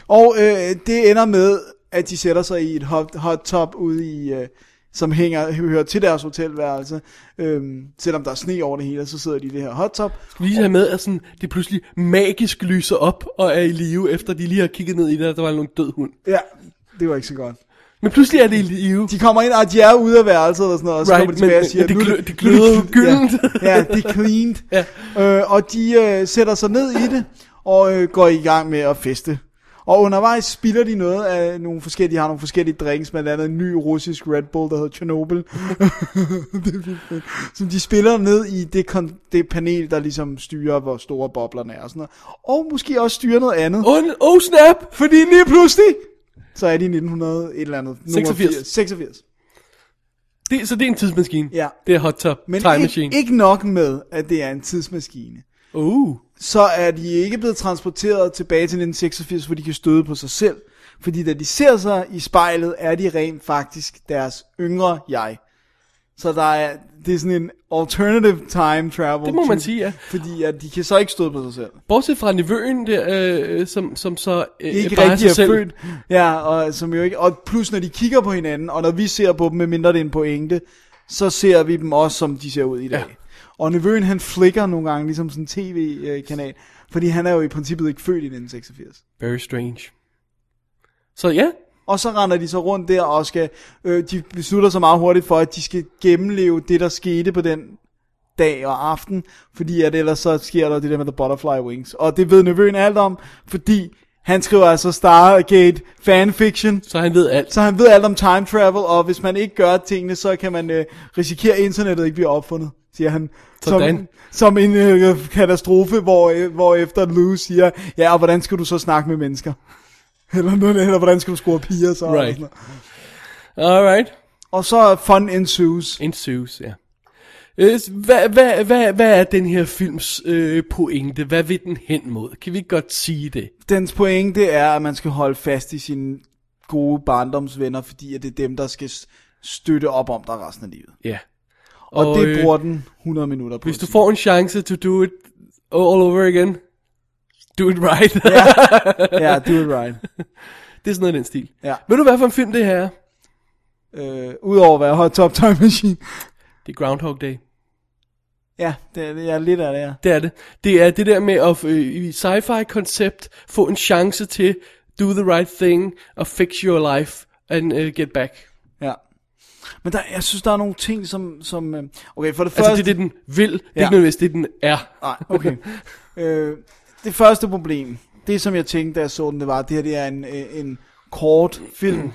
[SPEAKER 5] og øh, det ender med, at de sætter sig i et hot, hot top ude i... Øh, som hænger, hører til deres hotelværelse. Øhm, selvom der er sne over det hele, så sidder de i det her hot top.
[SPEAKER 4] Skal vi lige have med, at sådan, det pludselig magisk lyser op og er i live, efter de lige har kigget ned i det, og der var en død hund.
[SPEAKER 5] Ja, det var ikke så godt.
[SPEAKER 4] Men pludselig er det i live.
[SPEAKER 5] De kommer ind, og de er ude af værelset og sådan noget, og så
[SPEAKER 4] Right,
[SPEAKER 5] kommer de tilbage
[SPEAKER 4] men-
[SPEAKER 5] og siger,
[SPEAKER 4] men det
[SPEAKER 5] nu er
[SPEAKER 4] glø- det gløder
[SPEAKER 5] nu
[SPEAKER 4] jo
[SPEAKER 5] er det-
[SPEAKER 4] gyldent.
[SPEAKER 5] Ja, ja, det er cleaned.
[SPEAKER 4] Ja.
[SPEAKER 5] Øh, og de øh, sætter sig ned i det, og øh, går i gang med at feste. Og undervejs spilder de noget af nogle forskellige, de har nogle forskellige drinks, blandt andet en ny russisk Red Bull, der hedder Chernobyl. det er vildt fedt. Som de spiller ned i det, kon- det panel, der ligesom styrer, hvor store boblerne er og sådan noget. Og måske også styrer noget andet.
[SPEAKER 4] Oh, n- oh snap!
[SPEAKER 5] Fordi lige pludselig, så er de 1900 et eller andet. Nummer
[SPEAKER 4] 86.
[SPEAKER 5] 80, 86.
[SPEAKER 4] Det, så det er en tidsmaskine.
[SPEAKER 5] Ja.
[SPEAKER 4] Det er hot tub.
[SPEAKER 5] Men
[SPEAKER 4] Time
[SPEAKER 5] ikke,
[SPEAKER 4] machine.
[SPEAKER 5] ikke nok med, at det er en tidsmaskine.
[SPEAKER 4] Uh.
[SPEAKER 5] så er de ikke blevet transporteret tilbage til 1986, hvor de kan støde på sig selv. Fordi da de ser sig i spejlet, er de rent faktisk deres yngre jeg. Så der er, det er sådan en alternative time travel.
[SPEAKER 4] Det må man
[SPEAKER 5] type,
[SPEAKER 4] sige, ja.
[SPEAKER 5] Fordi at de kan så ikke støde på sig selv.
[SPEAKER 4] Bortset fra nevøen der, øh, som, som så øh,
[SPEAKER 5] Ikke
[SPEAKER 4] bare
[SPEAKER 5] rigtig er
[SPEAKER 4] sig selv.
[SPEAKER 5] født. Ja, og, som jo ikke, og plus når de kigger på hinanden, og når vi ser på dem, med mindre det er en pointe, så ser vi dem også, som de ser ud i dag. Ja. Og nevøen han flikker nogle gange, ligesom sådan en tv-kanal, fordi han er jo i princippet ikke født i 1986.
[SPEAKER 4] Very strange. Så ja,
[SPEAKER 5] Og så render de så rundt der og skal, øh, de beslutter sig meget hurtigt for, at de skal gennemleve det, der skete på den dag og aften, fordi at ellers så sker der det der med The Butterfly Wings. Og det ved Nevøen alt om, fordi han skriver altså Stargate fanfiction,
[SPEAKER 4] så han ved alt.
[SPEAKER 5] så han ved alt om time travel, og hvis man ikke gør tingene, så kan man øh, risikere, at internettet ikke bliver opfundet, siger han. Som,
[SPEAKER 4] Sådan.
[SPEAKER 5] som en øh, katastrofe, hvor, øh, hvor efter Lou siger, ja, og hvordan skal du så snakke med mennesker? Eller, noget, eller hvordan skal du score piger så? Og,
[SPEAKER 4] Right.
[SPEAKER 5] sådan noget.
[SPEAKER 4] Alright.
[SPEAKER 5] og så fun ensues.
[SPEAKER 4] Ensues, ja. Øh, s- Hvad, hvad, hvad, hvad er den her films øh, pointe? Hvad vil den hen mod? Kan vi ikke godt sige det?
[SPEAKER 5] Dens pointe det er, at man skal holde fast i sine gode barndomsvenner, fordi at det er dem, der skal s- støtte op om dig resten af livet.
[SPEAKER 4] Ja.
[SPEAKER 5] Og, og det
[SPEAKER 4] øh,
[SPEAKER 5] bruger den 100 minutter på.
[SPEAKER 4] Hvis
[SPEAKER 5] at
[SPEAKER 4] du
[SPEAKER 5] sige.
[SPEAKER 4] får en chance to do it all over again, do it right. Ja.
[SPEAKER 5] Ja, do it right.
[SPEAKER 4] det er sådan noget i den stil.
[SPEAKER 5] Ja.
[SPEAKER 4] Ved du, hvad for en film det her er?
[SPEAKER 5] Øh, Udover at være hot top time machine.
[SPEAKER 4] Det er Groundhog Day.
[SPEAKER 5] Ja, det er, jeg er lidt af det her.
[SPEAKER 4] Det er det. Det er det der med at øh, i sci-fi-koncept få en chance til do the right thing og fix your life and uh, get back.
[SPEAKER 5] Ja. Men der, jeg synes, der er nogle ting, som... som øh, okay, for det første...
[SPEAKER 4] Altså det er det, den vil. Det er
[SPEAKER 5] Ja.
[SPEAKER 4] ikke nødvendigvis det, den er.
[SPEAKER 5] Nej, okay. øh, det første problem, det som jeg tænkte, da jeg så den, det var, det her det er en, øh, en kort film.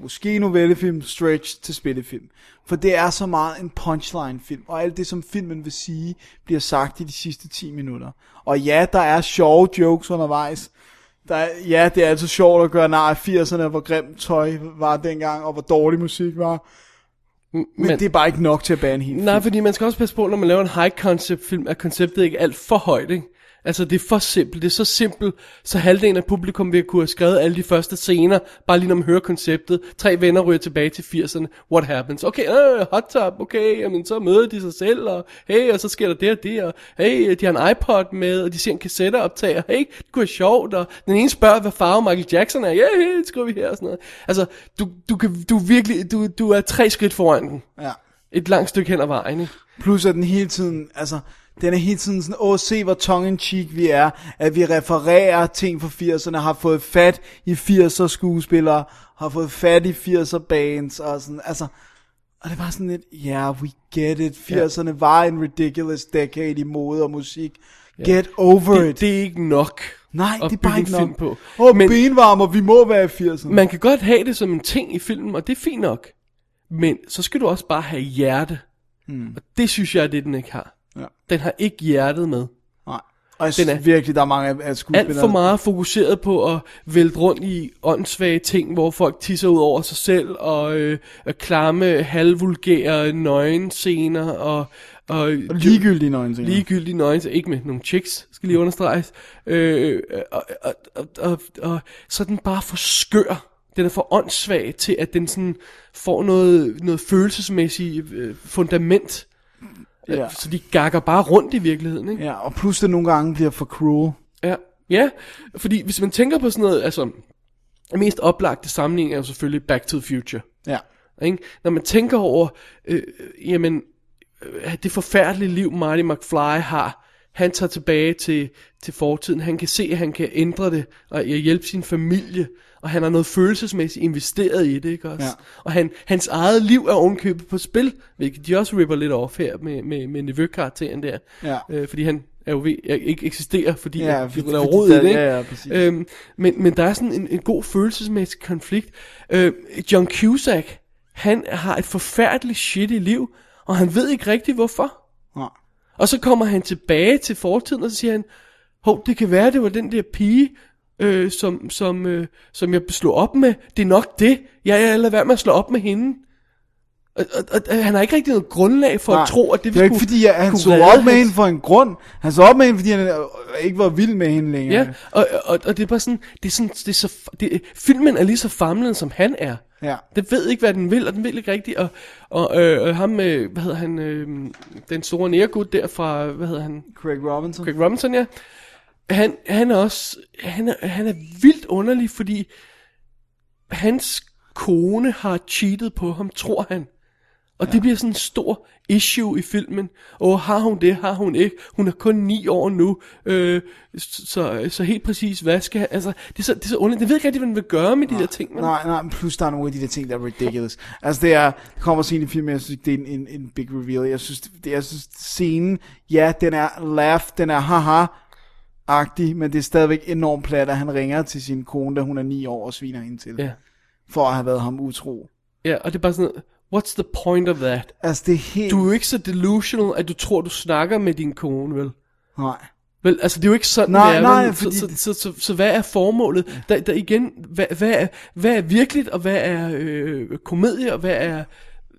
[SPEAKER 5] Måske novellefilm, stretch til spillefilm. For det er så meget en punchline-film, og alt det, som filmen vil sige, bliver sagt i de sidste 10 minutter. Og ja, der er sjove jokes undervejs, Der er, ja, det er altid sjovt at gøre nar af 80'erne, hvor grimt tøj var dengang, og hvor dårlig musik var. Men, men
[SPEAKER 4] men-
[SPEAKER 5] det er bare ikke nok til at bære en hel
[SPEAKER 4] Nej, fordi man skal også passe på, når man laver en high concept film, at konceptet ikke er alt for højt, ikke? Altså, det er for simpelt. Det er så simpelt, så halvdelen af publikum vil kunne have skrevet alle de første scener, bare lige når man hører konceptet. Tre venner ryger tilbage til 80'erne. What happens? Okay, øh, hot top, okay, jamen, så møder de sig selv, og hey, og så sker der det og det, og hey, de har en iPod med, og de ser en kassetteoptager. Hey, det kunne være sjovt, og den ene spørger, hvad farve Michael Jackson er. Ja, yeah, det skriver vi her, og sådan noget. Altså, du, du, kan, du, er virkelig, du, du er tre skridt foran den
[SPEAKER 5] Ja.
[SPEAKER 4] et langt stykke hen ad vejen, ikke?
[SPEAKER 5] Plus at den hele tiden, altså, den er hele tiden sådan, åh, se hvor tongue-in-cheek vi er, at vi refererer ting fra 80'erne, har fået fat i 80'er skuespillere, har fået fat i 80'er bands, og sådan, altså, og det var sådan lidt, ja, yeah, we get it, 80'erne var en ridiculous decade i mode og musik, get over
[SPEAKER 4] Det,
[SPEAKER 5] it.
[SPEAKER 4] det er ikke nok. at
[SPEAKER 5] Nej, det er
[SPEAKER 4] bygge
[SPEAKER 5] bare
[SPEAKER 4] en
[SPEAKER 5] ikke nok.
[SPEAKER 4] Film på.
[SPEAKER 5] Åh,
[SPEAKER 4] men
[SPEAKER 5] benvarmer, vi må være i 80'erne.
[SPEAKER 4] man kan godt have det som en ting i filmen, og det er fint nok. Men så skal du også bare have hjerte. Mm. Og det synes jeg, er det den ikke har.
[SPEAKER 5] Hmm. Ja.
[SPEAKER 4] Den har ikke hjertet med.
[SPEAKER 5] Nej. Og jeg
[SPEAKER 4] Den
[SPEAKER 5] synes
[SPEAKER 4] er-
[SPEAKER 5] virkelig, der er mange af- af skuespillerne.
[SPEAKER 4] Alt for meget fokuseret på at vælte rundt i åndssvage ting, hvor folk tisser ud over sig selv, og øh, og klamme, halvvulgære nøgenscener, og, og, og
[SPEAKER 5] Ligegyldige nøgentinger.
[SPEAKER 4] ligegyldige nøgens, ikke med nogle chicks, skal lige understreges. Øh, og, og, og, og, og, så er den bare for skør. Den er for åndssvag til, at den sådan får noget, noget følelsesmæssigt øh, fundament.
[SPEAKER 5] Ja.
[SPEAKER 4] Så de gakker bare rundt i virkeligheden, ikke?
[SPEAKER 5] ja, og plus det nogle gange bliver for cruel.
[SPEAKER 4] Ja. ja, fordi hvis man tænker på sådan noget, altså, den mest oplagte sammenligning er jo selvfølgelig Back to the Future.
[SPEAKER 5] Ja.
[SPEAKER 4] Ikke? Når man tænker over, øh, øh, jamen, øh, det forfærdelige liv Marty McFly har, han tager tilbage til, til fortiden, han kan se, at han kan ændre det, og hjælpe sin familie, og han har noget følelsesmæssigt investeret i det, ikke også?
[SPEAKER 5] Ja.
[SPEAKER 4] Og han, hans eget liv er ovenkøbet på spil, hvilket de også ripper lidt off her med, med, med nevøkarakteren der,
[SPEAKER 5] Ja.
[SPEAKER 4] øh, fordi han AOV ikke eksisterer, fordi
[SPEAKER 5] Ja,
[SPEAKER 4] ja, at,
[SPEAKER 5] fordi-
[SPEAKER 4] fordi, der er
[SPEAKER 5] fordi
[SPEAKER 4] rod i
[SPEAKER 5] der-
[SPEAKER 4] det, ikke?
[SPEAKER 5] ja, ja, præcis.
[SPEAKER 4] øhm, men, men der er sådan en, en god følelsesmæssig konflikt. Øh, John Cusack, han har et forfærdeligt shit i liv, og han ved ikke rigtig hvorfor.
[SPEAKER 5] Nej.
[SPEAKER 4] Og så kommer han tilbage til fortiden, og så siger han, hov, det kan være, det var den der pige, øh, som, som, øh, som jeg slog op med. Det er nok det. Jeg jeg lader være med at slå op med hende. Og, og, og, og han har ikke rigtig noget grundlag for Nej, at tro, at det,
[SPEAKER 5] det er jo ikke
[SPEAKER 4] skulle-
[SPEAKER 5] fordi, at han
[SPEAKER 4] kunne
[SPEAKER 5] så
[SPEAKER 4] redde
[SPEAKER 5] op med
[SPEAKER 4] hans-
[SPEAKER 5] hende for en grund. Han så op med hende, fordi han øh, ikke var vild med hende længere.
[SPEAKER 4] Ja, og, og, og det er bare sådan, det er sådan, det er så, det, filmen er lige så famlende, som han er.
[SPEAKER 5] Ja.
[SPEAKER 4] Den ved ikke, hvad den vil, og den vil ikke rigtigt, og, og øh, øh, ham, øh, hvad hedder han, øh, den store nærgud der fra, hvad hedder han,
[SPEAKER 5] Craig Robinson.
[SPEAKER 4] Craig Robinson, ja. Han, han er også, han er, han er vildt underlig, fordi hans kone har cheatet på ham, tror han. Og ja. det bliver sådan en stor issue i filmen. Og har hun det, har hun ikke. Hun er kun ni år nu. Øh, så, så helt præcis, hvad skal han- Altså, det er så, det er så underligt. Jeg ved ikke rigtig, hvad man vil gøre med de der ting. men-
[SPEAKER 5] Nej, nej, men plus der er nogle af de der ting, der er ridiculous. Altså det er, det kommer sent i filmen, jeg synes ikke, det er en, en, en big reveal. Jeg synes, det, jeg synes, scenen, ja, den er laugh, den er haha-agtig, men det er stadigvæk enormt plat, at han ringer til sin kone, da hun er ni år og sviner hende til.
[SPEAKER 4] Ja.
[SPEAKER 5] For at have været ham utro.
[SPEAKER 4] Ja, og det er bare sådan, what's the point of that?
[SPEAKER 5] Altså det er helt...
[SPEAKER 4] Du er jo ikke så delusional, at du tror, du snakker med din kone, vel?
[SPEAKER 5] Nej.
[SPEAKER 4] Vel, altså det er jo ikke sådan,
[SPEAKER 5] Nej,
[SPEAKER 4] det er,
[SPEAKER 5] nej,
[SPEAKER 4] vel?
[SPEAKER 5] fordi-
[SPEAKER 4] så, så, så, så, så hvad er formålet? Der, der igen, hvad, hvad, er, hvad er virkeligt, og hvad er øh, komedie, og hvad er...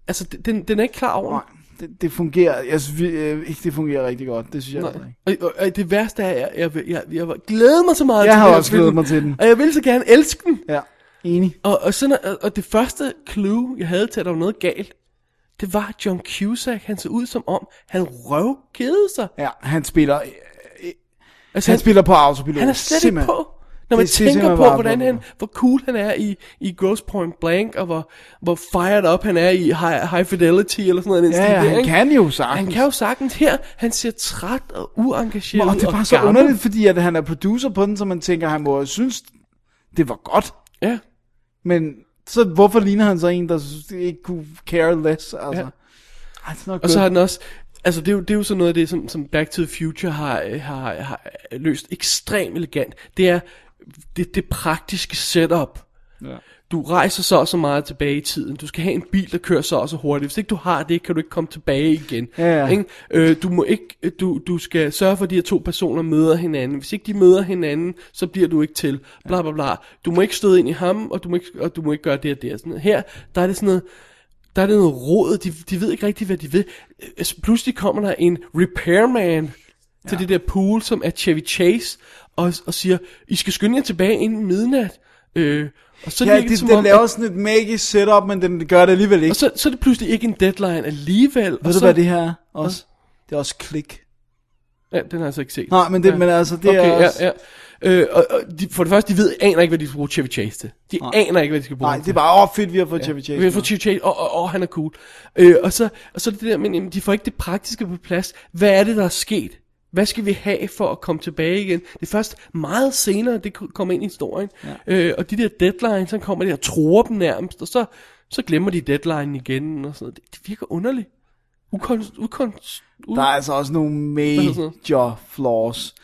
[SPEAKER 4] Altså, det- den, den er ikke klar over.
[SPEAKER 5] Nej, det, det fungerer, jeg synes vi- øh, ikke, det fungerer rigtig godt, det synes jeg altså
[SPEAKER 4] Nej.
[SPEAKER 5] ikke.
[SPEAKER 4] Og, og, og det værste er, at jeg, jeg, jeg, jeg, jeg glæder mig så meget
[SPEAKER 5] Jeg
[SPEAKER 4] til
[SPEAKER 5] har
[SPEAKER 4] den her
[SPEAKER 5] også glædet
[SPEAKER 4] film,
[SPEAKER 5] mig til den.
[SPEAKER 4] Og jeg vil så gerne elske den.
[SPEAKER 5] Ja, enig.
[SPEAKER 4] Og, og, sådan, og, og det første clue, jeg havde til, at der var noget galt, det var at John Cusack. Han så ud som om, han røvkede sig.
[SPEAKER 5] Ja, han spiller, øh,
[SPEAKER 4] Altså,
[SPEAKER 5] han spiller på autopilot.
[SPEAKER 4] Han er slet ikke
[SPEAKER 5] simpelthen.
[SPEAKER 4] på. Når man
[SPEAKER 5] Det er
[SPEAKER 4] tænker
[SPEAKER 5] simpelthen
[SPEAKER 4] på,
[SPEAKER 5] bare
[SPEAKER 4] hvordan
[SPEAKER 5] på.
[SPEAKER 4] han, hvor cool han er i, i Gross Point Blank, og hvor, hvor fired up han er i High, high Fidelity, eller sådan noget. i den
[SPEAKER 5] Ja,
[SPEAKER 4] stil
[SPEAKER 5] ja,
[SPEAKER 4] der,
[SPEAKER 5] han
[SPEAKER 4] ikke?
[SPEAKER 5] kan jo sagtens.
[SPEAKER 4] Han kan jo sagtens her, han ser træt og uengageret
[SPEAKER 5] Og
[SPEAKER 4] ud,
[SPEAKER 5] det er bare så
[SPEAKER 4] gammel.
[SPEAKER 5] underligt, fordi at han er producer på den, så man tænker, han må synes, det var godt.
[SPEAKER 4] Ja,
[SPEAKER 5] Men så hvorfor ligner han så en, der synes, ikke kunne care less? Altså.
[SPEAKER 4] Ja.
[SPEAKER 5] Ej, det er nok
[SPEAKER 4] og så har den også... Altså det er, jo, det er jo sådan noget af det som, som Back to the Future har, øh, har, har løst ekstremt elegant Det er det, det praktiske setup du rejser så og så meget tilbage i tiden. Du skal have en bil, der kører så og så hurtigt. Hvis ikke du har det, kan du ikke komme tilbage igen.
[SPEAKER 5] Ja, ja.
[SPEAKER 4] Ikke? Øh, du, må ikke, du, du skal sørge for, at de her to personer møder hinanden. Hvis ikke de møder hinanden, så bliver du ikke til. Bla, bla, bla. Du må ikke støde ind i ham, og du må ikke, og du må ikke gøre det og det. Og sådan noget. Her, der er det sådan noget, der er det noget råd, de, de ved ikke rigtig, hvad de ved. Øh, altså, Pludselig kommer der en repairman til det der pool, som er Chevy Chase, og, og siger, I skal skynde jer tilbage inden midnat. Øh, og så
[SPEAKER 5] ja,
[SPEAKER 4] virker
[SPEAKER 5] det,
[SPEAKER 4] som
[SPEAKER 5] den
[SPEAKER 4] om,
[SPEAKER 5] laver
[SPEAKER 4] at-
[SPEAKER 5] sådan et magisk setup, men den gør det alligevel ikke.
[SPEAKER 4] og så, så er det pludselig ikke en deadline alligevel.
[SPEAKER 5] Ved
[SPEAKER 4] og
[SPEAKER 5] du,
[SPEAKER 4] så,
[SPEAKER 5] hvad det her er? Også? Det er også klik.
[SPEAKER 4] Ja, den har jeg så ikke set.
[SPEAKER 5] Nej, men, det, men altså, det
[SPEAKER 4] okay,
[SPEAKER 5] er også...
[SPEAKER 4] ja, ja. Øh, og, og de, for det første, de ved, aner ikke, hvad de skal bruge Chevy Chase til. De Nej. aner ikke, hvad de skal bruge
[SPEAKER 5] Nej,
[SPEAKER 4] ham
[SPEAKER 5] det er bare, åh, fedt, vi har fået Chevy Chase.
[SPEAKER 4] Vi har fået Chevy Chase, og, og, og han er cool. Øh, og, så, og så er det det der, men jamen, de får ikke det praktiske på plads. Hvad er det, der er sket? Hvad skal vi have for at komme tilbage igen? Det er først meget senere, det ko- kommer ind i historien. Ja. Øh, og de der deadlines, så kommer de og tror dem nærmest, og så, så glemmer de deadline igen. Og sådan noget. Det, det virker underligt. Ukon, ukon, u-
[SPEAKER 5] Der er altså også nogle
[SPEAKER 4] hedder sådan
[SPEAKER 5] major flaws.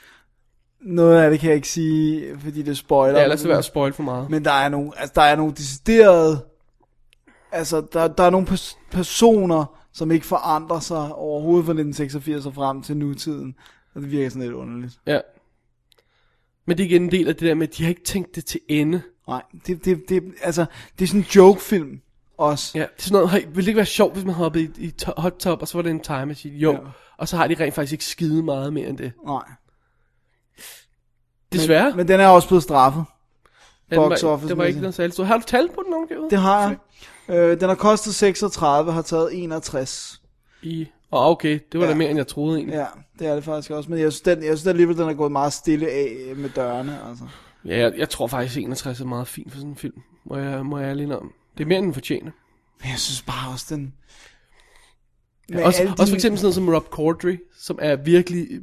[SPEAKER 5] Noget af det kan jeg ikke sige, fordi det spoiler.
[SPEAKER 4] Ja, lad os være at spoil for meget.
[SPEAKER 5] Men der er nogle, altså, der er nogle deciderede, altså der, der er nogle pers- personer, som ikke forandrer sig overhovedet fra 1986 og frem til nutiden. Og det virker sådan lidt underligt.
[SPEAKER 4] Ja. Men det er igen en del af det der med, at de har ikke tænkt det til ende.
[SPEAKER 5] Nej, det, det, det, altså, det er sådan en joke-film også.
[SPEAKER 4] Ja, det er sådan noget, hey, ville det ikke være sjovt, hvis man hoppede i, i to- hot top, og så var det en time machine? Jo.
[SPEAKER 5] Ja.
[SPEAKER 4] Ja. Og så har de rent faktisk ikke skide meget mere end det.
[SPEAKER 5] Nej.
[SPEAKER 4] Desværre.
[SPEAKER 5] Men den er også blevet straffet.
[SPEAKER 4] den var-
[SPEAKER 5] box office
[SPEAKER 4] Det var ikke
[SPEAKER 5] mæssigt.
[SPEAKER 4] noget særligt. stort. Har du talt på den ovengivet?
[SPEAKER 5] Det har jeg. Øh, den har kostet 36, har taget 61.
[SPEAKER 4] I... Åh, oh, okay. Det var
[SPEAKER 5] Ja.
[SPEAKER 4] da mere, end jeg troede egentlig.
[SPEAKER 5] Ja, det er det faktisk også. Men jeg synes, den, jeg synes alligevel, den er gået meget stille af med dørene. Altså.
[SPEAKER 4] Ja, jeg, jeg tror faktisk, 61 er meget fint for sådan en film. Må jeg, må jeg ærlig indrømme. Det er mere, end den fortjener.
[SPEAKER 5] Men jeg synes bare også, den...
[SPEAKER 4] Ja, også, også for eksempel sådan noget som Rob Corddry, som er virkelig øh,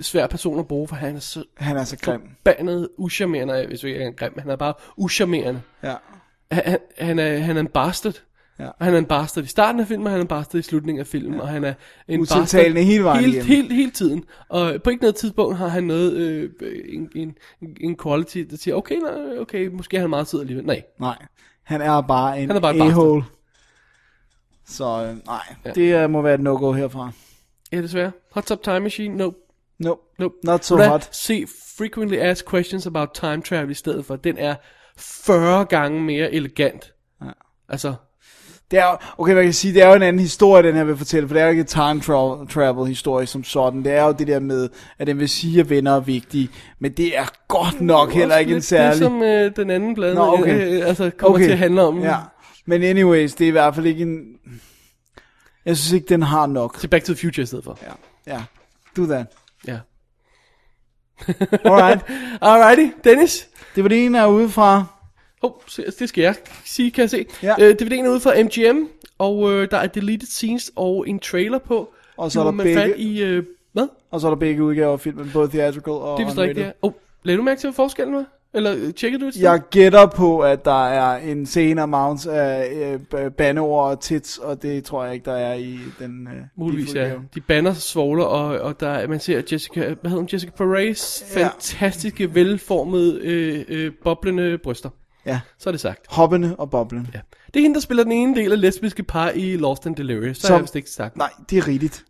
[SPEAKER 4] svær person at bruge, for han er så
[SPEAKER 5] Han er så grim.
[SPEAKER 4] bandet uschammerende, hvis vi ikke er grim, han er bare uschammerende.
[SPEAKER 5] Ja.
[SPEAKER 4] Han, han, er, han er en bastard. Ja. Og han er en bastard i starten af filmen, og han er en bastard i slutningen af filmen, ja. og han er en
[SPEAKER 5] Utiltalende
[SPEAKER 4] bastard
[SPEAKER 5] hele vejen
[SPEAKER 4] hele,
[SPEAKER 5] igennem.
[SPEAKER 4] hele, hele tiden. Og på ikke noget tidspunkt har han noget, øh, en, en, en quality, der siger, okay, nej, okay, måske er han meget sød alligevel. Nej,
[SPEAKER 5] Nej, han er bare en
[SPEAKER 4] Han er bare et
[SPEAKER 5] a-hole. Så øh, nej, ja. det uh, må være et no-go herfra.
[SPEAKER 4] ja desværre. Hot Top Time Machine, nope.
[SPEAKER 5] Nope.
[SPEAKER 4] Nope.
[SPEAKER 5] Not so
[SPEAKER 4] Ved du hvad?
[SPEAKER 5] hot.
[SPEAKER 4] Se Frequently Asked Questions About Time Travel i stedet for. Den er 40 gange mere elegant.
[SPEAKER 5] Ja.
[SPEAKER 4] Altså,
[SPEAKER 5] Det er, jo- okay, man kan sige, det er jo en anden historie, den her vil fortælle, for det er jo ikke en time tra- travel historie som sådan. Det er jo det der med, at den vil sige, at venner er vigtige, men det er godt nok heller ikke en
[SPEAKER 4] Mm, lidt
[SPEAKER 5] særlig...
[SPEAKER 4] Ligesom øh, den anden blad,
[SPEAKER 5] Nå, okay.
[SPEAKER 4] øh, altså, kommer okay. til at handle om.
[SPEAKER 5] Ja. Men anyways, det er i hvert fald ikke en... Jeg synes ikke, den har nok.
[SPEAKER 4] Til Back to the Future i stedet for.
[SPEAKER 5] Ja. ja. Do that.
[SPEAKER 4] Ja.
[SPEAKER 5] Alright.
[SPEAKER 4] Alrighty, Dennis.
[SPEAKER 5] Det var det ene, der er udefra.
[SPEAKER 4] Oh, se- det skal jeg sige, kan jeg se.
[SPEAKER 5] Ja.
[SPEAKER 4] Øh, DVD'en er ude fra MGM, og øh, der er deleted scenes og en trailer på.
[SPEAKER 5] Og så
[SPEAKER 4] Nu
[SPEAKER 5] er der
[SPEAKER 4] har man
[SPEAKER 5] begge-
[SPEAKER 4] fat i... Øh, hvad?
[SPEAKER 5] Og så er der begge udgaver af filmen, både theatrical og
[SPEAKER 4] Det er vist rigtigt, ja.
[SPEAKER 5] unrated.
[SPEAKER 4] Oh, lagde du mærke til, hvad forskellen var? Eller øh, tjekkede du et sted?
[SPEAKER 5] Jeg gætter på, at der er en senere amount af øh, b- bandeord og tits, og det tror jeg ikke, der er i den øh,
[SPEAKER 4] Muligvis, ja.
[SPEAKER 5] biludgave.
[SPEAKER 4] De banner sig svogler, og, og der, man ser Jessica, hvad hedder hun, Jessica Perez
[SPEAKER 5] Ja.
[SPEAKER 4] fantastiske, velformede, øh, øh, boblende bryster.
[SPEAKER 5] ja.
[SPEAKER 4] Så er det sagt.
[SPEAKER 5] Hoppende og boblen. Ja.
[SPEAKER 4] Ja. Det er hende, der spiller den ene del af lesbiske par i Lost and Delirious. Så
[SPEAKER 5] Som-
[SPEAKER 4] har jeg vist ikke sagt.
[SPEAKER 5] Nej, det er rigtigt.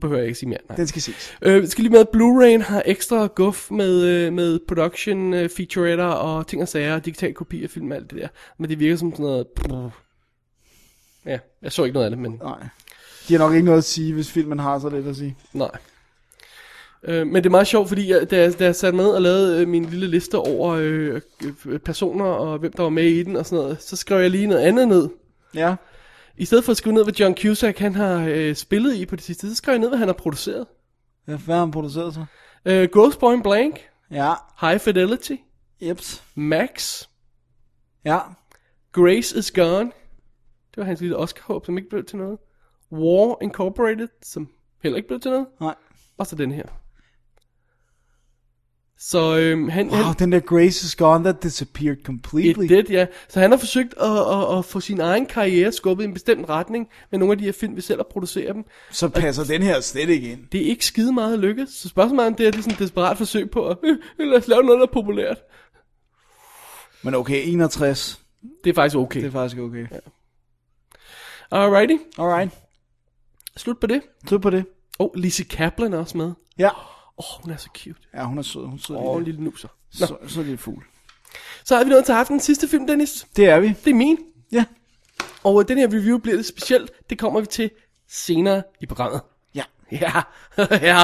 [SPEAKER 4] Behøver jeg ikke sige mere. Nej.
[SPEAKER 5] Den skal ses.
[SPEAKER 4] Øh, vi skal lige med, at Blu-ray'en har ekstra guf med, øh, med production øh, featuretter og ting og sager og digital kopi af film og alt det der. Men det virker som sådan noget... Ja, jeg så ikke noget af det, men
[SPEAKER 5] Nej. De har nok ikke noget at sige, hvis filmen har så lidt at sige.
[SPEAKER 4] Nej. Øh, men det er meget sjovt, fordi jeg, da, jeg, da jeg satte med og lavede øh, min lille liste over øh, øh, personer og hvem der var med i den og sådan noget, så skrev jeg lige noget andet ned.
[SPEAKER 5] Ja.
[SPEAKER 4] I stedet for at skrive ned, hvad John Cusack han har øh, spillet i på det sidste, så skrev jeg ned, hvad han har produceret.
[SPEAKER 5] Hvad hvad har han produceret så?
[SPEAKER 4] Øh, Ghost Point Blank,
[SPEAKER 5] Ja.
[SPEAKER 4] High Fidelity,
[SPEAKER 5] Jeps.
[SPEAKER 4] Max,
[SPEAKER 5] Ja.
[SPEAKER 4] Grace is Gone. Det var hans lille Oscar-håb, som ikke blev til noget. War Incorporated, som heller ikke blev til noget.
[SPEAKER 5] Nej.
[SPEAKER 4] Og så den her. Så øhm, han, han,
[SPEAKER 5] Wow, den der Grace is gone, that disappeared completely.
[SPEAKER 4] It did, ja. Så han har forsøgt at, at, at få sin egen karriere skubbet i en bestemt retning med nogle af de her film, vi selv har produceret dem.
[SPEAKER 5] Så passer den her slet ikke ind.
[SPEAKER 4] Det er ikke skide meget lykkes, så spørgsmålet er, om det er et sådan et desperat forsøg på at, øh, lad os lave noget, der er populært.
[SPEAKER 5] Men okay, 61.
[SPEAKER 4] Det er faktisk okay.
[SPEAKER 5] Det er faktisk okay. Ja.
[SPEAKER 4] Alrighty,
[SPEAKER 5] Alright.
[SPEAKER 4] slut på det.
[SPEAKER 5] Tød på det.
[SPEAKER 4] Åh, oh, Lise Kaplan er også med. Åh,
[SPEAKER 5] Ja.
[SPEAKER 4] oh, hun er så cute.
[SPEAKER 5] Ja, hun er sød. Hun er sød.
[SPEAKER 4] Åh, oh, en
[SPEAKER 5] Oh,
[SPEAKER 4] lille nuser. Nå,
[SPEAKER 5] så, så er det fugl.
[SPEAKER 4] så er vi nået til aftenens sidste film, Dennis.
[SPEAKER 5] Det er vi.
[SPEAKER 4] Det er min.
[SPEAKER 5] Ja.
[SPEAKER 4] Og øh, den her review bliver lidt speciel. Det kommer vi til senere i programmet.
[SPEAKER 5] Ja.
[SPEAKER 4] Ja, ja.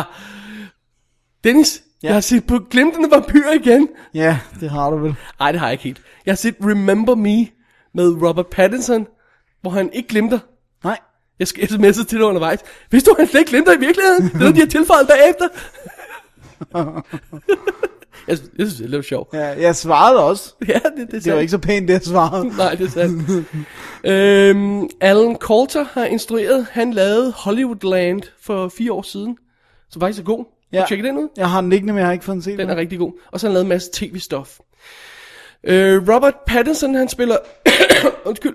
[SPEAKER 4] Dennis, ja. jeg har set på Glimtende Vampyr igen.
[SPEAKER 5] Ja, det har du vel.
[SPEAKER 4] Nej, det har jeg ikke helt. Jeg har set Remember Me med Robert Pattinson, hvor han ikke glimter.
[SPEAKER 5] Nej.
[SPEAKER 4] Jeg skal sms'e til dig undervejs. Vidste du, han slet ikke glimter i virkeligheden? Det er noget, de har tilføjet bagefter. jeg, synes- jeg synes, det er lidt sjovt.
[SPEAKER 5] Ja, jeg svarede også.
[SPEAKER 4] Ja, det, det, er
[SPEAKER 5] Det var
[SPEAKER 4] sandt.
[SPEAKER 5] ikke så pænt, det jeg svarede.
[SPEAKER 4] Nej, det er sandt. øhm, Alan Coulter har instrueret. Han lavede Hollywoodland for fire år siden. Så faktisk er god. Ja.
[SPEAKER 5] Ja.
[SPEAKER 4] Tjek den ud.
[SPEAKER 5] Jeg har den liggende, men jeg har ikke fået den set.
[SPEAKER 4] Den er
[SPEAKER 5] endnu.
[SPEAKER 4] rigtig god. Og så har han lavet en masse tv-stof. Øh, Robert Pattinson, han spiller... undskyld.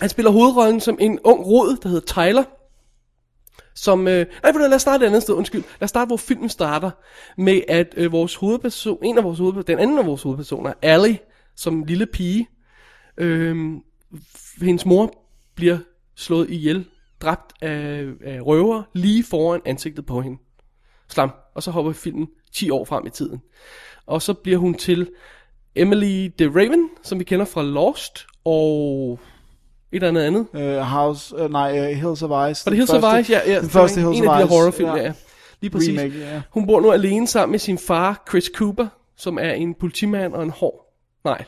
[SPEAKER 4] Han spiller hovedrollen som en ung rod, der hedder Tyler. Som, øh, nej, ved du hvad, lad os starte et andet sted, undskyld. Lad os starte, hvor filmen starter. Med at øh, vores hovedperson, en af vores hovedpersoner, den anden af vores hovedpersoner, Allie, som lille pige, øh, hendes mor bliver slået ihjel, dræbt af, af røver, lige foran ansigtet på hende slam. Og så hopper filmen 10 år frem i tiden. Og så bliver hun til Emily the Raven, som vi kender fra Lost, og et eller andet andet.
[SPEAKER 5] Øh, House, øh, nej, uh, Hills of Ice.
[SPEAKER 4] Var det Hills of Ice? Ja, ja.
[SPEAKER 5] Den første
[SPEAKER 4] det var
[SPEAKER 5] Hills
[SPEAKER 4] en, en
[SPEAKER 5] of
[SPEAKER 4] af de
[SPEAKER 5] Ice.
[SPEAKER 4] her horrorfilm, ja. ja. Lige præcis.
[SPEAKER 5] Remake, ja.
[SPEAKER 4] Hun bor nu alene sammen med sin far, Chris Cooper, som er en politimand og en hård negl.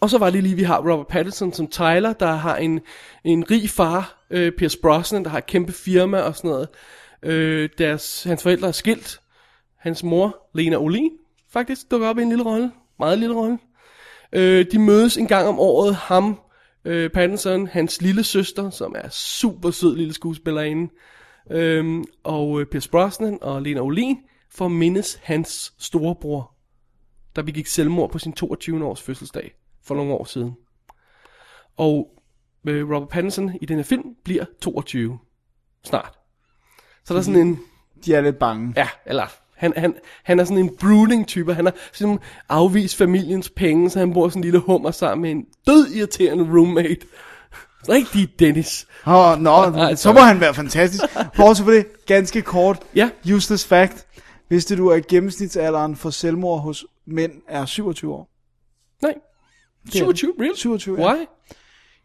[SPEAKER 4] Og så var det lige, vi har Robert Pattinson som Tyler, der har en, en rig far, øh, Pierce Brosnan, der har et kæmpe firma og sådan noget. Øh, deres, hans forældre er skilt. Hans mor, Lena Olin, faktisk dukker op i en lille rolle. Meget lille rolle. Øh, de mødes en gang om året, ham, øh, Pattinson, hans lille søster, som er super sød lille skuespillerinde, øhm, og øh, Pierce Brosnan og Lena Olin, for at mindes hans storebror, der begik selvmord på sin 22. års fødselsdag for nogle år siden. Og øh, Robert Pattinson i den her film bliver 22. Snart. Så der er sådan en...
[SPEAKER 5] De er lidt bange.
[SPEAKER 4] Ja, eller... Han, han, han er sådan en brooding type. Han har sådan afvist familiens penge, så han bor sådan en lille hummer sammen med en død irriterende roommate. Rigtig Dennis.
[SPEAKER 5] Åh, nå,
[SPEAKER 4] Nej,
[SPEAKER 5] så må han være fantastisk. Bortset for det, ganske kort,
[SPEAKER 4] Ja.
[SPEAKER 5] useless fact. Vidste du, at gennemsnitsalderen for selvmord hos mænd er 27 år?
[SPEAKER 4] Nej. 27, really?
[SPEAKER 5] 27, ja.
[SPEAKER 4] Why?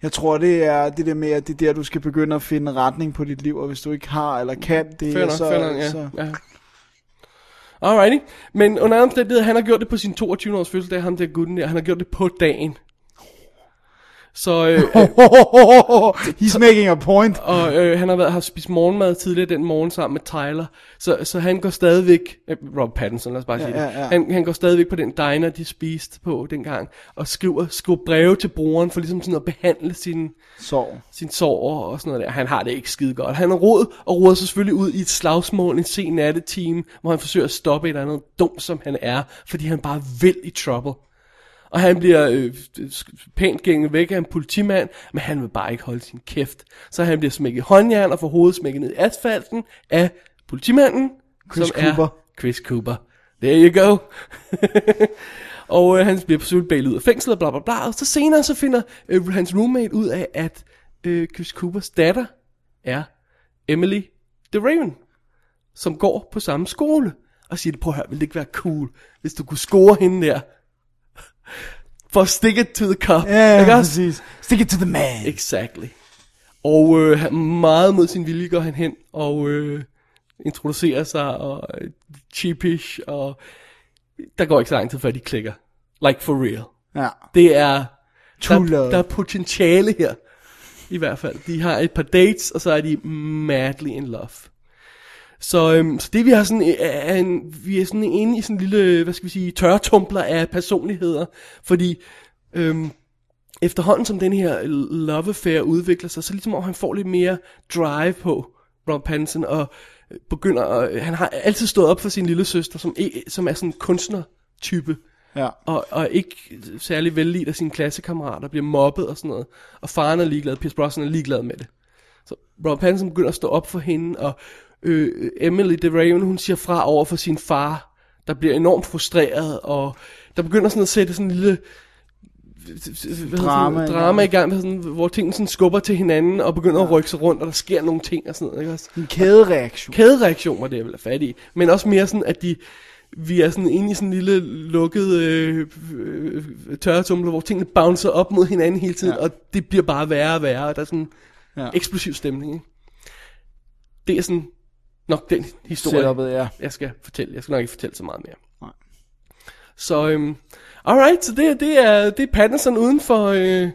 [SPEAKER 5] Jeg tror, det er det der med, at det er der, du skal begynde at finde retning på dit liv, og hvis du ikke har eller kan det,
[SPEAKER 4] Mm. Fair nok,
[SPEAKER 5] så...
[SPEAKER 4] fair nok, ja.
[SPEAKER 5] så
[SPEAKER 4] ja. Alrighty. Men under andre omstændigheder, han har gjort det på sin 22 års fødselsdag, ham der gutten der, han har gjort det på dagen. Så øh,
[SPEAKER 5] He's making a point.
[SPEAKER 4] og, øh, han har været har spist morgenmad tidligere den morgen sammen med Tyler. Så, så han går stadigvæk, øh, Rob Pattinson, lad os bare sige det.
[SPEAKER 5] ja, ja.
[SPEAKER 4] Han, han går stadigvæk på den diner, de spiste på dengang, og skriver, skriver breve til brugeren for ligesom sådan at behandle sin,
[SPEAKER 5] Sorg.
[SPEAKER 4] sin sorg og sådan noget der. Han har det ikke skide godt. Han er rod og roder sig selvfølgelig ud i et slagsmål en sen nattetime, hvor han forsøger at stoppe et eller andet dumt, som han er, fordi han bare vil i trouble. Og han bliver øh, sk- pænt gænget væk af en politimand, men han vil bare ikke holde sin kæft. Så han bliver smækket i håndjern og får hovedet smækket ned i asfalten af politimanden,
[SPEAKER 5] Chris
[SPEAKER 4] som
[SPEAKER 5] Cooper.
[SPEAKER 4] er Chris Cooper. There you go. og øh, han bliver forsøgt bailet ud af fængslet, og bla bla bla. Og så senere så finder øh, hans roommate ud af, at øh, Chris Coopers datter er Emily The Raven, som går på samme skole. Og siger, prøv at høre, ville det ikke være cool, hvis du kunne score hende der? For stick it to the cup.
[SPEAKER 5] Ja,
[SPEAKER 4] ikke
[SPEAKER 5] ja,
[SPEAKER 4] også?
[SPEAKER 5] præcis. Stick it to the man.
[SPEAKER 4] Exactly. Og øh, han- meget mod sin vilje går han hen og øh, introducerer sig og øh, cheapish, og der går ikke så lang tid før de klikker. Like for real.
[SPEAKER 5] Ja.
[SPEAKER 4] Det er,
[SPEAKER 5] True
[SPEAKER 4] der,
[SPEAKER 5] love.
[SPEAKER 4] der er potentiale her, i hvert fald. De har et par dates, og så er de madly in love. Så, øhm, så det vi har sådan, øh, er en, vi er sådan inde i sådan en lille, hvad skal vi sige, tørretumbler af personligheder, fordi øhm, efterhånden som den her love affair udvikler sig, så ligesom om han får lidt mere drive på Rob Pattinson, og øh, begynder at, han har altid stået op for sin lille søster, som, e- som er sådan en kunstner-type,
[SPEAKER 5] Ja.
[SPEAKER 4] og, og ikke særlig vellidt af sine klassekammerater, bliver mobbet og sådan noget. Og faren er ligeglad, Pierce Brosnan er ligeglad med det. Så Rob Pattinson begynder at stå op for hende, og øh, Emily de Raven, hun siger fra over for sin far, der bliver enormt frustreret, og der begynder sådan at sætte sådan en lille hvad hedder
[SPEAKER 5] Drama i
[SPEAKER 4] sådan,
[SPEAKER 5] gang.
[SPEAKER 4] drama i gang, med sådan, hvor tingene sådan skubber til hinanden, og begynder ja. at rykke sig rundt, og der sker nogle ting og sådan noget, ikke også?
[SPEAKER 5] En kædereaktion.
[SPEAKER 4] kædereaktioner, det er jeg vel er fat i. Men også mere sådan, at de, vi er sådan inde i sådan en lille lukket øh, øh, tørretumbler, hvor tingene bouncer op mod hinanden hele tiden, ja.
[SPEAKER 5] Ja.
[SPEAKER 4] og det bliver bare værre og værre, og der er sådan en ja.
[SPEAKER 5] Ja.
[SPEAKER 4] eksplosiv stemning. Ikke? Det er sådan nok den historie,
[SPEAKER 5] Setup'et, ja.
[SPEAKER 4] jeg skal fortælle. Jeg skal nok ikke fortælle så meget mere.
[SPEAKER 5] Nej.
[SPEAKER 4] Så, øhm, alright, så det, det er, det er Pattinson uden for, øh,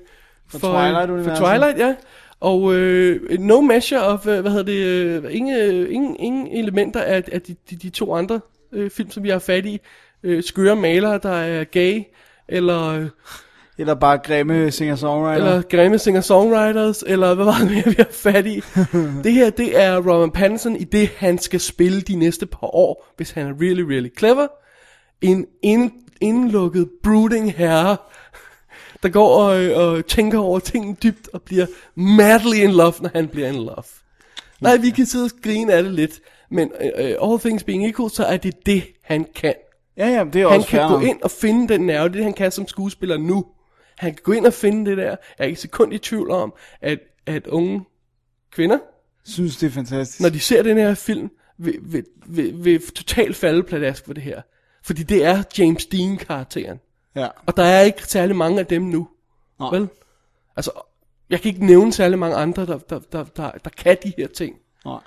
[SPEAKER 4] for,
[SPEAKER 5] Twilight-universet.
[SPEAKER 4] for Twilight, ja. Og øh, no measure of, øh, hvad hedder det, øh, ingen, ingen, ingen elementer af, af de, de, de to andre øh, film, som vi har fat i. Øh, skøre malere, der er gay, eller, øh,
[SPEAKER 5] Eller bare grimme singer-songwriter.
[SPEAKER 4] eller grimme singer-songwriters, eller hvad var det mere, vi har fat i. det her, det er Robin Pattinson i det, han skal spille de næste par år, hvis han er really, really clever. En ind, indlukket, brooding herre, der går og, og tænker over tingene dybt og bliver madly in love, når han bliver in love. Nej, vi kan sidde og grine af det lidt, men uh, all things being equal, så er det det, han kan.
[SPEAKER 5] Ja, ja, det er
[SPEAKER 4] Han
[SPEAKER 5] også fair
[SPEAKER 4] kan gå
[SPEAKER 5] nok.
[SPEAKER 4] ind og finde den nerve, det er det, han kan som skuespiller nu. Han kan gå ind og finde det der. Jeg er ikke et sekund i tvivl om, at, at unge kvinder,
[SPEAKER 5] Synes, det er fantastisk.
[SPEAKER 4] når de ser den her film, vil, vil, vil, vil totalt falde pladask for det her. Fordi det er James Dean-karakteren.
[SPEAKER 5] Ja.
[SPEAKER 4] Og der er ikke særlig mange af dem nu.
[SPEAKER 5] Nå.
[SPEAKER 4] Vel? Altså, jeg kan ikke nævne særlig mange andre, der, der, der, der, der kan de her ting.
[SPEAKER 5] Nej.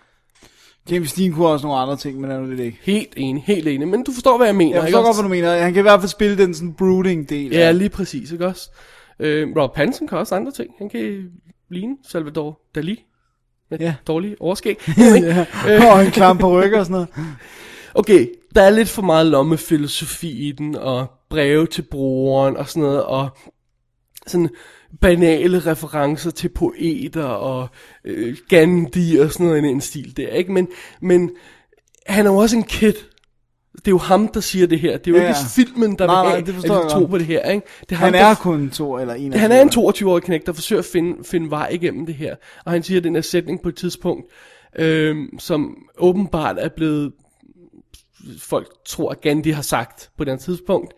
[SPEAKER 5] James Dean kunne også nogle andre ting, men er nu lidt ikke.
[SPEAKER 4] Helt enig, helt enig. Men du forstår, hvad jeg mener.
[SPEAKER 5] Jeg
[SPEAKER 4] ikke
[SPEAKER 5] forstår godt,
[SPEAKER 4] også?
[SPEAKER 5] hvad du mener. Han kan i hvert fald spille den sådan brooding del.
[SPEAKER 4] Ja, lige præcis, ikke også? Øh, Rob Pattinson kan også andre ting. Han kan ligne Salvador Dali med
[SPEAKER 5] Ja.
[SPEAKER 4] dårlige overskæg. øh.
[SPEAKER 5] ja. Og en klam på ryg og sådan noget.
[SPEAKER 4] okay, der er lidt for meget lommefilosofi i den, og breve til brugeren og sådan noget, og sådan banale referencer til poeter og øh, Gandhi og sådan noget i den stil der, ikke? Men, men han er jo også en kid. det er jo ham, der siger det her. Det er jo
[SPEAKER 5] Ja,
[SPEAKER 4] ja. ikke
[SPEAKER 5] ja.
[SPEAKER 4] filmen, der
[SPEAKER 5] Nej,
[SPEAKER 4] vil
[SPEAKER 5] nej,
[SPEAKER 4] have,
[SPEAKER 5] det
[SPEAKER 4] at
[SPEAKER 5] forstår jeg
[SPEAKER 4] vi tror
[SPEAKER 5] godt.
[SPEAKER 4] på det her. Ikke? Det er ham,
[SPEAKER 5] Han
[SPEAKER 4] der
[SPEAKER 5] er kun to eller en.
[SPEAKER 4] han er en 22-årig knæk, der forsøger at finde, finde vej igennem det her. Og han siger den her sætning på et tidspunkt, øh, som åbenbart er blevet, folk tror, at Gandhi har sagt på den tidspunkt.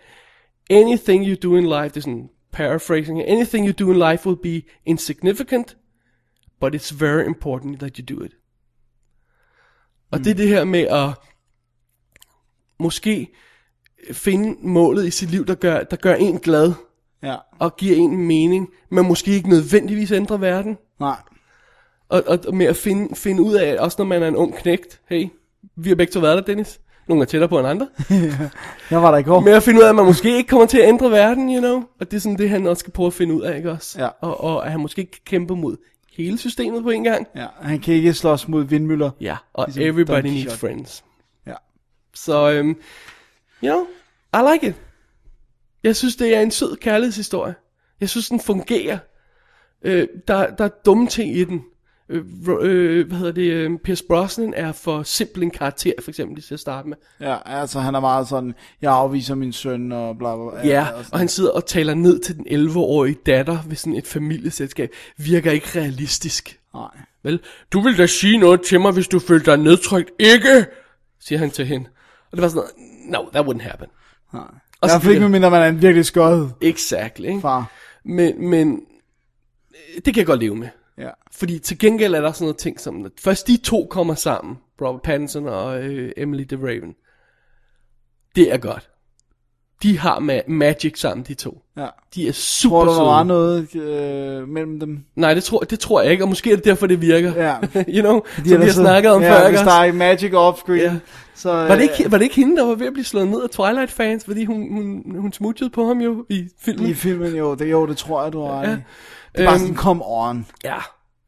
[SPEAKER 4] Anything you do in life, det er sådan paraphrasing, anything you do in life will be insignificant, but it's very important that you do it. Og mm. det er det her med at måske finde målet i sit liv, der gør, der gør en glad
[SPEAKER 5] Ja,
[SPEAKER 4] og giver en mening, men måske ikke nødvendigvis ændrer verden.
[SPEAKER 5] nej.
[SPEAKER 4] Og, og og med at finde, finde ud af, også når man er en ung knægt, hey, vi har begge to været der, Dennis. Nogle er tættere på end andre.
[SPEAKER 5] Jeg var der i går.
[SPEAKER 4] Med at finde ud af, at man måske ikke kommer til at ændre verden, you know. Og det er sådan det, han også skal prøve at finde ud af, ikke også?
[SPEAKER 5] Ja.
[SPEAKER 4] Og, og at han måske ikke kan kæmpe mod hele systemet på en gang.
[SPEAKER 5] Ja, han kan ikke slås mod vindmøller.
[SPEAKER 4] Ja, og
[SPEAKER 5] Ligesom Don
[SPEAKER 4] everybody
[SPEAKER 5] Quixote.
[SPEAKER 4] needs friends.
[SPEAKER 5] Ja.
[SPEAKER 4] Så, øhm, you know, I like it. Jeg synes, det er en sød kærlighedshistorie. Jeg synes, den fungerer. Øh, der, der er dumme ting i den. Øh, ro- øh, hvad hedder det? Øh, Pierce Brosnan er for simpel en karakter, for eksempel, lige til at starte med.
[SPEAKER 5] Ja, altså han er meget sådan, jeg afviser min søn og bla bla. Altså, bla.
[SPEAKER 4] Ja,
[SPEAKER 5] og sådan.
[SPEAKER 4] og han sidder og taler ned til den 11-årige datter ved sådan et familieselskab. Virker ikke realistisk.
[SPEAKER 5] Nej.
[SPEAKER 4] Vel, du vil da sige noget til mig, hvis du følte dig nedtrykt. Ikke, siger han til hende. Og det var sådan noget, no, that wouldn't happen.
[SPEAKER 5] Nej.
[SPEAKER 4] Og
[SPEAKER 5] Og
[SPEAKER 4] så
[SPEAKER 5] jeg fik
[SPEAKER 4] bliver-
[SPEAKER 5] med mindre, man er en virkelig skød
[SPEAKER 4] Exactly, ikke?
[SPEAKER 5] far.
[SPEAKER 4] Men, men øh, det kan jeg godt leve med.
[SPEAKER 5] Ja.
[SPEAKER 4] Fordi til gengæld er der sådan noget ting som, at først de to kommer sammen, Robert Pattinson og øh, Emily the Raven. Det er godt. De har ma- magic sammen, de to.
[SPEAKER 5] ja.
[SPEAKER 4] De er
[SPEAKER 5] Tror
[SPEAKER 4] super
[SPEAKER 5] du, der var
[SPEAKER 4] søde.
[SPEAKER 5] noget øh, mellem dem?
[SPEAKER 4] Nej, det tror, det tror jeg ikke, og måske er det derfor, det virker.
[SPEAKER 5] Ja.
[SPEAKER 4] you know, som vi har snakket om
[SPEAKER 5] ja,
[SPEAKER 4] før.
[SPEAKER 5] hvis
[SPEAKER 4] ikke
[SPEAKER 5] der
[SPEAKER 4] også?
[SPEAKER 5] er magic off-screen,
[SPEAKER 4] Ja.
[SPEAKER 5] ja. så... Øh,
[SPEAKER 4] Var det, ikke, var det ikke hende, der var ved at blive slået ned af Twilight-fans, fordi hun, hun, hun smutjede på ham jo i filmen?
[SPEAKER 5] I filmen, jo, det, jo, det tror jeg, du har. Ja.
[SPEAKER 4] Ja.
[SPEAKER 5] Det er bare
[SPEAKER 4] Øhm,
[SPEAKER 5] sådan, come on.
[SPEAKER 4] Ja.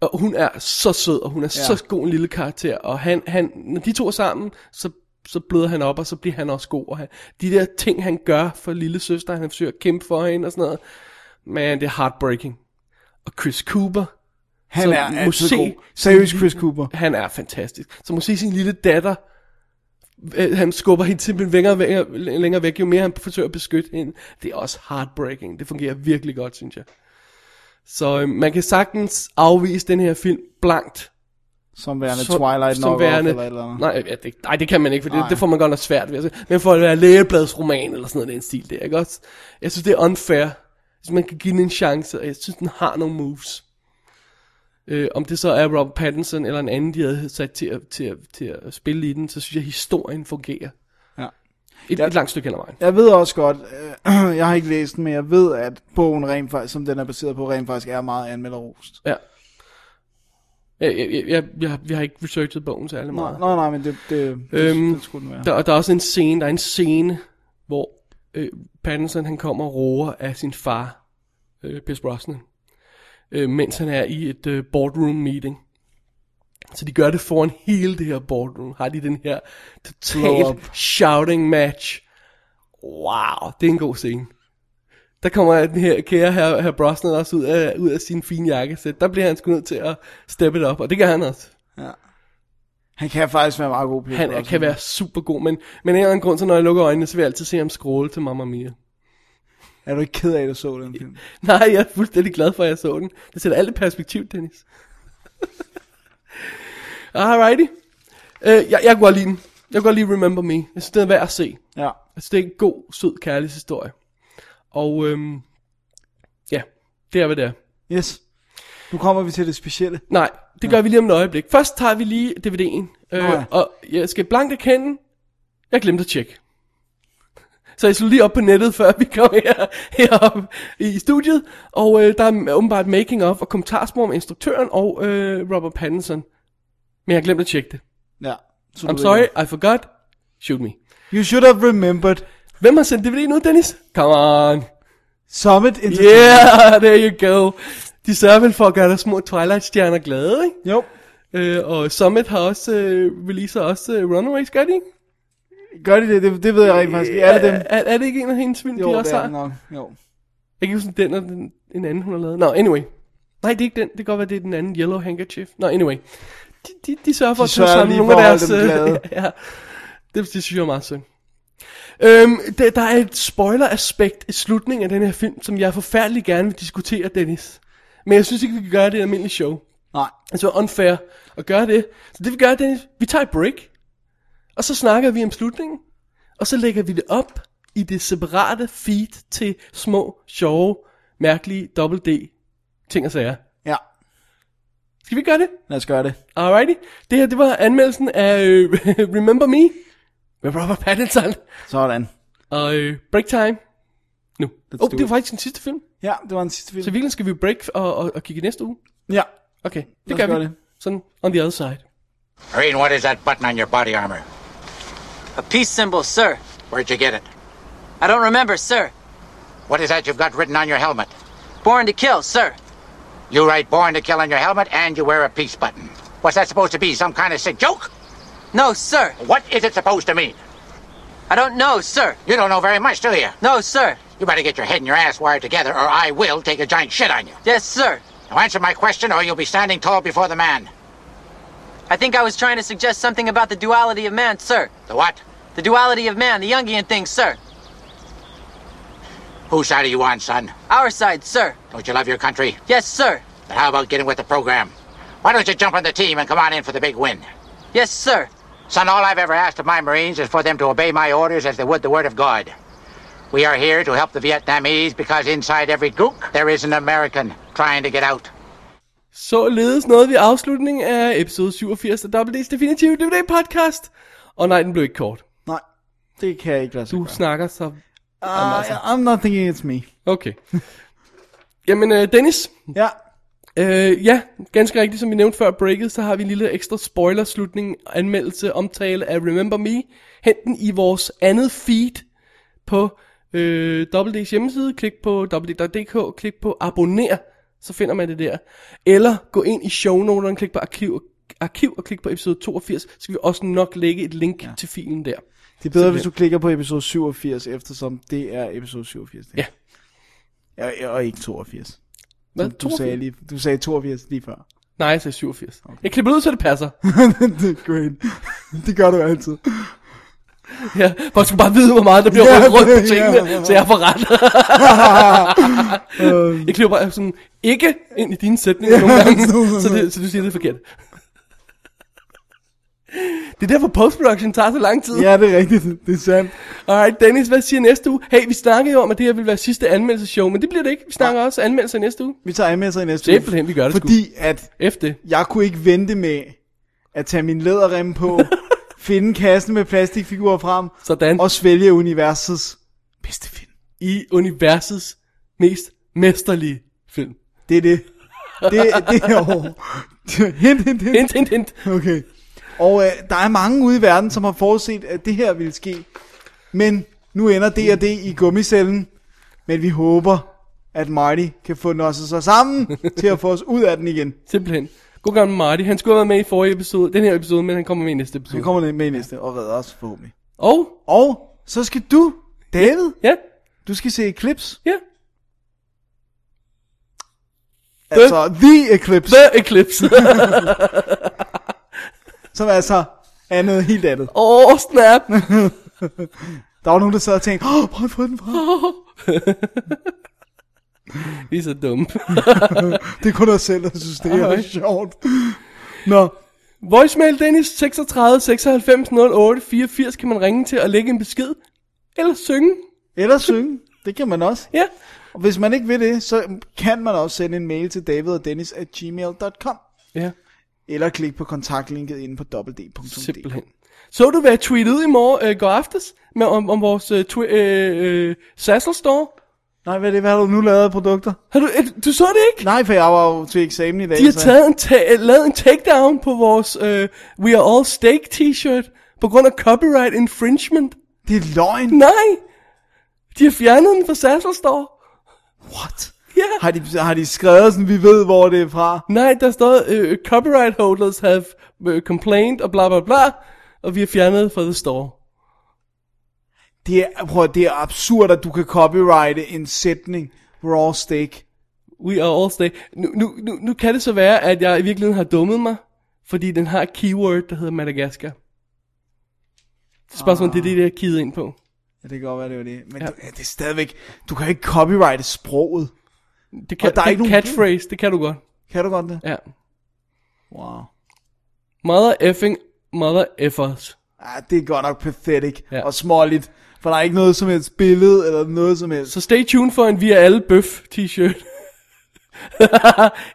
[SPEAKER 4] Og hun er så sød, og hun er
[SPEAKER 5] Ja.
[SPEAKER 4] ja. så god en lille karakter. Og han, han, når de to er sammen, så, så bløder han op, og så bliver han også god. Og han, de der ting, han gør for lille søster, han forsøger at kæmpe for hende og sådan noget. Man, det er heartbreaking. Og Chris Cooper,
[SPEAKER 5] Han
[SPEAKER 4] så
[SPEAKER 5] er altid
[SPEAKER 4] måske-
[SPEAKER 5] god. Seriøst, Chris Cooper.
[SPEAKER 4] han er fantastisk. Så måske sin lille datter, øh, han skubber hende simpelthen længere, væk- længere væk, jo mere han forsøger at beskytte hende. Det er også heartbreaking. Det fungerer virkelig godt, synes jeg. Så øh, man kan sagtens afvise den her film blankt.
[SPEAKER 5] Som værende
[SPEAKER 4] Som-
[SPEAKER 5] Twilight
[SPEAKER 4] som
[SPEAKER 5] knockoff
[SPEAKER 4] værende-
[SPEAKER 5] eller et eller andet.
[SPEAKER 4] Nej, ja, det, nej, det kan man ikke, for det,
[SPEAKER 5] Nej.
[SPEAKER 4] det får man godt nok svært ved. at se. Men for at være lægebladsroman eller sådan noget, den stil der, ikke også? Jeg synes, det er unfair, hvis man kan give den en chance, og jeg synes, den har nogle moves. Øh, om det så er Robert Pattinson eller en anden, de havde sat til at, til, at, til at spille i den, så synes jeg, historien fungerer.
[SPEAKER 5] Ja.
[SPEAKER 4] Et,
[SPEAKER 5] Ja.
[SPEAKER 4] ja. et langt stykke hen ad vejen.
[SPEAKER 5] Jeg ved også godt, øh, jeg har ikke læst den, men jeg ved, at bogen rent faktisk, som den er baseret på, rent faktisk er meget anmelderost.
[SPEAKER 4] Ja. Jeg, jeg, jeg, jeg, jeg, jeg har ikke researchet bogen særlig meget.
[SPEAKER 5] Nej, nej, nej, men det, det, det,
[SPEAKER 4] Øhm,
[SPEAKER 5] det skulle den være.
[SPEAKER 4] Der, og der er også en scene, der er en scene, hvor øh, Pattinson han kommer og roer af sin far, øh, Pierce Brosnan, øh, mens han er i et øh, boardroom meeting. Så de gør det foran hele det her boardroom. Har de den her
[SPEAKER 5] Blow
[SPEAKER 4] total
[SPEAKER 5] up.
[SPEAKER 4] shouting match. Wow, det er en god scene. Der kommer den her kære her, her Brosnan også ud af, ud af sin fine jakkesæt. Der bliver han sgu nødt til at steppe det op, og det gør han også.
[SPEAKER 5] Han kan faktisk være meget god på
[SPEAKER 4] Han er, kan være super god, men, men af en eller anden grund, så når jeg lukker øjnene, så vil jeg altid se ham scrolle til Mamma Mia.
[SPEAKER 5] Er du ikke ked af, at du så den film?
[SPEAKER 4] Nej, jeg er fuldstændig glad for, at jeg så den. Det sætter alt i perspektiv, Dennis. Alrighty. Øh, jeg, jeg kunne godt lide den. Jeg kunne godt lide Remember Me. Jeg synes, det er værd at se.
[SPEAKER 5] Ja.
[SPEAKER 4] Altså, det er en god, sød kærlighedshistorie. Og øhm, ja, det er, hvad det er.
[SPEAKER 5] Yes. Nu kommer vi til det specielle.
[SPEAKER 4] Nej, det gør vi lige om et øjeblik. Først tager vi lige DVD'en. Øh,
[SPEAKER 5] ja.
[SPEAKER 4] Og jeg skal blankt erkende, jeg glemte at tjekke. Så jeg slog lige op på nettet, før vi kom her, herop i studiet. Og øh, der er åbenbart making of og kommentarspor om instruktøren og øh, Robert Pattinson. Men jeg glemte at tjekke det.
[SPEAKER 5] Ja. Så du
[SPEAKER 4] I'm
[SPEAKER 5] ved
[SPEAKER 4] sorry, I forgot. Shoot me.
[SPEAKER 5] det. You should have remembered.
[SPEAKER 4] Hvem har sendt DVD'en ud, Dennis? Come on.
[SPEAKER 5] Summit Entertainment.
[SPEAKER 4] Yeah, there you go. De sørger vel for at gøre der små Twilight-stjerner glade, ikke?
[SPEAKER 5] Jo.
[SPEAKER 4] Øh, og Summit har også, øh, releaser også øh, Runaways, gør de ikke?
[SPEAKER 5] Gør de det? Det, det ved jeg rent faktisk. ikke. Er det dem?
[SPEAKER 4] Er, er, er det ikke en af hendes film,
[SPEAKER 5] Jo,
[SPEAKER 4] de
[SPEAKER 5] det
[SPEAKER 4] også
[SPEAKER 5] er
[SPEAKER 4] har?
[SPEAKER 5] det nok. Jo.
[SPEAKER 4] Jeg kan ikke huske, den og den, en anden, hun har lavet. Nå, anyway. Nej, det er ikke den. Det kan godt være, det er den anden Yellow Handkerchief. Nå, anyway. De, de, de sørger for
[SPEAKER 5] De
[SPEAKER 4] at tage
[SPEAKER 5] sørger
[SPEAKER 4] sammen
[SPEAKER 5] lige
[SPEAKER 4] nogle af
[SPEAKER 5] for at
[SPEAKER 4] deres...
[SPEAKER 5] holde dem
[SPEAKER 4] øh,
[SPEAKER 5] glade.
[SPEAKER 4] ja, ja. Det, det synes jeg er meget synd. Øhm, der, der er et spoiler-aspekt i slutningen af den her film, som jeg forfærdelig gerne vil diskutere, Dennis. Men jeg synes ikke, vi kan gøre det i et almindeligt show.
[SPEAKER 5] Nej.
[SPEAKER 4] Altså unfair at gøre det. Så det vi gør, Dennis, vi tager et break. Og så snakker vi om slutningen. Og så lægger vi det op i det separate feed til små, sjove, mærkelige dobbelt D ting og sager.
[SPEAKER 5] Ja,
[SPEAKER 4] Skal vi gøre det?
[SPEAKER 5] lad os gøre det.
[SPEAKER 4] Alrighty. Det her, det var anmeldelsen af øh, Remember Me med Robert Pattinson.
[SPEAKER 5] Sådan.
[SPEAKER 4] Og øh, break time. Nu. Åh, oh,
[SPEAKER 5] do
[SPEAKER 4] det var
[SPEAKER 5] it.
[SPEAKER 4] faktisk den sidste film.
[SPEAKER 5] Ja, det var en sidste film.
[SPEAKER 4] Så virkelig skal vi break og, og, og kigge i næste uge.
[SPEAKER 5] Ja.
[SPEAKER 4] Okay,
[SPEAKER 5] Lad
[SPEAKER 4] det
[SPEAKER 5] os
[SPEAKER 4] gør
[SPEAKER 5] gøre
[SPEAKER 4] vi.
[SPEAKER 5] det.
[SPEAKER 4] Sådan, on the other side.
[SPEAKER 10] Marine, what is that button on your body armor?
[SPEAKER 9] A peace symbol, sir.
[SPEAKER 10] Where'd you get it?
[SPEAKER 9] I don't remember, sir.
[SPEAKER 10] What is that you've got written on your helmet?
[SPEAKER 9] Born to kill, sir.
[SPEAKER 10] You write born to kill on your helmet and you wear a peace button. What's that supposed to be? Some kind of sick joke?
[SPEAKER 9] No, sir.
[SPEAKER 10] What is it supposed to mean?
[SPEAKER 9] I don't know, sir.
[SPEAKER 10] You don't know very much, do you?
[SPEAKER 9] No, sir.
[SPEAKER 10] You better get your head and your ass wired together or I will take a giant shit on you.
[SPEAKER 9] Yes, sir.
[SPEAKER 10] Now answer my question or you'll be standing tall before the man.
[SPEAKER 9] I think I was trying to suggest something about the duality of man, sir.
[SPEAKER 10] The what?
[SPEAKER 9] The duality of man, the Jungian thing, sir.
[SPEAKER 10] Whose side are you on, son?
[SPEAKER 9] Our side, sir.
[SPEAKER 10] Don't you love your country?
[SPEAKER 9] Yes, sir.
[SPEAKER 10] Then how about getting with the program? Why don't you jump on the team and come on in for the big win?
[SPEAKER 9] Yes, sir.
[SPEAKER 10] Son, all I've ever asked of my Marines is for them to obey my orders as they would the word of God. We are here to help the Vietnamese because inside every gook there is an American trying to get out.
[SPEAKER 4] Således nåede vi afslutningen af episode 87 af WD's Definitive DVD Podcast. Og nej, den blev ikke kort.
[SPEAKER 5] Nej, det kan jeg ikke lade sig
[SPEAKER 4] Du
[SPEAKER 5] gøre.
[SPEAKER 4] snakker så...
[SPEAKER 5] Uh, I'm not thinking it's me.
[SPEAKER 4] Okay. Jamen, øh, Dennis,
[SPEAKER 5] Ja,
[SPEAKER 4] Øh, ja, ganske rigtigt, som vi nævnte før breaket, så har vi en lille ekstra spoiler-slutning, anmeldelse, omtale af Remember Me. Hent den i vores andet feed på øh, WD's hjemmeside. Klik på www.dk, klik på abonner, så finder man det der. Eller gå ind i shownoterne, klik på arkiv, arkiv og klik på episode 82, så skal vi også nok lægge et link ja. til filen der.
[SPEAKER 5] det er bedre, hvis du klikker på episode 87, eftersom det er episode 87. Det. her. Ja, og ikke 82.
[SPEAKER 4] Hvad?
[SPEAKER 5] Du sagde, lige, du sagde 82 lige før.
[SPEAKER 4] Nej, jeg sagde 87. Okay. Jeg klipper det ud, så det passer.
[SPEAKER 5] det er great. Det gør du altid.
[SPEAKER 4] Ja, folk skal bare vide, hvor meget der bliver
[SPEAKER 5] Ja,
[SPEAKER 4] rundt, rundt på
[SPEAKER 5] det- ja.
[SPEAKER 4] tingene, så jeg får ret.
[SPEAKER 5] Øhm.
[SPEAKER 4] jeg klipper bare sådan, ikke ind i dine sætninger nogle gange, så, det, så du siger det er forkert. Det er derfor postproduktion tager så lang tid.
[SPEAKER 5] Ja, det er rigtigt. Det er sandt.
[SPEAKER 4] Alright, Dennis, hvad siger næste uge? Hey, vi snakkede jo om, at det her ville være sidste anmeldelseshow, men det bliver det ikke. Vi snakker også anmeldelser i næste uge.
[SPEAKER 5] Vi tager MS'er i næste
[SPEAKER 4] Simpelthen, vi gør det sgu.
[SPEAKER 5] Fordi at
[SPEAKER 4] Efter det.
[SPEAKER 5] jeg kunne ikke vente med at tage min læderrem på, finde kassen med plastikfigurer frem,
[SPEAKER 4] Sådan.
[SPEAKER 5] og svælge universets bedste film.
[SPEAKER 4] I universets mest mesterlige film.
[SPEAKER 5] Det er det. Det, det er oh. Hint, hint, hint.
[SPEAKER 4] Hint, hint, hint.
[SPEAKER 5] Okay. Og øh, der er mange ude i verden, som har forudset, at det her ville ske. Men nu ender det og det i gummicellen. Men vi håber, at Marty kan få nosset sig sammen til at få os ud af den igen.
[SPEAKER 4] Simpelthen. God gang med Marty. Han skulle have været med i forrige episode, den her episode, men han kommer med i næste episode.
[SPEAKER 5] Vi kommer lidt med i næste og redder os forhåbentlig.
[SPEAKER 4] Og,
[SPEAKER 5] Og så skal du, David,
[SPEAKER 4] ja,
[SPEAKER 5] du skal se Eclipse.
[SPEAKER 4] ja,
[SPEAKER 5] Altså The Eclipse,
[SPEAKER 4] The Eclipse.
[SPEAKER 5] som altså er noget helt andet.
[SPEAKER 4] Åh, oh, snap.
[SPEAKER 5] Der var nogen, der sad og tænkte, åh, prøv at få den fra.
[SPEAKER 4] Vi er så dumme.
[SPEAKER 5] Det er kun os selv, der synes, det her er
[SPEAKER 4] Ej.
[SPEAKER 5] sjovt. Nå,
[SPEAKER 4] Voicemail Dennis 36 96 08 84 kan man ringe til og lægge en besked. Eller synge.
[SPEAKER 5] eller synge. Det kan man også.
[SPEAKER 4] Ja.
[SPEAKER 5] Og hvis man ikke vil det, så kan man også sende en mail til david og dennis at gmail.com.
[SPEAKER 4] Ja,
[SPEAKER 5] Eller klik på kontaktlinket inde på www.dk.
[SPEAKER 4] simpelthen. Så du, hvad jeg tweetede ud i morgen, øh, går aftes, med, om, om vores øh, twi- øh, øh, Sassel Store?
[SPEAKER 5] Nej, hvad er det? Hvad har du nu lavet af produkter?
[SPEAKER 4] Har du, øh, du så det ikke?
[SPEAKER 5] Nej, for jeg var jo til eksamen i dag.
[SPEAKER 4] De har
[SPEAKER 5] så-
[SPEAKER 4] taget en ta- øh, lavet en takedown på vores øh, We Are All Steak t-shirt på grund af copyright infringement.
[SPEAKER 5] Det er løgn.
[SPEAKER 4] Nej! De har fjernet den fra Sassel Store.
[SPEAKER 5] What?
[SPEAKER 4] Ja.
[SPEAKER 5] Har de, har de skrevet sådan, vi ved, hvor det er fra?
[SPEAKER 4] Nej, der stod, øh, copyright holders have øh, complained, og bla bla bla, og vi har fjernet fra the store.
[SPEAKER 5] Det er, prøv, at- det er absurd, at du kan copyrighte en sætning. Raw steak.
[SPEAKER 4] We are all stay. Nu, nu, nu, nu kan det så være, at jeg i virkeligheden har dummet mig, fordi den har et keyword, der hedder Madagaskar. Spørgsmålet, ah. det er det, der er keyet ind på.
[SPEAKER 5] Ja, det kan godt være, det var det. Men
[SPEAKER 4] Ja.
[SPEAKER 5] ja. du, ja, det er stadigvæk... Du kan ikke copyrighte sproget.
[SPEAKER 4] Det kan,
[SPEAKER 5] Og der er
[SPEAKER 4] det
[SPEAKER 5] ikke nogen-
[SPEAKER 4] catchphrase, det kan du godt.
[SPEAKER 5] Kan du godt det?
[SPEAKER 4] Ja.
[SPEAKER 5] Wow.
[SPEAKER 4] Mother effing mother effers.
[SPEAKER 5] Ah, det er godt nok pathetic
[SPEAKER 4] Ja.
[SPEAKER 5] ja. og småligt. For der er ikke noget som helst billede eller noget som helst.
[SPEAKER 4] Så stay tuned for en Vi er alle bøf t-shirt.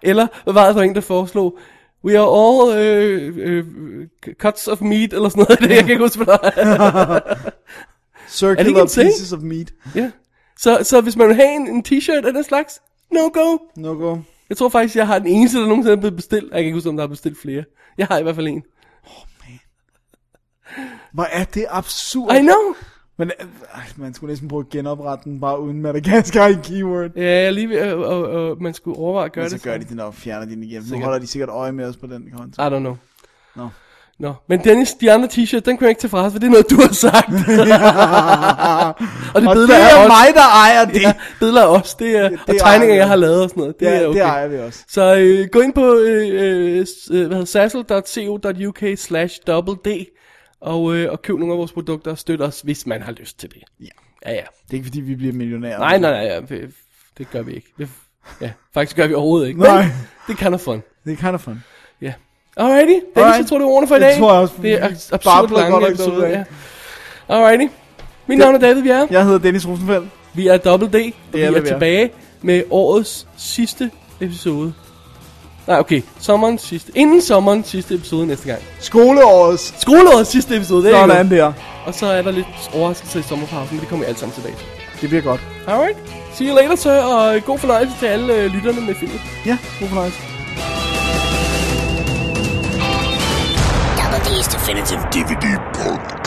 [SPEAKER 4] Eller, hvad var det for en, der foreslog? We are all øh, øh, cuts of meat, eller sådan noget. Jeg kan ikke huske, hvad der er.
[SPEAKER 5] Circular
[SPEAKER 4] en ting?
[SPEAKER 5] pieces of meat.
[SPEAKER 4] ja. så, så hvis man vil have en, en t-shirt af den slags, no go.
[SPEAKER 5] No go.
[SPEAKER 4] Jeg tror faktisk, jeg har den eneste, der nogensinde er blevet bestilt. Jeg kan ikke huske, om der er bestilt flere. Jeg har i hvert fald en.
[SPEAKER 5] Hvor er det absurd.
[SPEAKER 4] I know.
[SPEAKER 5] Men øh, ej, man skulle næsten prøve at genoprette den bare uden Madagaskar i keyword.
[SPEAKER 4] Ja, jeg er lige ved, og, og, og man skulle overveje at gøre
[SPEAKER 5] Men
[SPEAKER 4] det.
[SPEAKER 5] så gør de det nok, fjerner de den igen. Nu
[SPEAKER 4] Sikkert.
[SPEAKER 5] holder de sikkert øje med os på den konto.
[SPEAKER 4] I don't know.
[SPEAKER 5] Nå.
[SPEAKER 4] Nå, men Dennis, de andre t-shirt, den kunne jeg ikke tage fra os, for det er noget, du har sagt. og det,
[SPEAKER 5] Og
[SPEAKER 4] billeder
[SPEAKER 5] det er
[SPEAKER 4] os.
[SPEAKER 5] mig, der ejer det.
[SPEAKER 4] Ja, billeder af os, det er, og
[SPEAKER 5] ejer
[SPEAKER 4] tegninger,
[SPEAKER 5] vi.
[SPEAKER 4] jeg har lavet og sådan noget. Det,
[SPEAKER 5] Ja,
[SPEAKER 4] er okay.
[SPEAKER 5] det ejer vi også.
[SPEAKER 4] Så øh, gå ind på øh, øh, s- øh, hvad hedder, sassel.co.uk slash d og, øh, og køb nogle af vores produkter og støt os, hvis man har lyst til det. Ja. Ja, ja.
[SPEAKER 5] Det er ikke fordi, vi bliver millionærer.
[SPEAKER 4] Nej, nej, nej, ja, det- det gør vi ikke. Det, ja, faktisk gør vi overhovedet ikke.
[SPEAKER 5] Nej.
[SPEAKER 4] Men det er kind of fun.
[SPEAKER 5] Det er kind of fun.
[SPEAKER 4] Ja. Alrighty, Dennis, Alright.
[SPEAKER 5] Alright.
[SPEAKER 4] jeg tror, det er ordene for i
[SPEAKER 5] Det
[SPEAKER 4] dag.
[SPEAKER 5] tror jeg også.
[SPEAKER 4] Det er
[SPEAKER 5] Vi
[SPEAKER 4] absurd
[SPEAKER 5] babler
[SPEAKER 4] lange
[SPEAKER 5] godt nok
[SPEAKER 4] episoder,
[SPEAKER 5] sådan
[SPEAKER 4] ja. Alrighty. Mit navn er David Bjerre.
[SPEAKER 5] Jeg hedder Dennis Rosenfeldt.
[SPEAKER 4] Vi er Double D, og vi
[SPEAKER 5] er
[SPEAKER 4] er
[SPEAKER 5] vi, vi er.
[SPEAKER 4] tilbage med årets sidste episode. Nej, okay. Sommerens sidste. Inden sommerens sidste episode næste gang.
[SPEAKER 5] Skoleårets
[SPEAKER 4] Skoleårets sidste episode, det er jo.
[SPEAKER 5] sådan der.
[SPEAKER 4] Og så er der lidt overraskelser i sommerpausen, men det kommer vi alle sammen tilbage til.
[SPEAKER 5] Det bliver godt.
[SPEAKER 4] Alright. See you later, så, og god fornøjelse til alle øh, lytterne med filmen.
[SPEAKER 5] Ja, god fornøjelse.
[SPEAKER 2] Double D's Definitive
[SPEAKER 11] DVD podcast.